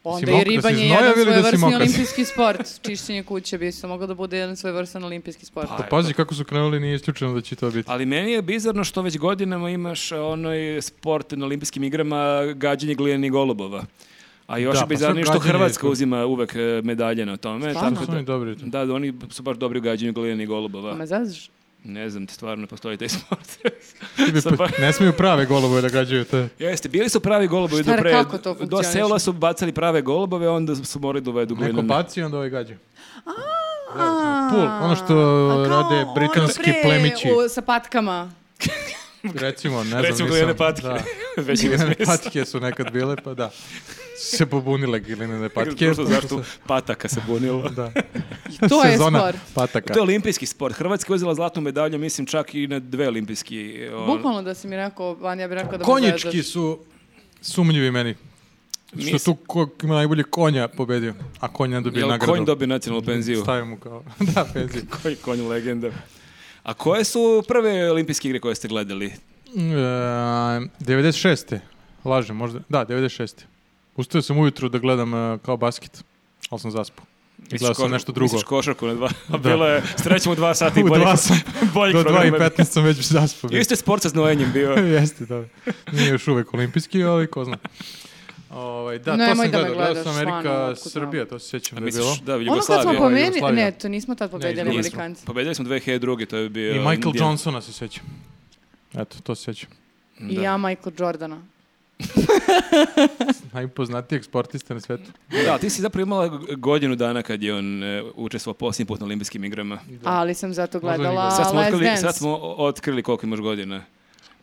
Speaker 2: Si
Speaker 1: Onda
Speaker 2: mokra,
Speaker 1: je
Speaker 2: si
Speaker 1: ribanje
Speaker 2: znojav
Speaker 1: jedan
Speaker 2: ili da si
Speaker 1: svojevrsni
Speaker 2: mokra?
Speaker 1: olimpijski sport. Čišćenje kuće bi se moglo da bude jedan svojevrstan olimpijski sport.
Speaker 2: Pa pazi kako su krenuli, nije isključeno da će to biti.
Speaker 3: Ali meni je bizarno što već godinama imaš e, onaj sport na olimpijskim igrama gađanje glijenih golubova. A još
Speaker 2: Da,
Speaker 3: je
Speaker 2: pa
Speaker 3: bizarnije
Speaker 2: sve
Speaker 3: što
Speaker 2: gađanje je
Speaker 3: Hrvatska
Speaker 2: to.
Speaker 3: uzima uvek e, medalje na tome.
Speaker 1: Stvarno?
Speaker 2: Su oni dobri u tome.
Speaker 3: Da, da, oni su baš dobri u gađanju gledanih
Speaker 1: Pa
Speaker 3: golubova.
Speaker 1: me zezaš?
Speaker 3: Ne znam, stvarno postoji taj sport.
Speaker 2: Ti bi
Speaker 3: Sad
Speaker 2: pa-
Speaker 3: pa-
Speaker 2: Ne smiju prave golubove da gađaju te.
Speaker 3: Jeste, bili su pravi golubovi
Speaker 1: Šta,
Speaker 3: do pre...
Speaker 1: kako to
Speaker 3: do
Speaker 1: funkcioniše?
Speaker 3: sela su bacali prave golubove, onda su morali da uvedu
Speaker 2: Neko
Speaker 3: glinane.
Speaker 2: baci, onda ovaj gađa.
Speaker 1: A,
Speaker 2: Pul, ono što
Speaker 1: a kao
Speaker 2: rade
Speaker 1: ono
Speaker 2: britanski
Speaker 1: bre,
Speaker 2: plemići.
Speaker 1: u- sa patkama.
Speaker 2: Recimo, ne znam,
Speaker 3: Recimo
Speaker 2: nisam-
Speaker 3: glinane patike.
Speaker 2: Da.
Speaker 3: Već ima
Speaker 2: Glinene
Speaker 3: smisla.
Speaker 2: patike su nekad bile, pa da. Su Se pobunile glinene patike.
Speaker 3: Društvo za
Speaker 2: pa su
Speaker 3: zaštitu
Speaker 2: se-
Speaker 3: pataka se bunilo.
Speaker 2: Da.
Speaker 1: to je
Speaker 2: Sezona
Speaker 1: sport.
Speaker 2: pataka.
Speaker 3: To je olimpijski sport. Hrvatska je uzela zlatnu medalju, mislim, čak i na dve olimpijski. o,
Speaker 1: Bukvalno da si mi rekao, Vanja bi rekao da me
Speaker 2: Konjički
Speaker 1: zezaš.
Speaker 2: su sumnjivi meni. Što
Speaker 3: Mislim-
Speaker 2: tu ko ima najbolje konja pobedio, a konja dobio
Speaker 3: Jel
Speaker 2: nagradu.
Speaker 3: konj dobio nacionalnu penziju?
Speaker 2: Stavio mu kao, da, penziju.
Speaker 3: Koji konj legenda. A koje su prve olimpijske igre koje ste gledali?
Speaker 2: E, 96. E, Lažem, možda. Da, 96. Ustao sam ujutru da gledam e, kao basket, ali sam zaspao. I Gledao sam
Speaker 3: koš-
Speaker 2: nešto drugo.
Speaker 3: Misliš košarku na dva? A
Speaker 2: Da.
Speaker 3: bilo je, srećemo u dva sata i
Speaker 2: U
Speaker 3: boljih,
Speaker 2: dva sam,
Speaker 3: boljih
Speaker 2: do 2 i
Speaker 3: programa.
Speaker 2: 15 sam već zaspao. bio.
Speaker 3: Isto je sport sa znojenjem bio.
Speaker 2: Jeste, da. Nije još uvek olimpijski, ali ko zna. Ovaj, da, to
Speaker 1: Nemoj
Speaker 2: sam
Speaker 1: da me
Speaker 2: gledao. Gledao sam
Speaker 1: gledaš, stvarno,
Speaker 2: Amerika,
Speaker 1: otkud znam.
Speaker 2: Srbija, to se sjećam
Speaker 3: A
Speaker 2: da je bilo.
Speaker 3: misliš, da,
Speaker 1: Ono kad smo
Speaker 3: Jugoslavija.
Speaker 2: pobedili
Speaker 1: pomenuli,
Speaker 2: Jugoslavija.
Speaker 1: ne, to nismo tad pobedili
Speaker 2: izgubili
Speaker 3: Nismo.
Speaker 1: Amerikanci.
Speaker 3: Pobedili smo 2002. To je bio...
Speaker 2: I Michael
Speaker 3: Indian.
Speaker 2: Johnsona se sjećam. Eto, to se sjećam.
Speaker 1: I ja Michael Jordana.
Speaker 2: Najpoznatijeg sportista na svetu.
Speaker 3: Da, ti si zapravo imala g- godinu dana kad je on e, učestvovao posljednji put na olimpijskim igrama.
Speaker 1: Ali sam zato
Speaker 2: Možda ni
Speaker 1: gledala
Speaker 2: gledala.
Speaker 3: Sad smo,
Speaker 1: Let's
Speaker 3: otkrili,
Speaker 1: Dance.
Speaker 3: sad smo o- otkrili koliko imaš godina.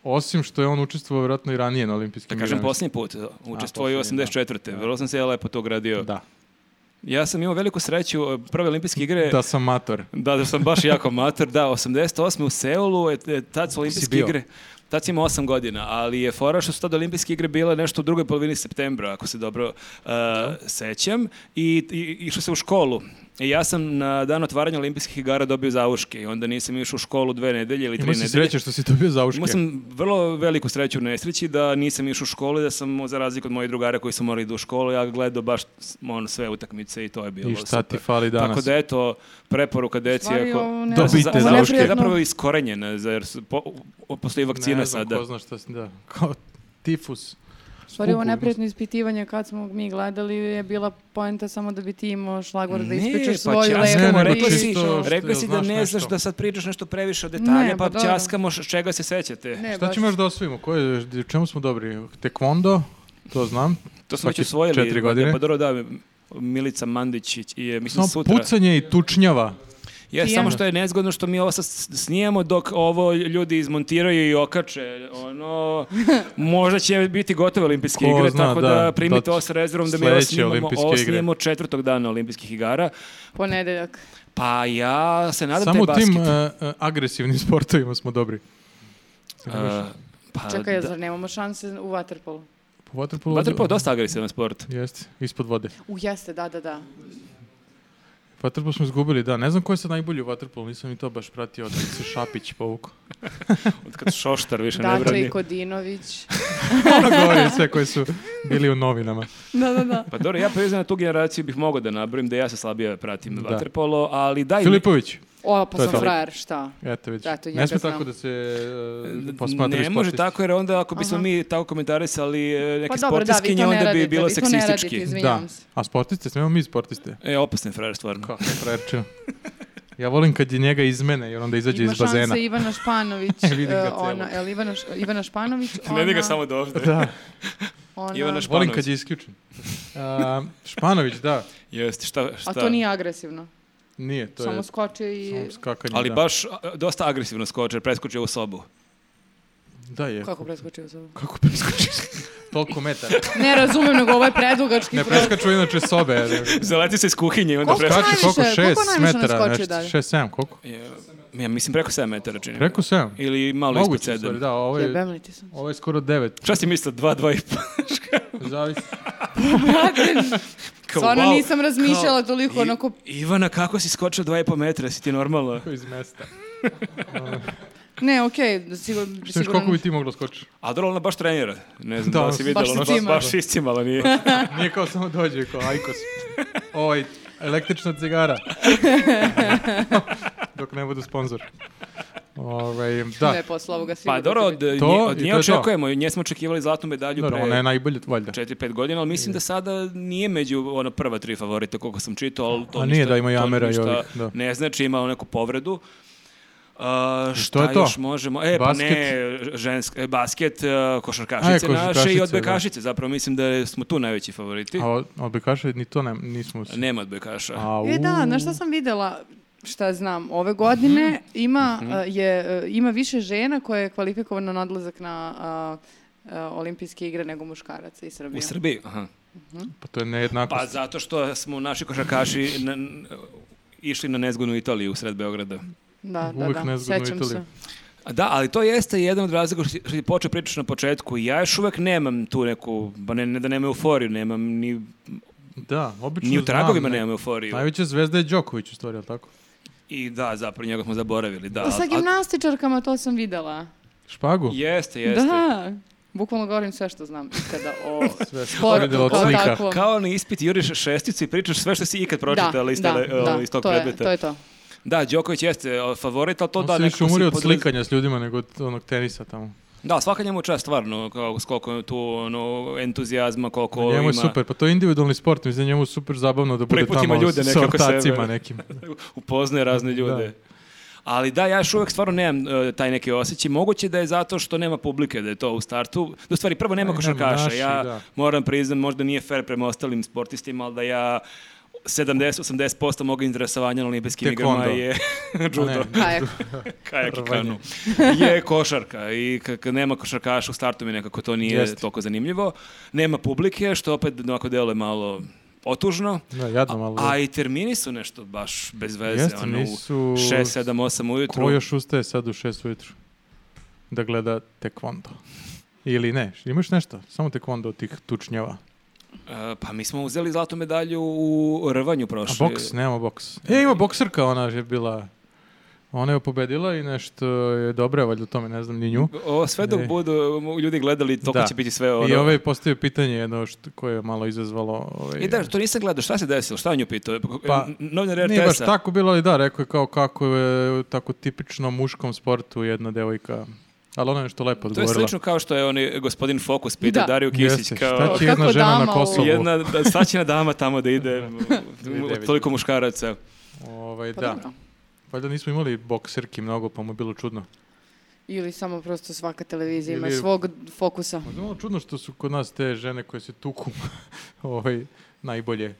Speaker 2: Osim što je on učestvovao vjerojatno i ranije na olimpijskim
Speaker 3: Da kažem
Speaker 2: igrama.
Speaker 3: posljednji put, e, učestvovao je
Speaker 2: posljednji, da.
Speaker 3: 84. Vrlo sam se ja lepo to gradio.
Speaker 2: Da.
Speaker 3: Ja sam imao veliku sreću, e, prve olimpijske igre...
Speaker 2: Da sam mator.
Speaker 3: Da, da sam baš jako mater, da, 88. u Seulu, e, e, tad su olimpijske
Speaker 2: bio?
Speaker 3: igre, tad sam imao 8 godina, ali je fora što su tad olimpijske igre bile nešto u drugoj polovini septembra, ako se dobro e, sećam, i, i išao se u školu. I ja sam na dan otvaranja olimpijskih igara dobio zavuške i onda nisam išao u školu dve nedelje ili tri
Speaker 2: Imao
Speaker 3: nedelje.
Speaker 2: si sreće što si dobio zauške.
Speaker 3: Imao sam vrlo veliku sreću u nesreći da nisam išao u školu i da sam, za razliku od mojih drugara koji su morali idu u školu, ja gledao baš s- ono, sve utakmice i to je bilo
Speaker 2: I šta ti
Speaker 3: super.
Speaker 2: fali danas?
Speaker 3: Tako da eto, preporuka deci
Speaker 1: Stvari, ono
Speaker 3: ako...
Speaker 1: ovo ne-
Speaker 3: Da,
Speaker 2: Dobijte
Speaker 3: za- za-
Speaker 2: zauške.
Speaker 3: zauške je zapravo iskorenjena, za- jer su, po, o- postoji vakcina
Speaker 2: ne znam,
Speaker 3: sada.
Speaker 2: ko zna šta sam, da. Kao tifus.
Speaker 1: U Stvari ovo
Speaker 2: Skupo,
Speaker 1: neprijatno ispitivanje kad smo mi gledali je bila poenta samo da bi ti imao šlagvor da
Speaker 3: Ne,
Speaker 1: ispičeš
Speaker 3: pa
Speaker 1: svoju
Speaker 3: ćaskamo,
Speaker 1: levu
Speaker 2: Ne, ne,
Speaker 1: priču.
Speaker 3: rekla si,
Speaker 2: čisto što
Speaker 3: rekla si da
Speaker 2: znaš
Speaker 3: ne znaš
Speaker 2: nešto.
Speaker 3: da sad pričaš nešto previše o detalje,
Speaker 1: Ne, pa
Speaker 3: pa,
Speaker 1: dobro.
Speaker 3: časkamo š- čega se sećate.
Speaker 1: Ne,
Speaker 2: Šta
Speaker 1: baš.
Speaker 2: ćemo još da osvojimo? Koje, čemu smo dobri? Tekvondo, to znam.
Speaker 3: To smo već
Speaker 2: Svaki
Speaker 3: usvojili.
Speaker 2: Četiri godine.
Speaker 3: Pa dobro da, Milica Mandić i- i je, mislim,
Speaker 2: Samo
Speaker 3: sutra.
Speaker 2: pucanje i tučnjava.
Speaker 3: Ja,
Speaker 1: Ti
Speaker 3: samo
Speaker 1: ja.
Speaker 3: što je nezgodno što mi ovo sad s- snijemo dok ovo ljudi izmontiraju i okače. Ono, možda će biti gotove olimpijske
Speaker 2: Ko
Speaker 3: igre,
Speaker 2: zna,
Speaker 3: tako da,
Speaker 2: da,
Speaker 3: primite
Speaker 2: da,
Speaker 3: ovo s rezervom da mi ovo
Speaker 2: sledeće
Speaker 3: snimamo,
Speaker 2: olimpijske
Speaker 3: ovo
Speaker 2: igre.
Speaker 3: snimamo četvrtog dana olimpijskih igara.
Speaker 1: Ponedeljak.
Speaker 3: Pa ja se nadam
Speaker 2: Samo u
Speaker 3: taj basket.
Speaker 2: tim e, e, agresivnim sportovima smo dobri.
Speaker 3: E, pa,
Speaker 1: Čekaj,
Speaker 3: da, pa
Speaker 1: zar nemamo šanse u waterpolu?
Speaker 2: Po vaterpolu...
Speaker 3: Vaterpolo je dosta agresivan sport.
Speaker 2: Jeste, ispod vode.
Speaker 1: U, jeste, da, da, da.
Speaker 2: Vaterpol smo izgubili, da. Ne znam ko je sad najbolji u vaterpolu, nisam ni to baš pratio, od kad se Šapić povukao.
Speaker 3: Od Kad šoštar više ne
Speaker 1: Dače
Speaker 3: brani.
Speaker 1: i Kodinović.
Speaker 2: Ono govori sve koji su bili u novinama.
Speaker 1: Da, da, da.
Speaker 3: Pa dobro, ja priznam na tu generaciju bih mogao da nabrojim da ja se slabije pratim
Speaker 2: Da.
Speaker 3: vaterpolo, ali daj...
Speaker 2: Filipović,
Speaker 1: O, pa
Speaker 2: To je
Speaker 1: sam
Speaker 2: to.
Speaker 1: frajer, šta?
Speaker 2: eto vidiš.
Speaker 1: Eto, njega
Speaker 2: ne sme
Speaker 1: znam.
Speaker 2: tako da se e, posmatraju
Speaker 3: Ne može
Speaker 2: sportisti.
Speaker 3: tako jer onda ako bismo
Speaker 1: Aha.
Speaker 3: mi tako komentarisali e, neke
Speaker 1: Pa dobro, da, vi
Speaker 3: sportiskinje,
Speaker 1: to ne
Speaker 3: onda
Speaker 1: radite,
Speaker 3: bi bilo
Speaker 1: vi to ne radite,
Speaker 3: seksistički.
Speaker 1: izvinjam
Speaker 2: Da,
Speaker 1: se.
Speaker 2: a sportiste, smemo mi sportiste.
Speaker 3: E, opasne frajer stvarno.
Speaker 2: Kako je frajerčina. Ja volim kad je njega izmene i onda izađe
Speaker 1: Ima
Speaker 2: iz bazena.
Speaker 1: šanse Ivana Španović.
Speaker 2: Vidim ga
Speaker 1: e,
Speaker 2: celog.
Speaker 1: ona, jel Ivana, Š- Ivana Španović? Ona,
Speaker 3: Ne vidi ga samo do ovde.
Speaker 2: Da,
Speaker 1: ona-
Speaker 3: Ivana Šp-
Speaker 2: volim
Speaker 3: Španović.
Speaker 2: kad je isključen. A, Španović, da,
Speaker 3: Jeste, šta, šta?
Speaker 1: A to nije agresivno.
Speaker 2: nije, to
Speaker 1: samo
Speaker 2: je
Speaker 1: skoče i...
Speaker 2: samo skakanje.
Speaker 3: Ali
Speaker 2: da.
Speaker 3: baš a, dosta agresivno skoče, preskočio u sobu.
Speaker 2: Da je.
Speaker 1: Kako preskočio sam?
Speaker 2: Kako preskočiš? Toliko metara.
Speaker 1: Ne razumem, nego ovaj ovo je predugački
Speaker 2: Ne
Speaker 1: program.
Speaker 2: preskaču inače sobe.
Speaker 3: Zaleti se iz kuhinje i onda
Speaker 1: Koliko?
Speaker 3: preskoči.
Speaker 2: Kači koliko?
Speaker 1: najviše- koliko
Speaker 2: 6
Speaker 1: najviše
Speaker 2: metara,
Speaker 1: naskoči
Speaker 2: nešto.
Speaker 1: dalje?
Speaker 2: 6, 7, koliko?
Speaker 3: Je, Ja mislim preko 7 metara čini.
Speaker 2: Preko 7.
Speaker 3: Ili malo ispod
Speaker 2: Moguće, u stvari,
Speaker 3: 7.
Speaker 2: da, ovo je,
Speaker 1: Jebem li ti sam?
Speaker 2: ovo je skoro 9.
Speaker 3: Šta si mislio, 2, 2 i pa?
Speaker 2: Zavisi.
Speaker 3: Kao,
Speaker 1: Stvarno
Speaker 3: wow,
Speaker 1: nisam razmišljala
Speaker 3: kao,
Speaker 1: toliko,
Speaker 3: I-
Speaker 1: onako...
Speaker 3: Ivana, kako si skočio 2,5 metra, si ti normalno?
Speaker 2: Iz mesta.
Speaker 1: Ne, okej, sigurno...
Speaker 2: Što koliko bi ti moglo skočiti?
Speaker 3: A dobro, ona baš trenira. Ne znam
Speaker 2: Da,
Speaker 3: da, li
Speaker 2: ona
Speaker 3: si
Speaker 2: se-
Speaker 3: vidjela,
Speaker 1: baš
Speaker 3: ona
Speaker 1: se cima.
Speaker 3: baš iscimala nije.
Speaker 2: Nije kao samo dođe kao Ajkos. Ovaj, električna cigara. Dok ne budu sponzor. Ovaj,
Speaker 1: Da.
Speaker 2: da,
Speaker 1: je posla ovoga sigurno.
Speaker 3: Pa dobro, od, nje,
Speaker 2: To
Speaker 3: od
Speaker 2: i
Speaker 3: nje
Speaker 2: to je to.
Speaker 3: očekujemo, nje smo očekivali zlatnu medalju
Speaker 2: dobro,
Speaker 3: pre
Speaker 2: ona je najbolje, valjda.
Speaker 3: 4-5 godina, ali mislim da sada nije među ona prva tri favorita koliko sam čitao, ali to
Speaker 2: A
Speaker 3: ništa,
Speaker 2: nije da ima
Speaker 3: to
Speaker 2: Jamera i
Speaker 3: ništa
Speaker 2: ovih, da.
Speaker 3: Ne znači, ima neku povredu. A, šta
Speaker 2: je to?
Speaker 3: još možemo? E, pa
Speaker 2: Basket?
Speaker 3: ne, žensk, e, basket, e, košarkašice
Speaker 2: A, je,
Speaker 3: naše i
Speaker 2: košarkašice,
Speaker 3: odbojkašice. Zapravo mislim da smo tu najveći favoriti.
Speaker 2: A odbekaša ni to ne, nismo... s-
Speaker 3: Nema odbojkaša.
Speaker 2: A,
Speaker 1: E da,
Speaker 2: u, Mhm.
Speaker 1: na šta sam videla šta znam, ove godine ima, a, je, e, ima više žena koje je kvalifikovano na odlazak na a, a, olimpijske igre nego muškaraca iz Srbije.
Speaker 3: U Srbiji? Aha.
Speaker 2: Pa to je
Speaker 3: Pa
Speaker 2: nejednakost.
Speaker 3: zato što smo naši košarkaši na, n- išli na nezgodnu Italiju u sred Beograda.
Speaker 1: Da, da,
Speaker 2: Uvek
Speaker 1: da,
Speaker 2: nezgodno u
Speaker 1: sećam se.
Speaker 2: Italiji.
Speaker 3: A Da, ali to jeste jedan od razloga što ti- što ti počeo pričaš na početku. Ja još uvek nemam tu neku, ba ne, ne da nemam euforiju, nemam ni,
Speaker 2: da, obično
Speaker 3: ni u
Speaker 2: znam,
Speaker 3: tragovima
Speaker 2: ne. Pa
Speaker 3: nemam euforiju.
Speaker 2: Najveća zvezda je Đoković u stvari, ali tako?
Speaker 3: I da, zapravo njega smo zaboravili. Da,
Speaker 1: Sa
Speaker 3: ali-
Speaker 1: gimnastičarkama to sam videla.
Speaker 2: Špagu?
Speaker 3: ali- Jeste, jeste.
Speaker 1: Da, bukvalno govorim sve što znam ikada o
Speaker 2: Sve što sam
Speaker 1: sportu
Speaker 2: videla od
Speaker 1: kao
Speaker 2: slika.
Speaker 1: takvom.
Speaker 3: Kao na ispit juriš šesticu i pričaš sve što si ikad
Speaker 1: Da,
Speaker 3: pročitala iz,
Speaker 1: da,
Speaker 3: tele-
Speaker 1: da,
Speaker 3: o, ono, ovaj, iz tog
Speaker 1: to je,
Speaker 3: predmeta.
Speaker 1: to je to.
Speaker 3: Da, Đoković jeste o, favorit, ali to
Speaker 2: On
Speaker 3: da
Speaker 2: se više
Speaker 3: nekako si
Speaker 2: umori od
Speaker 3: podraz-
Speaker 2: slikanja s ljudima nego od onog tenisa tamo.
Speaker 3: Da, svaka njemu čast, stvarno, kao, s koliko je tu ono, entuzijazma, koliko
Speaker 2: njemu
Speaker 3: ima...
Speaker 2: je super, pa to je individualni sport, mislim da je njemu super zabavno da bude
Speaker 3: Preputima
Speaker 2: tamo
Speaker 3: ljude
Speaker 2: sa
Speaker 3: nekako sebe.
Speaker 2: ortacima nekim. Pa
Speaker 3: upoznaje razne ljude. Ali da, ja još uvek stvarno nemam e, taj neki osjećaj. Moguće da je zato što nema publike, da je to u startu. Da, u stvari, prvo nema
Speaker 2: Aj,
Speaker 3: košarkaša.
Speaker 2: nema naših,
Speaker 3: ja
Speaker 2: E, da.
Speaker 3: moram priznam, možda nije fair prema ostalim sportistima, ali da ja 70-80% mog interesovanja na olimpijskim igrama
Speaker 2: Taekwondo.
Speaker 3: je judo,
Speaker 2: ne.
Speaker 1: Kajak.
Speaker 3: kajak i
Speaker 2: Rvanje.
Speaker 3: kanu. Je košarka i kad nema košarkaša u startu mi nekako to nije
Speaker 2: Jeste.
Speaker 3: toliko zanimljivo. Nema publike, što opet onako deluje malo otužno.
Speaker 2: Da, jadno malo.
Speaker 3: A i termini su nešto baš bez veze,
Speaker 2: Jeste,
Speaker 3: ono,
Speaker 2: nisu-
Speaker 3: u 6, 7, 8 ujutru.
Speaker 2: Ko još ustaje sad u šest ujutru da gleda tekvondo? Ili ne, imaš nešto, samo tekvondo od tih tučnjava.
Speaker 3: E, pa mi smo uzeli zlatu medalju u rvanju
Speaker 2: A
Speaker 3: prošle.
Speaker 2: boks, nema boks. E, ima bokserka, ona je bila, ona je pobedila i nešto je dobra, valjda u tome, ne znam, ni nju.
Speaker 3: O, sve dok
Speaker 2: E.
Speaker 3: budu um, ljudi gledali, to
Speaker 2: Da.
Speaker 3: će biti sve ono.
Speaker 2: I ovaj postavio pitanje jedno što, koje je malo izazvalo... Ovaj,
Speaker 3: I da, to nisam gledao, šta se desilo, šta je nju pitao? E,
Speaker 2: Pa,
Speaker 3: Novinar
Speaker 2: Nije baš
Speaker 3: RTS-a.
Speaker 2: tako bilo, ali da, rekao je kao kako je u tako tipično muškom sportu jedna devojka. Ali ona je nešto lepo
Speaker 3: To je
Speaker 2: odgovorila.
Speaker 3: slično kao što je onaj gospodin Fokus pitao
Speaker 1: Da.
Speaker 3: Dariju Kisić.
Speaker 2: Jeste,
Speaker 3: kao,
Speaker 2: Šta će
Speaker 1: Kako
Speaker 2: jedna žena
Speaker 1: dama
Speaker 2: na
Speaker 1: u-
Speaker 2: Kosovu?
Speaker 3: Jedna da, staćena dama tamo da ide, m,
Speaker 2: Devica.
Speaker 3: toliko muškaraca.
Speaker 2: Ovaj,
Speaker 1: Pa
Speaker 2: da.
Speaker 1: dobro.
Speaker 2: Valjda nismo imali bokserki mnogo, pa mu je bilo čudno.
Speaker 1: Ili samo prosto svaka televizija ima
Speaker 2: Ili-
Speaker 1: svog fokusa.
Speaker 2: Možda Pa je malo čudno što su kod nas te žene koje se tuku ovaj, najbolje.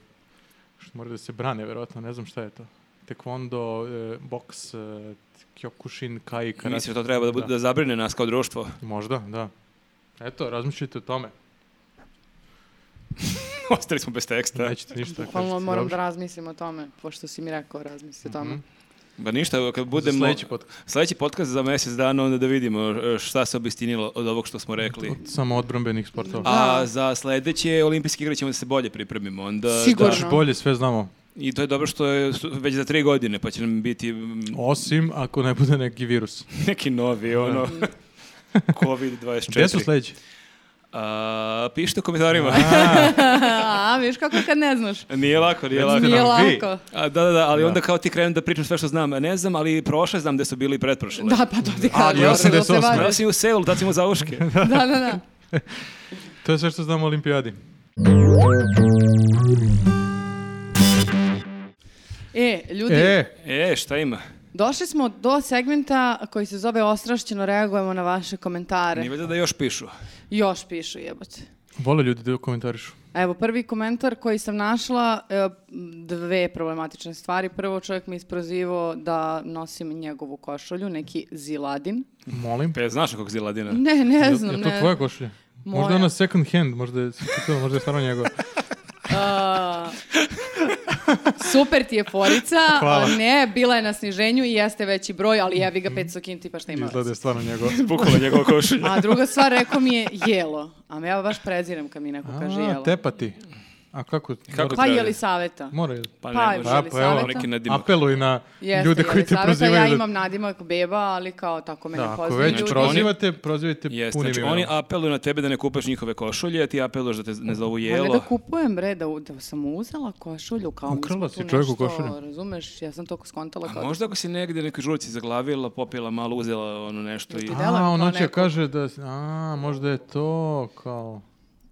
Speaker 2: Što moraju da se brane, verovatno, ne znam šta je to. Tekvondo, eh, boks, eh, kyokushin, kai, karate.
Speaker 3: Mislim da to treba da, bude-
Speaker 2: Da.
Speaker 3: da zabrine nas kao društvo.
Speaker 2: Možda, da. Eto, razmišljajte o tome.
Speaker 3: Ostali smo bez teksta.
Speaker 2: Nećete ništa.
Speaker 1: Bukvalno
Speaker 2: kažete.
Speaker 1: moram
Speaker 2: Dobro. Mhm.
Speaker 1: da razmislim o tome, pošto si mi rekao razmisli o tome.
Speaker 3: Ba Pa ništa, kad
Speaker 2: Za
Speaker 3: budemo...
Speaker 2: sledeći podcast.
Speaker 3: Sljedeći podcast za mjesec dana, onda da vidimo e, šta se obistinilo od ovog što smo rekli.
Speaker 2: Od samo odbrambenih sportova.
Speaker 3: A za sljedeće olimpijske igre ćemo da se bolje pripremimo. Onda,
Speaker 1: Sigurno.
Speaker 2: Još bolje sve znamo.
Speaker 3: I to je dobro što je su- već za tri godine, pa će nam biti mm,
Speaker 2: Osim ako ne bude neki virus.
Speaker 3: neki novi, ono...
Speaker 2: Gde su
Speaker 3: COVID-24.
Speaker 2: sledeći?
Speaker 3: A, Pišite u komentarima.
Speaker 1: A, viš kako kad ne znaš.
Speaker 3: Nije lako, nije lako.
Speaker 1: Nije
Speaker 2: nam vi.
Speaker 1: lako.
Speaker 3: A, da, da, da, ali onda kao ti krenem da pričam sve što znam. Ne znam, ali prošle znam gde su bili i pretprošle.
Speaker 1: Da, pa to ti kažem.
Speaker 2: Ali
Speaker 1: da se
Speaker 2: 88.
Speaker 1: vadiš.
Speaker 3: Ja sam i u Seulu, tad sam u Zauške.
Speaker 1: Da, da, da.
Speaker 2: To je sve što znamo o olimpijadi.
Speaker 1: E, ljudi,
Speaker 2: E,
Speaker 3: E, šta ima?
Speaker 1: došli smo do segmenta koji se zove Ostrašćeno reagujemo na vaše komentare.
Speaker 3: Nije valjda da još pišu.
Speaker 1: Još pišu jebote.
Speaker 2: vole ljudi da komentarišu.
Speaker 1: Evo, prvi komentar koji sam našla, e, dve problematične stvari. Prvo, čovjek mi isprozivao da nosim njegovu košulju, neki ziladin.
Speaker 2: Molim.
Speaker 3: Pa ja znaš nekog Ziladina?
Speaker 1: Ne, ne znam,
Speaker 2: Je li
Speaker 1: ne.
Speaker 2: to tvoja košulja?
Speaker 1: Moja.
Speaker 2: Možda je ona second hand, možda je, to, možda je stvarno njegova.
Speaker 1: A, super ti je forica,
Speaker 2: Hvala.
Speaker 1: a ne, bila je na sniženju i jeste veći broj, ali jevi ga 500 kinti, pa šta ima
Speaker 2: Izgleda
Speaker 1: veze.
Speaker 2: je stvarno njegova.
Speaker 3: Bukvalno njegova košulja.
Speaker 1: A druga stvar, rekao mi je jelo. A me ja baš preziram kad mi neko kaže
Speaker 2: A,
Speaker 1: jelo.
Speaker 2: tepati. A kako?
Speaker 3: Kako
Speaker 1: Pa
Speaker 3: treba?
Speaker 1: je li saveta?
Speaker 2: Mora ili?
Speaker 3: Pa
Speaker 1: Pa,
Speaker 3: ne
Speaker 1: pa,
Speaker 3: može.
Speaker 2: Pa,
Speaker 1: Ili
Speaker 2: pa evo,
Speaker 1: saveta?
Speaker 3: neki nadimak.
Speaker 2: apeluj na
Speaker 1: Jeste,
Speaker 2: ljude koji te
Speaker 1: Jelisaveta,
Speaker 2: prozivaju.
Speaker 1: Ja
Speaker 2: da-
Speaker 1: imam nadimak beba, ali kao tako me
Speaker 2: Da,
Speaker 1: ne
Speaker 2: ako
Speaker 1: poznaju
Speaker 2: već
Speaker 1: ljudi.
Speaker 2: prozivate, prozivajte
Speaker 3: Jeste,
Speaker 2: punim
Speaker 3: znači oni
Speaker 2: imenom.
Speaker 3: apeluju na tebe da ne kupaš njihove košulje, a ti apeluješ da te ne zovu
Speaker 1: Pa ne da
Speaker 3: jelo.
Speaker 1: kupujem bre, da, u- da sam uzela košulju, kao mi smo
Speaker 2: Ukrala si
Speaker 1: tu
Speaker 2: čovjeku
Speaker 1: nešto,
Speaker 2: košulju.
Speaker 1: Razumeš, ja sam toliko skontala
Speaker 3: A
Speaker 1: kao...
Speaker 3: možda ako si negdje nekoj žurci zaglavila, popila malo, uzela ono nešto i...
Speaker 1: Jel ti delujem
Speaker 2: A,
Speaker 1: kao
Speaker 2: ona će
Speaker 1: neko.
Speaker 2: kaže da, a, možda je to kao,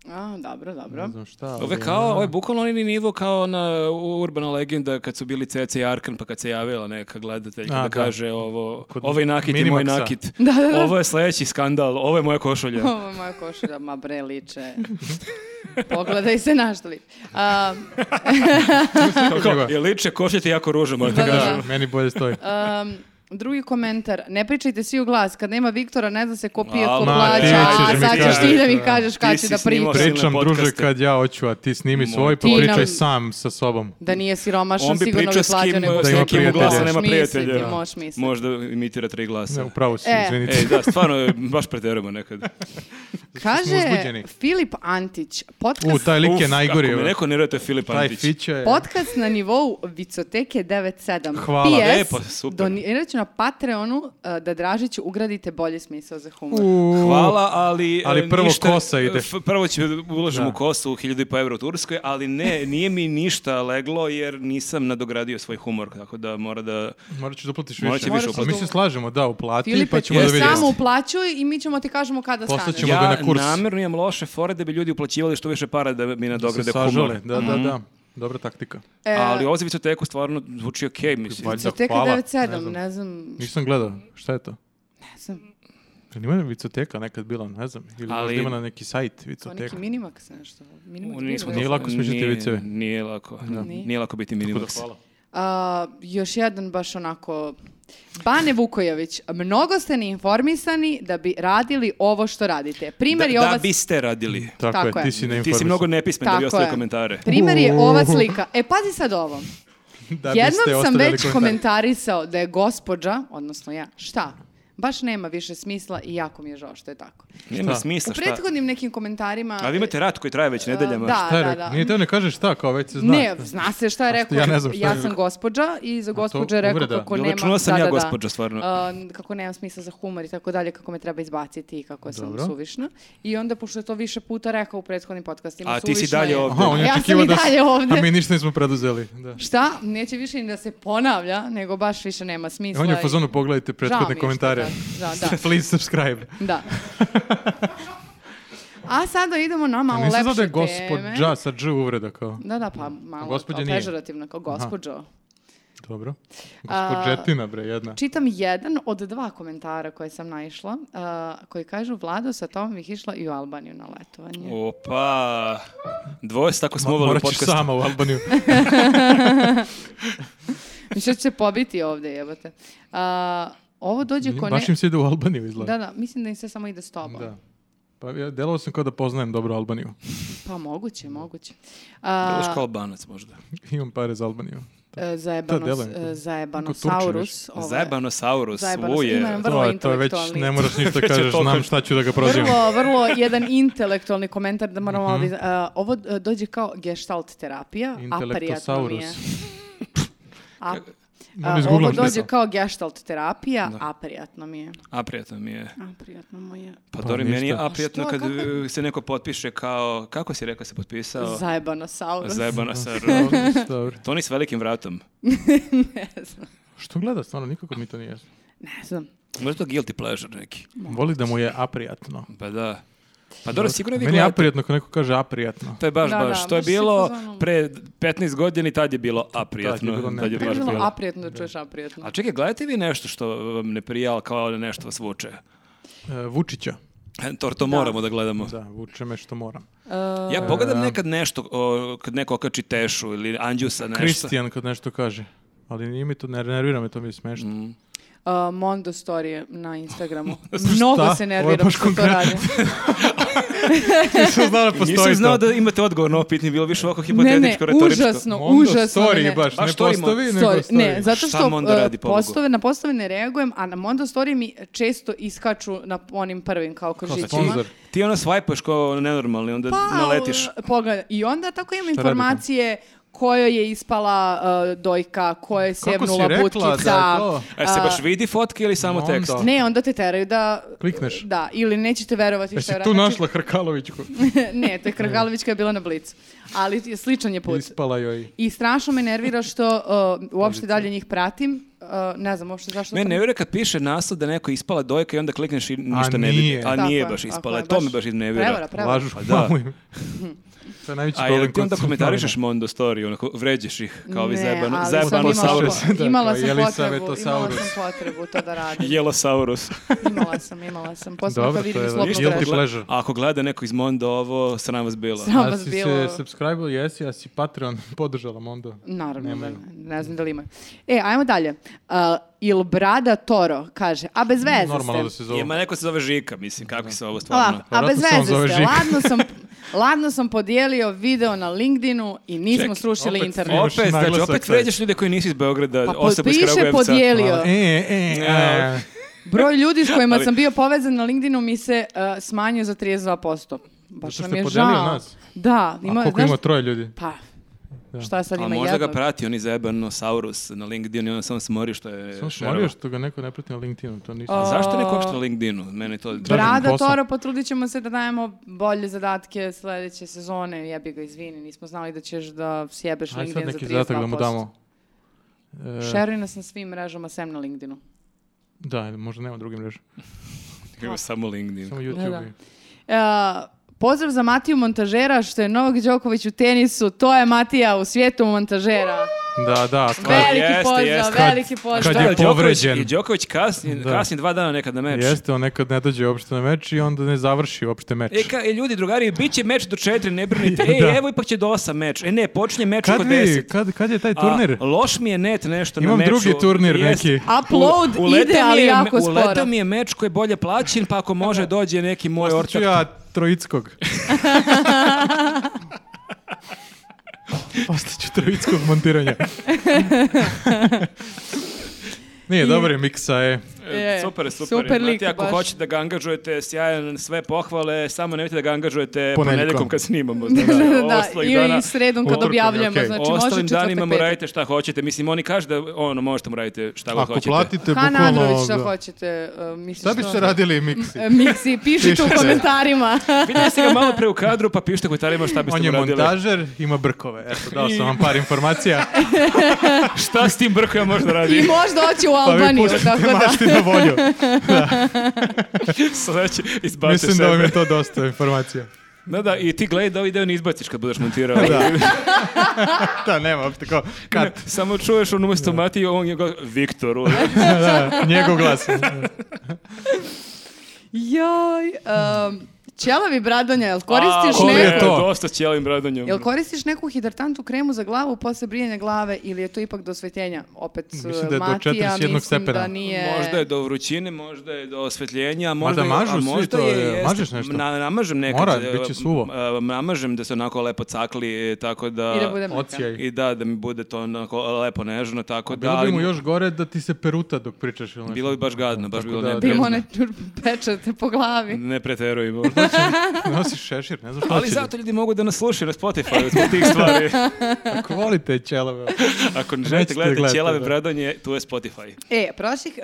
Speaker 1: A, dobro, dobro.
Speaker 2: ne znam šta. ono.
Speaker 3: Ovo je
Speaker 2: ali-
Speaker 3: kao, ovo je bukvalno oni nivo kao na urbana legenda kad su bili Ceca i Arkan pa kad se javila neka gledateljka
Speaker 2: A,
Speaker 3: da,
Speaker 2: da.
Speaker 3: kaže ovo,
Speaker 2: Kod
Speaker 3: ovaj nakit je moj
Speaker 2: Minimaxa.
Speaker 3: nakit. Ovo je sledeći skandal, ovo je moja košulja.
Speaker 1: Ovo je moja košulja, ma bre, liče. Pogledaj se na što liči. A,
Speaker 2: Kako njegova?
Speaker 3: Je liče, košulja ti je jako ruža, moram ti
Speaker 1: Da, da,
Speaker 3: kažem.
Speaker 1: da.
Speaker 2: Meni bolje stoji.
Speaker 1: um, drugi komentar, ne pričajte svi u glas, kad nema Viktora ne zna se ko pije, ko
Speaker 3: Al,
Speaker 2: ma,
Speaker 1: plaća,
Speaker 2: ti
Speaker 1: a
Speaker 2: ćeš mi
Speaker 1: sad ćeš
Speaker 2: kažeš,
Speaker 1: ti da mi
Speaker 2: da.
Speaker 1: kažeš
Speaker 3: Ti
Speaker 1: kad
Speaker 3: si
Speaker 1: će da
Speaker 3: snimao
Speaker 1: priča.
Speaker 3: sve.
Speaker 2: Pričam,
Speaker 3: podcaste.
Speaker 2: druže, kad ja hoću, a ti snimi svoj, pa
Speaker 1: Ti nam-
Speaker 2: pričaj sam sa sobom.
Speaker 1: Da nije siromašan,
Speaker 3: On bi
Speaker 1: sigurno bi
Speaker 3: pričao s
Speaker 1: plaćao
Speaker 3: kim,
Speaker 1: nego
Speaker 3: s
Speaker 2: Da ima
Speaker 3: nekim u
Speaker 2: prijatelja.
Speaker 3: glasa nema
Speaker 1: Možeš misliti,
Speaker 3: prijatelja.
Speaker 1: možeš misliti.
Speaker 3: Možda imitira tri glasa.
Speaker 2: Ne, upravo si,
Speaker 1: E.
Speaker 2: izvinite.
Speaker 3: Ej, da, stvarno, baš preterujemo nekad.
Speaker 1: Kaže
Speaker 2: uzbuđeni.
Speaker 1: Filip Antić,
Speaker 2: U,
Speaker 1: podcast,
Speaker 2: taj lik je
Speaker 3: E, Uf,
Speaker 2: najgori.
Speaker 3: Ako me
Speaker 2: evo.
Speaker 3: neko ne vjeruje, to je Filip
Speaker 2: Taj
Speaker 3: Antić.
Speaker 2: fića je...
Speaker 1: podcast na nivou Vicoteke 97.
Speaker 2: Hvala.
Speaker 1: PS,
Speaker 3: Lepo, super.
Speaker 1: donirat ću na Patreonu uh, da Dražiću ugradite bolji smisao za humor.
Speaker 2: U,
Speaker 3: Hvala, ali...
Speaker 2: Ali
Speaker 3: e,
Speaker 2: prvo
Speaker 3: ništa-
Speaker 2: kosa ide.
Speaker 3: f- Prvo ću uložim
Speaker 2: Da.
Speaker 3: u kosu, hiljadu i pa evra u Turskoj, ali ne, nije mi ništa leglo jer nisam nadogradio svoj humor, tako da mora da...
Speaker 2: Morat ćeš da uplatiš
Speaker 3: Morat
Speaker 2: više.
Speaker 3: ćeš više
Speaker 2: A mi
Speaker 1: uplatiti.
Speaker 2: se slažemo, da, uplati,
Speaker 1: Filipe,
Speaker 2: pa ćemo da
Speaker 1: ti
Speaker 2: vidimo.
Speaker 1: samo uplaćuj i mi ćemo ti kažemo kada
Speaker 2: Poslat
Speaker 1: staneš.
Speaker 2: ćemo- Idemo ga
Speaker 3: ja
Speaker 2: na kurs.
Speaker 3: namjerno imam loše fore da bi ljudi uplaćivali što više para da mi
Speaker 2: Se
Speaker 3: nadograde humor.
Speaker 2: sažale, da, da, da. Dobra taktika.
Speaker 1: E,
Speaker 3: Ali ovo za Vicoteku stvarno zvuči okej, mislim.
Speaker 2: Valjda,
Speaker 1: Vicoteka
Speaker 2: hvala.
Speaker 1: 97, ne znam,
Speaker 2: Nisam gledao, šta je to?
Speaker 1: ne znam,
Speaker 2: Jel Ima je vicoteka nekad bila, ne znam. Ili
Speaker 3: Ali-
Speaker 2: možda ima na neki sajt
Speaker 1: to
Speaker 2: vicoteka.
Speaker 1: pa neki minimax nešto. Minimax
Speaker 3: Nismo
Speaker 1: bio,
Speaker 2: Nije
Speaker 1: ne?
Speaker 3: to-
Speaker 2: lako smišljati
Speaker 3: nije-
Speaker 2: viceve.
Speaker 3: Nije lako.
Speaker 1: Nije.
Speaker 3: Nije lako biti minimax.
Speaker 1: A, još jedan baš onako... Bane Vukojević, mnogo ste neinformisani da bi radili ovo što radite. Primjer je
Speaker 3: Da, da
Speaker 1: ova...
Speaker 3: biste radili.
Speaker 2: Tako,
Speaker 1: Tako
Speaker 2: je,
Speaker 1: je.
Speaker 2: ti si
Speaker 3: Ti si
Speaker 2: neinformisan.
Speaker 3: mnogo nepismen da bi
Speaker 1: Tako
Speaker 3: ostavio
Speaker 1: je.
Speaker 3: komentare.
Speaker 1: Primjer je ova slika. E, pazi sad ovo.
Speaker 2: Da biste
Speaker 1: Jednom sam
Speaker 2: ostavljali
Speaker 1: već
Speaker 2: komentar.
Speaker 1: komentarisao da je gospođa, odnosno ja, šta? Baš nema više smisla i jako mi je žao što je tako.
Speaker 3: Nema
Speaker 2: Šta?
Speaker 3: smisla,
Speaker 1: U
Speaker 3: šta?
Speaker 1: prethodnim nekim komentarima...
Speaker 3: A vi imate rat koji traje već nedeljama.
Speaker 1: Da,
Speaker 2: Šta je
Speaker 1: da,
Speaker 2: rekao?
Speaker 1: da.
Speaker 2: Nije teo ne kažeš šta, kao već se zna.
Speaker 1: Ne, zna se šta je
Speaker 2: A što
Speaker 1: rekao.
Speaker 2: ja ne znam šta je
Speaker 1: sam
Speaker 2: rekao.
Speaker 1: gospođa i za gospođu je rekao
Speaker 2: uvreda.
Speaker 1: kako
Speaker 3: Jel'
Speaker 1: nema...
Speaker 3: računao sam
Speaker 1: da,
Speaker 3: ja
Speaker 1: da, da.
Speaker 3: gospođa, stvarno?
Speaker 1: A, kako nema smisla za humor i tako dalje, kako me treba izbaciti i kako sam
Speaker 2: Dobro.
Speaker 1: suvišna. I onda, pošto je to više puta rekao u prethodnim podcastima,
Speaker 3: A ti si
Speaker 1: suvišna
Speaker 3: dalje
Speaker 1: je.
Speaker 3: ovde.
Speaker 2: Aha, on je
Speaker 1: Ja sam
Speaker 2: očekivao
Speaker 1: i
Speaker 2: da s-
Speaker 1: dalje ovde.
Speaker 2: A mi ništa nismo preduzeli. Da.
Speaker 1: Šta? Neće više ni da se ponavlja, nego baš više nema smisla.
Speaker 2: On je u
Speaker 1: i-
Speaker 2: fazonu, pogledajte
Speaker 1: Žao mi je
Speaker 2: prethodne
Speaker 1: što
Speaker 2: komentare.
Speaker 1: Da, da.
Speaker 2: Please subscribe.
Speaker 1: da. A sada idemo na malo
Speaker 2: Nisam znao
Speaker 1: lepše
Speaker 2: da je
Speaker 1: teme.
Speaker 2: gospođa sa dž uvreda kao.
Speaker 1: Da, da, pa malo
Speaker 2: Gospođa
Speaker 1: kao
Speaker 2: nije.
Speaker 1: pežorativno, kao gospođo.
Speaker 2: Dobro. Gospođetina, bre, jedna.
Speaker 1: Čitam jedan od dva komentara koje sam naišla, a, koji kažu Vlado, sa tom bih išla i u Albaniju na letovanje.
Speaker 3: Opa, dvoje se tako smo
Speaker 2: Ma-
Speaker 3: uvali u
Speaker 2: Morat ćeš
Speaker 3: podcastu.
Speaker 2: sama u Albaniju.
Speaker 1: Mislim da će se pobiti ovdje, jebate. A, ovo dođe ko ne...
Speaker 2: Baš im se ide u Albaniju izgleda.
Speaker 1: Da, da, mislim da im se samo ide s tobom.
Speaker 2: Da. Pa ja delovao sam kao da poznajem dobro Albaniju.
Speaker 1: Pa moguće, moguće. A,
Speaker 3: Deluš kao Albanac možda.
Speaker 2: Imam pare za Albaniju.
Speaker 1: e,
Speaker 2: Da,
Speaker 1: Zajebanos,
Speaker 2: delujem kao-
Speaker 1: e,
Speaker 2: kao Turčin više.
Speaker 1: zajebanosaurus. ovo je-
Speaker 3: Zajebanosaurus,
Speaker 1: Zajebanosaurus,
Speaker 3: uje.
Speaker 1: ima jedan vrlo
Speaker 2: To, je- to je već,
Speaker 1: intelektualni.
Speaker 2: ne moraš ništa
Speaker 3: Već je
Speaker 2: kažeš,
Speaker 3: toliko-
Speaker 2: znam šta ću da ga prozivam.
Speaker 1: Vrlo, vrlo jedan intelektualni komentar da
Speaker 2: Mhm.
Speaker 1: moramo ovdje- a, ovo e, dođe kao gestalt terapija, a prijatno mi je.
Speaker 2: Intelektosaurus.
Speaker 1: A,
Speaker 2: Moram
Speaker 1: a, ovo
Speaker 2: izgooglam šta je
Speaker 1: dođe
Speaker 2: to.
Speaker 1: kao gestalt terapija, a prijatno mi je.
Speaker 3: A prijatno mi je.
Speaker 1: A prijatno mu je.
Speaker 3: Pa,
Speaker 2: Pa
Speaker 3: Dori, meni je
Speaker 2: ništa.
Speaker 3: a prijatno
Speaker 1: Što,
Speaker 3: kad
Speaker 1: kako je?
Speaker 3: uh, se neko potpiše kao, kako si rekao se potpisao?
Speaker 1: Zajebanosaurus.
Speaker 3: Zajebanosaurus.
Speaker 2: Dobro.
Speaker 3: Toni s velikim vratom.
Speaker 1: ne znam.
Speaker 2: Što gleda stvarno, nikako mi to nije jasno.
Speaker 1: Ne znam.
Speaker 3: Možda to guilty pleasure neki.
Speaker 2: Voli da mu je aprijatno.
Speaker 3: Pa da. Pa dobro, sigurno vi
Speaker 2: Meni je
Speaker 3: gledate.
Speaker 2: aprijatno ako neko kaže aprijatno.
Speaker 3: To je baš,
Speaker 1: Da,
Speaker 3: baš.
Speaker 1: da,
Speaker 3: to je
Speaker 1: baš si
Speaker 3: bilo
Speaker 1: fazonu.
Speaker 3: pre 15 godina i tad je bilo a prijatno.
Speaker 2: bilo ne-
Speaker 3: Tad je
Speaker 2: Ne
Speaker 1: Ne
Speaker 3: baš
Speaker 1: bi
Speaker 2: bi
Speaker 1: bilo
Speaker 2: bilo.
Speaker 1: a prijatno da čuješ a prijatno.
Speaker 3: A čekaj, gledate vi nešto što vam ne prijal, kao da nešto vas vuče?
Speaker 2: E, Vučića.
Speaker 3: To, to moramo da gledamo.
Speaker 2: Da, vuče me što moram.
Speaker 3: Ja pogledam nekad nešto, o, kad neko okači tešu ili Andjusa nešto.
Speaker 2: Kristijan kad nešto kaže. Ali nije mi to, ne nervira me, to mi je smešno.
Speaker 1: Mm. A, Mondo story je na Instagramu. Mnogo
Speaker 2: Šta?
Speaker 1: se
Speaker 2: Ovo je
Speaker 1: nerviram
Speaker 2: baš
Speaker 1: što to radi.
Speaker 2: Nisam znao da
Speaker 3: Nisam
Speaker 2: postoji
Speaker 3: znao
Speaker 2: to.
Speaker 3: da imate odgovor na ovo pitanje, bilo je više ovako
Speaker 1: Ne, ne,
Speaker 3: hipotetičko, retoričko.
Speaker 1: užasno,
Speaker 2: Onda
Speaker 1: užasno.
Speaker 2: story
Speaker 1: ne.
Speaker 2: baš,
Speaker 3: A
Speaker 2: ne
Speaker 3: što ima?
Speaker 2: postovi, nego
Speaker 1: Story,
Speaker 2: story.
Speaker 1: ne, zato
Speaker 3: Šta
Speaker 1: što
Speaker 3: Mondo
Speaker 1: e,
Speaker 3: radi, pobogu?
Speaker 1: postove, na postove ne reagujem, a na Mondo story mi često iskaču na onim prvim kao kožićima.
Speaker 2: Sponzor.
Speaker 3: Ti ono swajpaš kao nenormalni, onda naletiš.
Speaker 1: e, Pogledaj, i onda tako imam
Speaker 2: Pa, Šta radi tamo?
Speaker 1: informacije kojoj je ispala e, dojka, koja je
Speaker 2: Kako si
Speaker 1: sjebnula
Speaker 2: rekla da je
Speaker 1: butkica.
Speaker 2: to?
Speaker 3: E, se
Speaker 1: a,
Speaker 3: baš vidi fotke ili samo
Speaker 2: Onda.
Speaker 3: tekst?
Speaker 1: Ne, onda te teraju da...
Speaker 2: Klikneš.
Speaker 1: Da, ili nećete verovati
Speaker 2: Jesi
Speaker 1: što je
Speaker 2: tu
Speaker 1: uradio.
Speaker 2: našla Hrkalovićku?
Speaker 1: ne, to je Kragalovićka je bila na blicu. Ali je- sličan je put.
Speaker 2: Ispala joj.
Speaker 1: I strašno me nervira što uh, uopšte dalje njih pratim. Uh, ne znam uopšte zašto.
Speaker 3: Me
Speaker 1: sam-
Speaker 3: ne vjeruje kad piše naslov da je neko ispala dojka i onda klikneš i ništa ne
Speaker 2: nije.
Speaker 3: vidi. A
Speaker 1: Tako
Speaker 3: nije
Speaker 1: je,
Speaker 3: baš
Speaker 1: tako
Speaker 3: ispala.
Speaker 1: je,
Speaker 3: To me baš
Speaker 1: Prevara,
Speaker 3: iznevjera.
Speaker 1: prevara.
Speaker 2: Lažu
Speaker 3: Pa da.
Speaker 2: mamu im. To je najveći
Speaker 3: A
Speaker 2: problem.
Speaker 3: jel ti
Speaker 2: kod
Speaker 3: onda
Speaker 2: svih
Speaker 3: komentarišeš
Speaker 2: novina.
Speaker 3: Mondo story, onako vređaš ih kao vi
Speaker 1: Ne,
Speaker 3: zajebano,
Speaker 1: ali sam
Speaker 3: zajebano
Speaker 1: imala,
Speaker 3: saurus.
Speaker 2: saurus.
Speaker 1: po- imala
Speaker 2: Dakle,
Speaker 1: sam potrebu, imala
Speaker 2: Jelisavetosaurus.
Speaker 1: sam potrebu to da radim.
Speaker 3: Jela saurus.
Speaker 1: Imala sam, imala sam. Posle
Speaker 2: Dobro,
Speaker 1: to
Speaker 2: to
Speaker 1: vidim
Speaker 2: je
Speaker 1: slobodno
Speaker 2: guilty
Speaker 1: tražim.
Speaker 2: pleasure.
Speaker 3: Ako gleda neko iz Mondo ovo, sram vas bilo.
Speaker 1: Sram.
Speaker 2: A
Speaker 1: vas
Speaker 2: si
Speaker 1: bilo-
Speaker 2: se subscribe jesi, a si Patreon podržala Mondo.
Speaker 1: Naravno, da,
Speaker 2: Nemaju.
Speaker 1: ne, ne znam da li ima. E, ajmo dalje. Uh, Il Brada Toro kaže, a bez veze
Speaker 2: Normalno
Speaker 1: ste.
Speaker 2: da se zove.
Speaker 3: Ima neko se zove Žika, mislim, kako se ovo stvarno.
Speaker 1: Ovako, a bez
Speaker 2: Vjerojatno se on
Speaker 1: veze
Speaker 2: zove
Speaker 1: ste.
Speaker 2: Žika.
Speaker 1: Ladno sam, ladno sam podijelio video na LinkedInu i nismo
Speaker 3: Ček,
Speaker 1: srušili
Speaker 2: opet
Speaker 1: internet.
Speaker 2: Imaš
Speaker 3: Opet, znači,
Speaker 2: naglasak
Speaker 3: opet
Speaker 2: sad.
Speaker 3: vređaš ljude koji nisu iz Beograda,
Speaker 1: Pa
Speaker 3: osobu iz
Speaker 1: potpiše
Speaker 3: Kragujevca.
Speaker 1: podijelio.
Speaker 2: E, e, e.
Speaker 1: Broj ljudi s kojima
Speaker 3: Ali-
Speaker 1: sam bio povezan na LinkedInu mi se uh, smanjio za 32%. Baš nam
Speaker 2: Zato što
Speaker 1: je
Speaker 2: je
Speaker 1: žao.
Speaker 2: podelio nas?
Speaker 1: Da, ima,
Speaker 2: A koliko
Speaker 1: znaš-
Speaker 2: ima troje ljudi?
Speaker 1: Pa, šta sad
Speaker 3: A
Speaker 1: ima
Speaker 3: možda ga
Speaker 1: jednog?
Speaker 3: prati, on zajebano Saurus na Linkedinu i on samo smori što je...
Speaker 2: Samo sam morio što ga neko ne prati na LinkedInu, to nisam.
Speaker 3: A
Speaker 2: znao.
Speaker 3: zašto neko uopšte na LinkedInu? Mene to...
Speaker 1: Brada
Speaker 2: posao.
Speaker 1: Toro, potrudit ćemo se da dajemo bolje zadatke sledeće sezone. Jebi ga, izvini, nismo znali da ćeš da sjebeš
Speaker 2: Ajde sad
Speaker 1: LinkedIn za
Speaker 2: neki
Speaker 1: 32%.
Speaker 2: zadatak da mu damo. E,
Speaker 1: Šeruj nas na svim mrežama, sem na LinkedInu.
Speaker 2: da, ili možda nema drugim mreža.
Speaker 3: Ima samo LinkedIn.
Speaker 2: Samo
Speaker 1: Da, da.
Speaker 2: YouTube.
Speaker 1: E, pozdrav za Matiju Montažera, što je Novak Đoković u tenisu. To je Matija u svijetu montažera.
Speaker 2: Da, da, stvar.
Speaker 1: Veliki
Speaker 3: jeste,
Speaker 1: pozdrav,
Speaker 3: jeste.
Speaker 1: veliki pozdrav.
Speaker 2: kad je
Speaker 3: Đoković-
Speaker 2: povređen.
Speaker 3: I Đoković kasni,
Speaker 2: Da.
Speaker 3: kasni dva dana nekad na meč.
Speaker 2: Jeste, on nekad ne dođe uopšte na meč i onda ne završi uopšte meč.
Speaker 3: E, ka, e, ljudi, drugari, bit će meč do četiri, ne brinite. E,
Speaker 2: Da.
Speaker 3: evo ipak će do osam meč. E, ne, počinje meč oko
Speaker 2: kad, vi,
Speaker 3: deset.
Speaker 2: kad, kad je taj
Speaker 3: A,
Speaker 2: turnir?
Speaker 3: loš mi je net nešto na
Speaker 2: Imam
Speaker 3: meču.
Speaker 2: drugi turnir
Speaker 3: Jest.
Speaker 2: neki.
Speaker 1: Upload
Speaker 3: U- uletao
Speaker 1: ide,
Speaker 3: mi
Speaker 1: ali
Speaker 3: je-
Speaker 1: jako
Speaker 3: Uletao
Speaker 1: sporo.
Speaker 3: mi je meč koji je bolje plaćen, pa ako može dođe neki moj
Speaker 2: Hoću
Speaker 3: ortak.
Speaker 2: ja Trojickog. Ostaću Trojickog montiranja. Nije, dobar je miksa, e.
Speaker 1: Je,
Speaker 3: super, super.
Speaker 1: super lik,
Speaker 3: Znate, ako
Speaker 1: baš.
Speaker 3: hoćete da ga angažujete, sjajan, sve pohvale, samo nemojte da ga angažujete
Speaker 2: Ponedjeljkom.
Speaker 3: ponedjeljkom kad snimamo. Znači,
Speaker 1: da,
Speaker 3: ostalih dana-
Speaker 1: i sredom kad
Speaker 2: Utorkom,
Speaker 1: objavljamo.
Speaker 2: okej.
Speaker 1: Znači, može
Speaker 3: ostalim
Speaker 1: četvrtak,
Speaker 3: danima mu
Speaker 1: petak.
Speaker 3: radite šta hoćete. Mislim, oni kažu da ono, možete mu radite šta god
Speaker 2: Ako
Speaker 3: hoćete.
Speaker 2: platite,
Speaker 1: Han Andrović, šta
Speaker 2: bukvalno...
Speaker 1: hoćete? Uh, misliš
Speaker 2: Šta biste
Speaker 1: što-
Speaker 2: radili miksi?
Speaker 1: E, Miksi, pišite u
Speaker 2: Pišite.
Speaker 1: komentarima.
Speaker 3: Vidjeli ste ga malo pre u kadru, pa pišite komentarima šta biste
Speaker 2: On
Speaker 3: mu
Speaker 2: je
Speaker 3: radili.
Speaker 2: montažer, ima brkove. Eto, dao sam vam par informacija.
Speaker 3: Šta s tim brkojom možda
Speaker 1: I
Speaker 3: radi?
Speaker 1: možda oći u
Speaker 2: Pa vi
Speaker 1: Albaniju, tako
Speaker 2: pustite
Speaker 1: da.
Speaker 2: mašti na volju.
Speaker 3: Sledeće, izbacite
Speaker 2: Mislim da
Speaker 3: sebe.
Speaker 2: vam je to dosta informacija.
Speaker 3: Znači, Da, da, i ti gledaj ovaj deo ne izbaciš kad budeš montirao.
Speaker 2: Da, nema, uopšte kao kat.
Speaker 3: Samo čuješ on umesto Mati, on je go... Viktor. u-
Speaker 2: Da, njegov glas.
Speaker 1: Jaj, um, ćelavi bradonja, jel koristiš
Speaker 3: A, ovo
Speaker 2: je
Speaker 1: neku?
Speaker 2: to?
Speaker 3: Dosta ćelim bradonjom.
Speaker 1: Jel koristiš neku hidratantu kremu za glavu posle brijanja glave ili je to ipak do osvetljenja? Opet
Speaker 2: Mislim da je do
Speaker 1: Matija,
Speaker 2: 41
Speaker 1: mislim da
Speaker 2: stepena.
Speaker 1: nije...
Speaker 3: Možda je do vrućine, možda je do osvetljenja, možda,
Speaker 2: da
Speaker 3: je-
Speaker 2: mažu svi
Speaker 3: a možda
Speaker 2: to,
Speaker 3: je,
Speaker 2: je,
Speaker 3: jeste.
Speaker 2: mažeš nešto?
Speaker 3: Na, namažem nekad.
Speaker 2: Mora,
Speaker 3: e,
Speaker 2: bit će suvo.
Speaker 3: e, Namažem da se onako lepo cakli, e, tako da...
Speaker 1: I da bude mrka.
Speaker 2: Ocijaj.
Speaker 3: I da, da mi bude to onako lepo nežno, tako da...
Speaker 2: Bilo bi
Speaker 3: ali-
Speaker 2: mu još gore da ti se peruta dok pričaš ili nešto.
Speaker 3: Bilo bi baš gadno, baš
Speaker 2: Tako
Speaker 3: bilo
Speaker 2: da-
Speaker 1: Da ima
Speaker 3: neprijatno.
Speaker 1: one pečat po glavi.
Speaker 3: Ne preterujemo.
Speaker 2: Nosiš šešir, ne znam šta
Speaker 3: Ali
Speaker 2: Pa će
Speaker 3: zato ljudi mogu da nas slušaju na Spotify zbog tih stvari.
Speaker 2: da- Ako volite ćelave.
Speaker 3: Ako ne
Speaker 2: Nećete
Speaker 3: želite gledati
Speaker 2: gledati,
Speaker 3: ćelave
Speaker 2: da.
Speaker 3: bradanje, tu je Spotify.
Speaker 1: E, prošlih,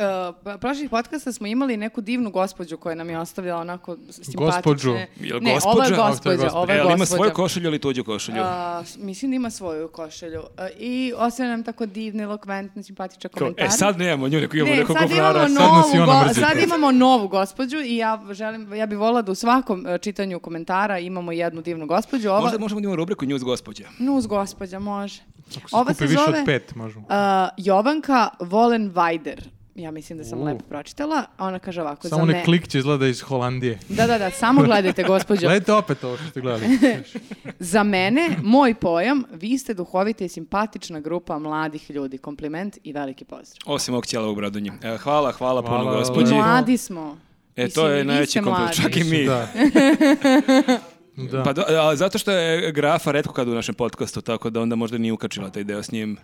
Speaker 1: uh, prošlih podcasta smo imali neku divnu gospođu koja nam je ostavila onako simpatične...
Speaker 2: Gospođu.
Speaker 3: Jel
Speaker 1: Ne, ovo je
Speaker 2: A,
Speaker 3: gospođa?
Speaker 2: to je
Speaker 1: gospođa,
Speaker 2: gospođa.
Speaker 1: ovo
Speaker 3: E,
Speaker 1: je
Speaker 3: ali ima
Speaker 1: gospođa.
Speaker 3: svoju košulju ili tuđu košulju?
Speaker 1: A, s- mislim da ima svoju košelju. A, I ostavlja nam tako divne, elokventne, simpatične
Speaker 3: Kao,
Speaker 1: komentare.
Speaker 3: E, sad nemamo nju, neko imamo
Speaker 1: ne,
Speaker 3: nekog
Speaker 1: sad imamo,
Speaker 3: govnara.
Speaker 2: sad
Speaker 1: novu,
Speaker 2: nas i ona
Speaker 1: go-
Speaker 2: mrzi.
Speaker 1: sad imamo novu gospođu i ja, želim, ja bi volila da u svakom e, čitanju komentara imamo jednu divnu gospođu. Ova,
Speaker 3: Možda možemo da imamo rubriku News gospođa.
Speaker 1: Nuz gospođa, može.
Speaker 2: Ako se kupi više od pet, možu.
Speaker 1: a, Uh, Jovanka Volen Vajder. Ja mislim da sam
Speaker 2: U.
Speaker 1: lepo pročitala. a Ona kaže ovako.
Speaker 2: Samo
Speaker 1: za
Speaker 2: ne
Speaker 1: me-
Speaker 2: klik će izgleda iz Holandije.
Speaker 1: Da, da, da, samo gledajte, gospođo.
Speaker 2: Gledajte opet ovo što ste gledali.
Speaker 1: Za mene, moj pojam, vi ste duhovita i simpatična grupa mladih ljudi. Kompliment i veliki pozdrav.
Speaker 3: Osim ovog ćela u bradonju. E, hvala, hvala, puno
Speaker 2: Hvala.
Speaker 3: gospođi.
Speaker 2: Mla-
Speaker 1: Mladi smo.
Speaker 3: E,
Speaker 1: Mislim,
Speaker 3: to
Speaker 1: i vi
Speaker 3: je
Speaker 1: ste
Speaker 3: najveći kompliment,
Speaker 1: mladi.
Speaker 3: čak i mi.
Speaker 2: Da. Da.
Speaker 3: Pa do- a, zato što je grafa redko kad u našem podcastu, tako da onda možda nije ukačila taj deo s njim.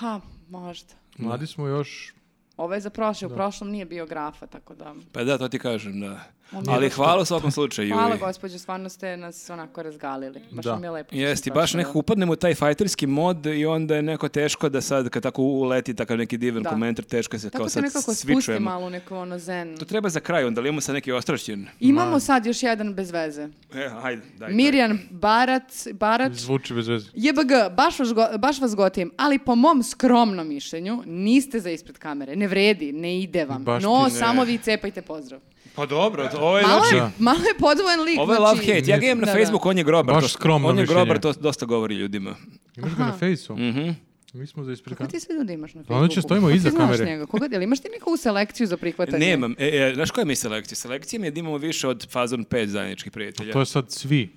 Speaker 1: Pa, možda.
Speaker 2: Mladi smo još...
Speaker 1: Ovo je za prošle, u prošlom nije bio grafa, tako da...
Speaker 3: Pa da, to ti kažem, da.
Speaker 1: Onda
Speaker 3: Ali
Speaker 1: je to-
Speaker 3: hvala u svakom slučaju.
Speaker 1: Hvala,
Speaker 3: i-
Speaker 1: gospođo, stvarno ste nas onako razgalili. Baš
Speaker 2: Da.
Speaker 1: nam je lepo.
Speaker 3: Jeste, i baš nekako upadnemo u taj fajterski mod i onda je neko teško da sad kad tako uleti takav neki divan
Speaker 1: Da.
Speaker 3: komentar, teško je se
Speaker 1: Tako
Speaker 3: kao
Speaker 1: se
Speaker 3: sad
Speaker 1: nekako
Speaker 3: svi
Speaker 1: spusti
Speaker 3: čujemo.
Speaker 1: malo u neko ono zen.
Speaker 3: To treba za kraj, onda li imamo sad neki ostrašćen?
Speaker 1: Imamo sad još jedan bez veze.
Speaker 3: E, ajde, daj.
Speaker 1: Mirjan Barac, Barač,
Speaker 2: Zvuči bez veze.
Speaker 1: JBG, baš vas, go- baš vas gotivim, ali po mom skromnom mišljenju niste za ispred kamere, ne vredi, ne ide vam.
Speaker 2: Baš ti
Speaker 1: no,
Speaker 2: ne.
Speaker 1: samo vi cepajte pozdrav.
Speaker 3: Pa dobro, to- ovo je,
Speaker 1: Malo je,
Speaker 2: Da.
Speaker 1: malo je podvojen lik.
Speaker 3: ovo je love
Speaker 1: znači-
Speaker 3: hate. Ja ga imam na
Speaker 1: Da, da.
Speaker 3: Facebooku, on je grobar.
Speaker 2: Baš
Speaker 3: to-
Speaker 2: skromno
Speaker 3: On je
Speaker 2: mišljenje.
Speaker 3: grobar, to dosta govori ljudima.
Speaker 2: Imaš ga na fejsu?
Speaker 3: Mhm.
Speaker 2: Mi smo za ispred
Speaker 1: Kako Pa ti sve ljudi imaš na Facebooku?
Speaker 2: Ono će stojimo
Speaker 1: Kako
Speaker 2: iza
Speaker 1: ti znaš
Speaker 2: kamere.
Speaker 1: Njega? Koga, jel imaš ti neku selekciju za prihvatanje?
Speaker 3: Nemam. E, e, znaš koja je mi selekcija? Selekcija mi je da imamo više od fazon pet zajedničkih prijatelja.
Speaker 2: To je sad svi.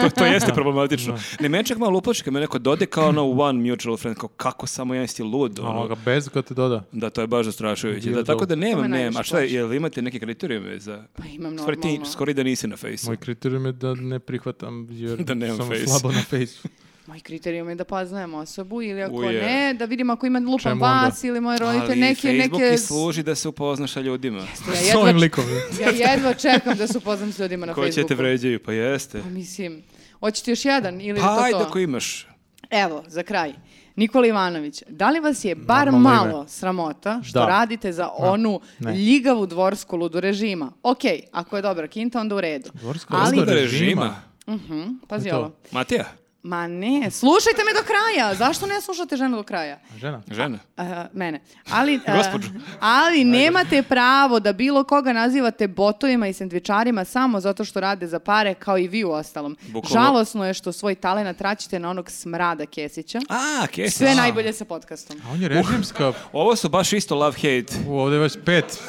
Speaker 3: to, to jeste problematično. Ne, mene čak malo uplaši kad me neko dode kao ono one mutual friend, kao kako samo jedan isti lud. ono.
Speaker 2: Ono ga bez kad te doda.
Speaker 3: Da, to je baš zastrašujuće.
Speaker 2: Dildo.
Speaker 3: Da, tako da
Speaker 1: To me
Speaker 3: nemam, nemam.
Speaker 1: najviše
Speaker 3: A šta, je,
Speaker 1: plaši.
Speaker 3: jel imate neke kriterijume za...
Speaker 1: Pa imam
Speaker 3: Stvari, ti
Speaker 1: normalno.
Speaker 3: skoro i da nisi na fejsu.
Speaker 2: Moj kriterijum je da ne prihvatam jer
Speaker 3: Da nemam
Speaker 2: sam
Speaker 3: fejs.
Speaker 2: slabo na fejsu.
Speaker 1: Moj kriterijum je da poznajem osobu ili ako
Speaker 3: Uje.
Speaker 1: ne, da vidim ako ima lupam
Speaker 2: Čemu onda?
Speaker 1: vas ili moje roditelje,
Speaker 3: Ali
Speaker 1: neke,
Speaker 3: Facebook
Speaker 1: neke...
Speaker 3: i služi da se upoznaš sa ljudima.
Speaker 2: S
Speaker 1: Ja
Speaker 2: ovim
Speaker 1: jedva,
Speaker 2: likom.
Speaker 1: ja jedva čekam da se upoznam s ljudima na
Speaker 3: Koji će
Speaker 1: Facebooku.
Speaker 3: te vređaju, pa jeste.
Speaker 1: Pa Mislim, hoćete još jedan ili je
Speaker 3: Pa
Speaker 1: to
Speaker 3: ajde
Speaker 1: to?
Speaker 3: ako imaš.
Speaker 1: Evo, za kraj. Nikola Ivanović, da li vas je bar
Speaker 2: Normalno ime.
Speaker 1: malo sramota što
Speaker 2: Da.
Speaker 1: radite za onu
Speaker 2: Ne.
Speaker 1: ljigavu dvorsku ludu režima? Ok, ako je dobra kinta, onda u redu.
Speaker 2: Dvorska
Speaker 1: Ali,
Speaker 3: Luda
Speaker 2: luda
Speaker 3: režima.
Speaker 1: Mhm, pazi
Speaker 2: Je to.
Speaker 1: ovo.
Speaker 3: Matija,
Speaker 1: Ma ne, slušajte me do kraja. Zašto ne slušate ženu do kraja?
Speaker 2: Žena.
Speaker 3: žena.
Speaker 1: E, mene. Ali, e,
Speaker 3: Gospođu.
Speaker 1: ali nemate pravo da bilo koga nazivate botovima i sendvičarima samo zato što rade za pare kao i vi u ostalom.
Speaker 3: Bukvalno.
Speaker 1: Žalosno je što svoj talenat traćite na onog smrada Kesića.
Speaker 3: A, Kesić.
Speaker 1: Sve najbolje sa podcastom.
Speaker 2: A on je režimska.
Speaker 3: Ovo su baš isto love hate.
Speaker 2: U, ovdje je već pet.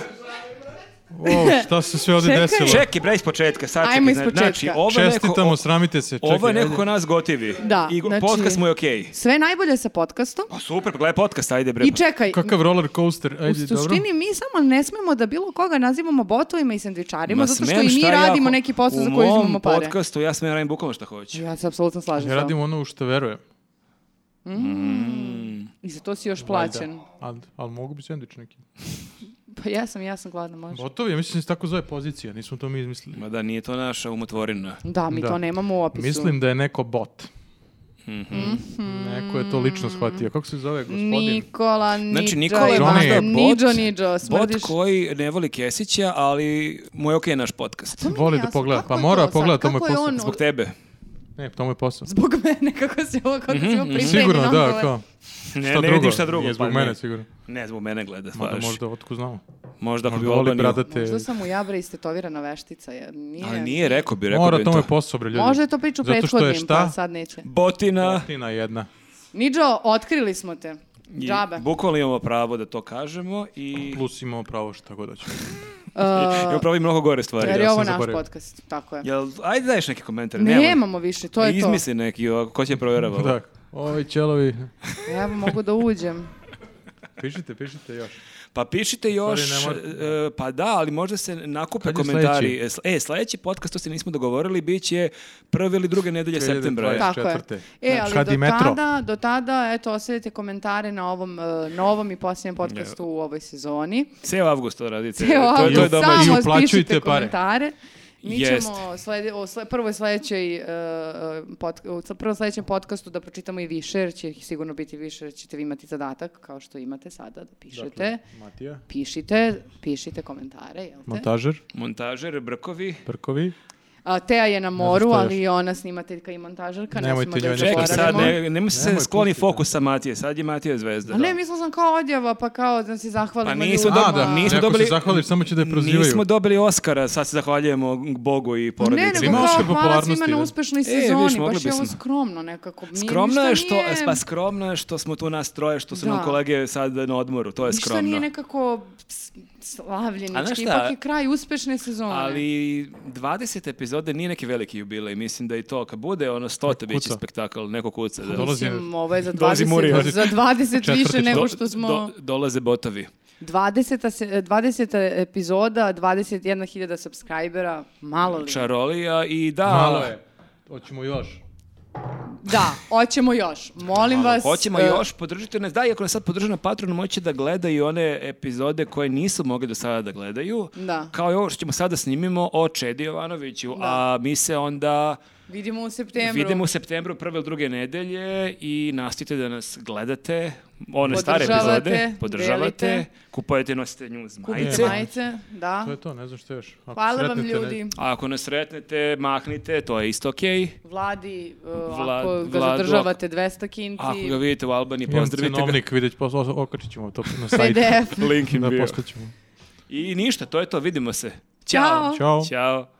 Speaker 2: O, šta se sve ovdje
Speaker 1: Čekaj.
Speaker 2: desilo?
Speaker 3: Čekaj bre, iz početka, sad
Speaker 1: Ajmo
Speaker 3: čekaj,
Speaker 1: iz
Speaker 3: zna-
Speaker 1: početka.
Speaker 3: Znači, ovo je neko,
Speaker 2: Čestitamo, sramite se. Čekaj,
Speaker 3: ovo je neko
Speaker 2: ajde.
Speaker 3: ko nas gotivi.
Speaker 1: Da,
Speaker 3: I go-
Speaker 1: znači-
Speaker 3: podcast mu je okej.
Speaker 1: Sve najbolje sa podcastom.
Speaker 3: Pa super, pa gledaj podcast, ajde bre.
Speaker 1: I čekaj,
Speaker 2: Kakav roller coaster,
Speaker 1: u
Speaker 2: ajde, dobro.
Speaker 1: suštini mi samo ne smemo da bilo koga nazivamo botovima i sendvičarima
Speaker 3: Ma
Speaker 1: zato što
Speaker 3: smem,
Speaker 1: i mi
Speaker 3: šta ja
Speaker 1: radimo
Speaker 3: ako-
Speaker 1: neki posao za koji
Speaker 3: U
Speaker 1: uzimamo
Speaker 3: mom
Speaker 1: pare.
Speaker 3: podcastu ja smijem radim bukvalno šta hoću.
Speaker 1: Ja se apsolutno slažem
Speaker 2: Ja
Speaker 1: s vama.
Speaker 2: radim ono u što verujem.
Speaker 1: I za to si još
Speaker 2: Valjda.
Speaker 1: plaćen.
Speaker 2: Ali, ali mogu bi sendvič neki.
Speaker 1: Pa ja sam, ja sam gladna, može.
Speaker 2: Botovi, ja mislim da se tako zove pozicija, nismo to mi izmislili.
Speaker 3: Ma da, nije to naša umotvorina.
Speaker 1: Da, mi
Speaker 2: Da.
Speaker 1: to nemamo u opisu.
Speaker 2: Mislim da je neko bot.
Speaker 3: Mhm.
Speaker 2: Neko je to lično shvatio. Kako se zove gospodin?
Speaker 1: Nikola Niđo
Speaker 3: Znači, Nikola je
Speaker 2: Johnny.
Speaker 1: Ivanović.
Speaker 2: možda
Speaker 1: Niđo, Niđo,
Speaker 3: Bot
Speaker 1: smrdiš.
Speaker 3: koji ne voli Kesića, ali mu je okej naš podcast.
Speaker 1: To mi nije
Speaker 2: Voli da
Speaker 1: jasno,
Speaker 2: pogleda.
Speaker 1: kako
Speaker 2: Pa
Speaker 1: je
Speaker 2: mora
Speaker 1: to sad?
Speaker 2: pogleda, to mu je
Speaker 1: Kako je
Speaker 2: posao.
Speaker 1: on-
Speaker 3: Zbog tebe.
Speaker 2: Ne, to mu je posao.
Speaker 1: Zbog mene, kako si ovo, kako
Speaker 3: Mhm,
Speaker 1: si ovo pripremljen.
Speaker 2: Sigurno, da,
Speaker 1: odgovor.
Speaker 2: kao.
Speaker 3: Ne,
Speaker 2: Šta
Speaker 3: ne
Speaker 2: drugo?
Speaker 3: vidim šta drugo.
Speaker 2: Nije
Speaker 3: pa
Speaker 2: zbog
Speaker 3: ne.
Speaker 2: mene, sigurno.
Speaker 3: Ne, zbog mene gleda,
Speaker 2: Mada
Speaker 3: stvarno. Možda,
Speaker 2: možda, otko znamo.
Speaker 3: ako bi
Speaker 2: Možda voli
Speaker 3: obanio.
Speaker 2: bradate.
Speaker 1: Možda sam u Jabre istetovirana veštica, jer nije...
Speaker 3: Ali nije, rekao bi, rekao
Speaker 2: Mora,
Speaker 3: bi
Speaker 2: to
Speaker 3: to.
Speaker 2: mu je posao, bre, ljudi.
Speaker 1: Možda je to priču
Speaker 2: Zato što je
Speaker 1: prethodnim,
Speaker 2: šta?
Speaker 1: pa sad neće.
Speaker 3: Botina.
Speaker 2: Botina jedna.
Speaker 1: Niđo, otkrili smo te.
Speaker 3: I
Speaker 1: Džabe.
Speaker 3: Bukvalno imamo pravo da to kažemo i...
Speaker 2: Plus imamo pravo šta god hoćemo.
Speaker 3: Imamo pravo i mnogo gore stvari.
Speaker 1: E, Jer
Speaker 2: ja
Speaker 1: je
Speaker 2: sam
Speaker 1: ovo naš
Speaker 2: zaboravio.
Speaker 1: podcast, tako je.
Speaker 3: Jel, ajde daješ neke komentare.
Speaker 1: Nemamo više, to je to.
Speaker 3: Izmisli neki, ovako, ko će provjerava. ovo?
Speaker 2: Da. Ovi ćelovi.
Speaker 1: Evo, mogu da uđem.
Speaker 2: Pišite, pišite još.
Speaker 3: Pa pišite još,
Speaker 2: Stvari ne
Speaker 3: e, pa da, ali možda se nakupe
Speaker 2: Kad je
Speaker 3: komentari. E, sl- E, sledeći podcast, to se nismo dogovorili, bit će prve ili druge nedelje septembra.
Speaker 2: 2020.
Speaker 1: Tako je.
Speaker 2: 24..
Speaker 1: E,
Speaker 2: Znači,
Speaker 1: ali
Speaker 2: kad
Speaker 1: do
Speaker 2: i metro.
Speaker 1: tada, do tada, eto, ostavite komentare na ovom e, novom i posljednjem podcastu u ovoj sezoni.
Speaker 3: Ceo avgust E, to radite.
Speaker 1: Evo,
Speaker 3: to, to je
Speaker 2: avgust.
Speaker 3: domaće.
Speaker 2: I
Speaker 1: samo
Speaker 2: uplaćujte
Speaker 1: spišite
Speaker 2: pare.
Speaker 1: komentare. Mi
Speaker 3: Jest.
Speaker 1: ćemo slede- u sle- prvoj sledećoj, e, pod, u sl- prvom sledećem podcastu da pročitamo i više, jer će ih sigurno biti više, jer ćete vi imati zadatak, kao što imate sada, da
Speaker 3: Dakle,
Speaker 1: pišete.
Speaker 2: Matija.
Speaker 1: Pišite, pišite komentare, jel te?
Speaker 2: Montažer,
Speaker 3: Montažer, brkovi.
Speaker 2: Brkovi.
Speaker 1: A, Teja je na moru,
Speaker 2: šta još.
Speaker 1: ali i ona snimateljka i montažerka, ne
Speaker 2: Nemojte
Speaker 1: smemo da
Speaker 2: njoj
Speaker 1: je
Speaker 2: ništa
Speaker 3: Čekaj sad,
Speaker 1: zaboravimo.
Speaker 3: ne, nemoj se
Speaker 2: Nemoj,
Speaker 3: skloni
Speaker 2: pustite.
Speaker 3: fokus sa Matije, sad je Matija zvezda.
Speaker 1: A ne, mislila sam kao odjava, pa kao da se zahvalimo
Speaker 3: Pa nisu
Speaker 1: ljudima.
Speaker 3: A, da, nismo
Speaker 2: Ako
Speaker 3: dobili-
Speaker 2: se zahvališ, samo će da je prozivaju.
Speaker 3: Nismo dobili Oscara, sad se zahvaljujemo Bogu i porodici.
Speaker 1: Ne, nego
Speaker 2: Ima
Speaker 1: kao
Speaker 2: Oscar
Speaker 1: hvala
Speaker 2: popularnosti,
Speaker 1: svima na
Speaker 2: da.
Speaker 1: uspešnoj
Speaker 3: E, vidiš,
Speaker 1: sezoni,
Speaker 3: mogli
Speaker 1: baš je ovo
Speaker 3: bismo.
Speaker 1: skromno nekako. Nije,
Speaker 3: Skromno
Speaker 1: ništa
Speaker 3: je što,
Speaker 1: nije-
Speaker 3: pa skromno je što smo tu nas troje, što su
Speaker 1: Da.
Speaker 3: nam kolege sad na odmoru, to je
Speaker 1: ništa
Speaker 3: skromno.
Speaker 1: nije nekako s-
Speaker 3: A znaš
Speaker 1: slavljenički,
Speaker 3: šta?
Speaker 1: ipak je kraj uspešne sezone.
Speaker 3: Ali 20 epizode nije neki veliki jubilej, mislim da i to kad bude ono 100 bit će
Speaker 2: Kuca.
Speaker 3: spektakl, neko kuca. Da.
Speaker 2: Dolazi-
Speaker 1: Mislim, ovo je za
Speaker 3: Dolazi Murio.
Speaker 1: 20, za 20 više
Speaker 2: Četvrti
Speaker 1: nego
Speaker 3: Do-
Speaker 1: što smo...
Speaker 3: do- dolaze botovi.
Speaker 1: 20, se- 20 epizoda, 21.000 subscribera, malo li?
Speaker 3: Čarolija i da...
Speaker 2: Malo je. Hoćemo još.
Speaker 1: Da, hoćemo još. Molim vas.
Speaker 3: Hoćemo
Speaker 1: e,
Speaker 3: još, podržite nas. Da, iako nas sad podrže na Patreonu, moći da gledaju one epizode koje nisu mogli do sada da gledaju.
Speaker 1: Da.
Speaker 3: Kao i ovo što ćemo sada snimimo o Čedi Jovanoviću, a mi se onda
Speaker 1: Vidimo u septembru.
Speaker 3: vidimo u septembru prve ili druge nedelje i nastavite da nas gledate, one stare
Speaker 1: Podržavate,
Speaker 3: epizode, podržavate,
Speaker 1: delite.
Speaker 3: kupujete i nosite news majice.
Speaker 1: Kupite majice, da.
Speaker 2: To je to, ne znam što još. Ako
Speaker 1: Hvala vam
Speaker 2: sretnete ne-
Speaker 1: ljudi.
Speaker 3: A ako nas sretnete, mahnite, to je isto okej.
Speaker 1: Vladi, e,
Speaker 3: Vla-
Speaker 1: ako ga
Speaker 3: Vladu,
Speaker 1: zadržavate 200 kinti,
Speaker 3: Ako ga vidite u Albaniji,
Speaker 2: Imam
Speaker 3: pozdravite ga.
Speaker 2: cenovnik, vidjet ćemo, o- okačit ćemo to na sajtu.
Speaker 3: Pa
Speaker 1: PDF.
Speaker 3: Link im
Speaker 2: Da,
Speaker 3: bio.
Speaker 2: poslaćemo.
Speaker 3: I ništa, to je to, vidimo se.
Speaker 1: Ćao.
Speaker 2: Ćao.
Speaker 3: Ćao.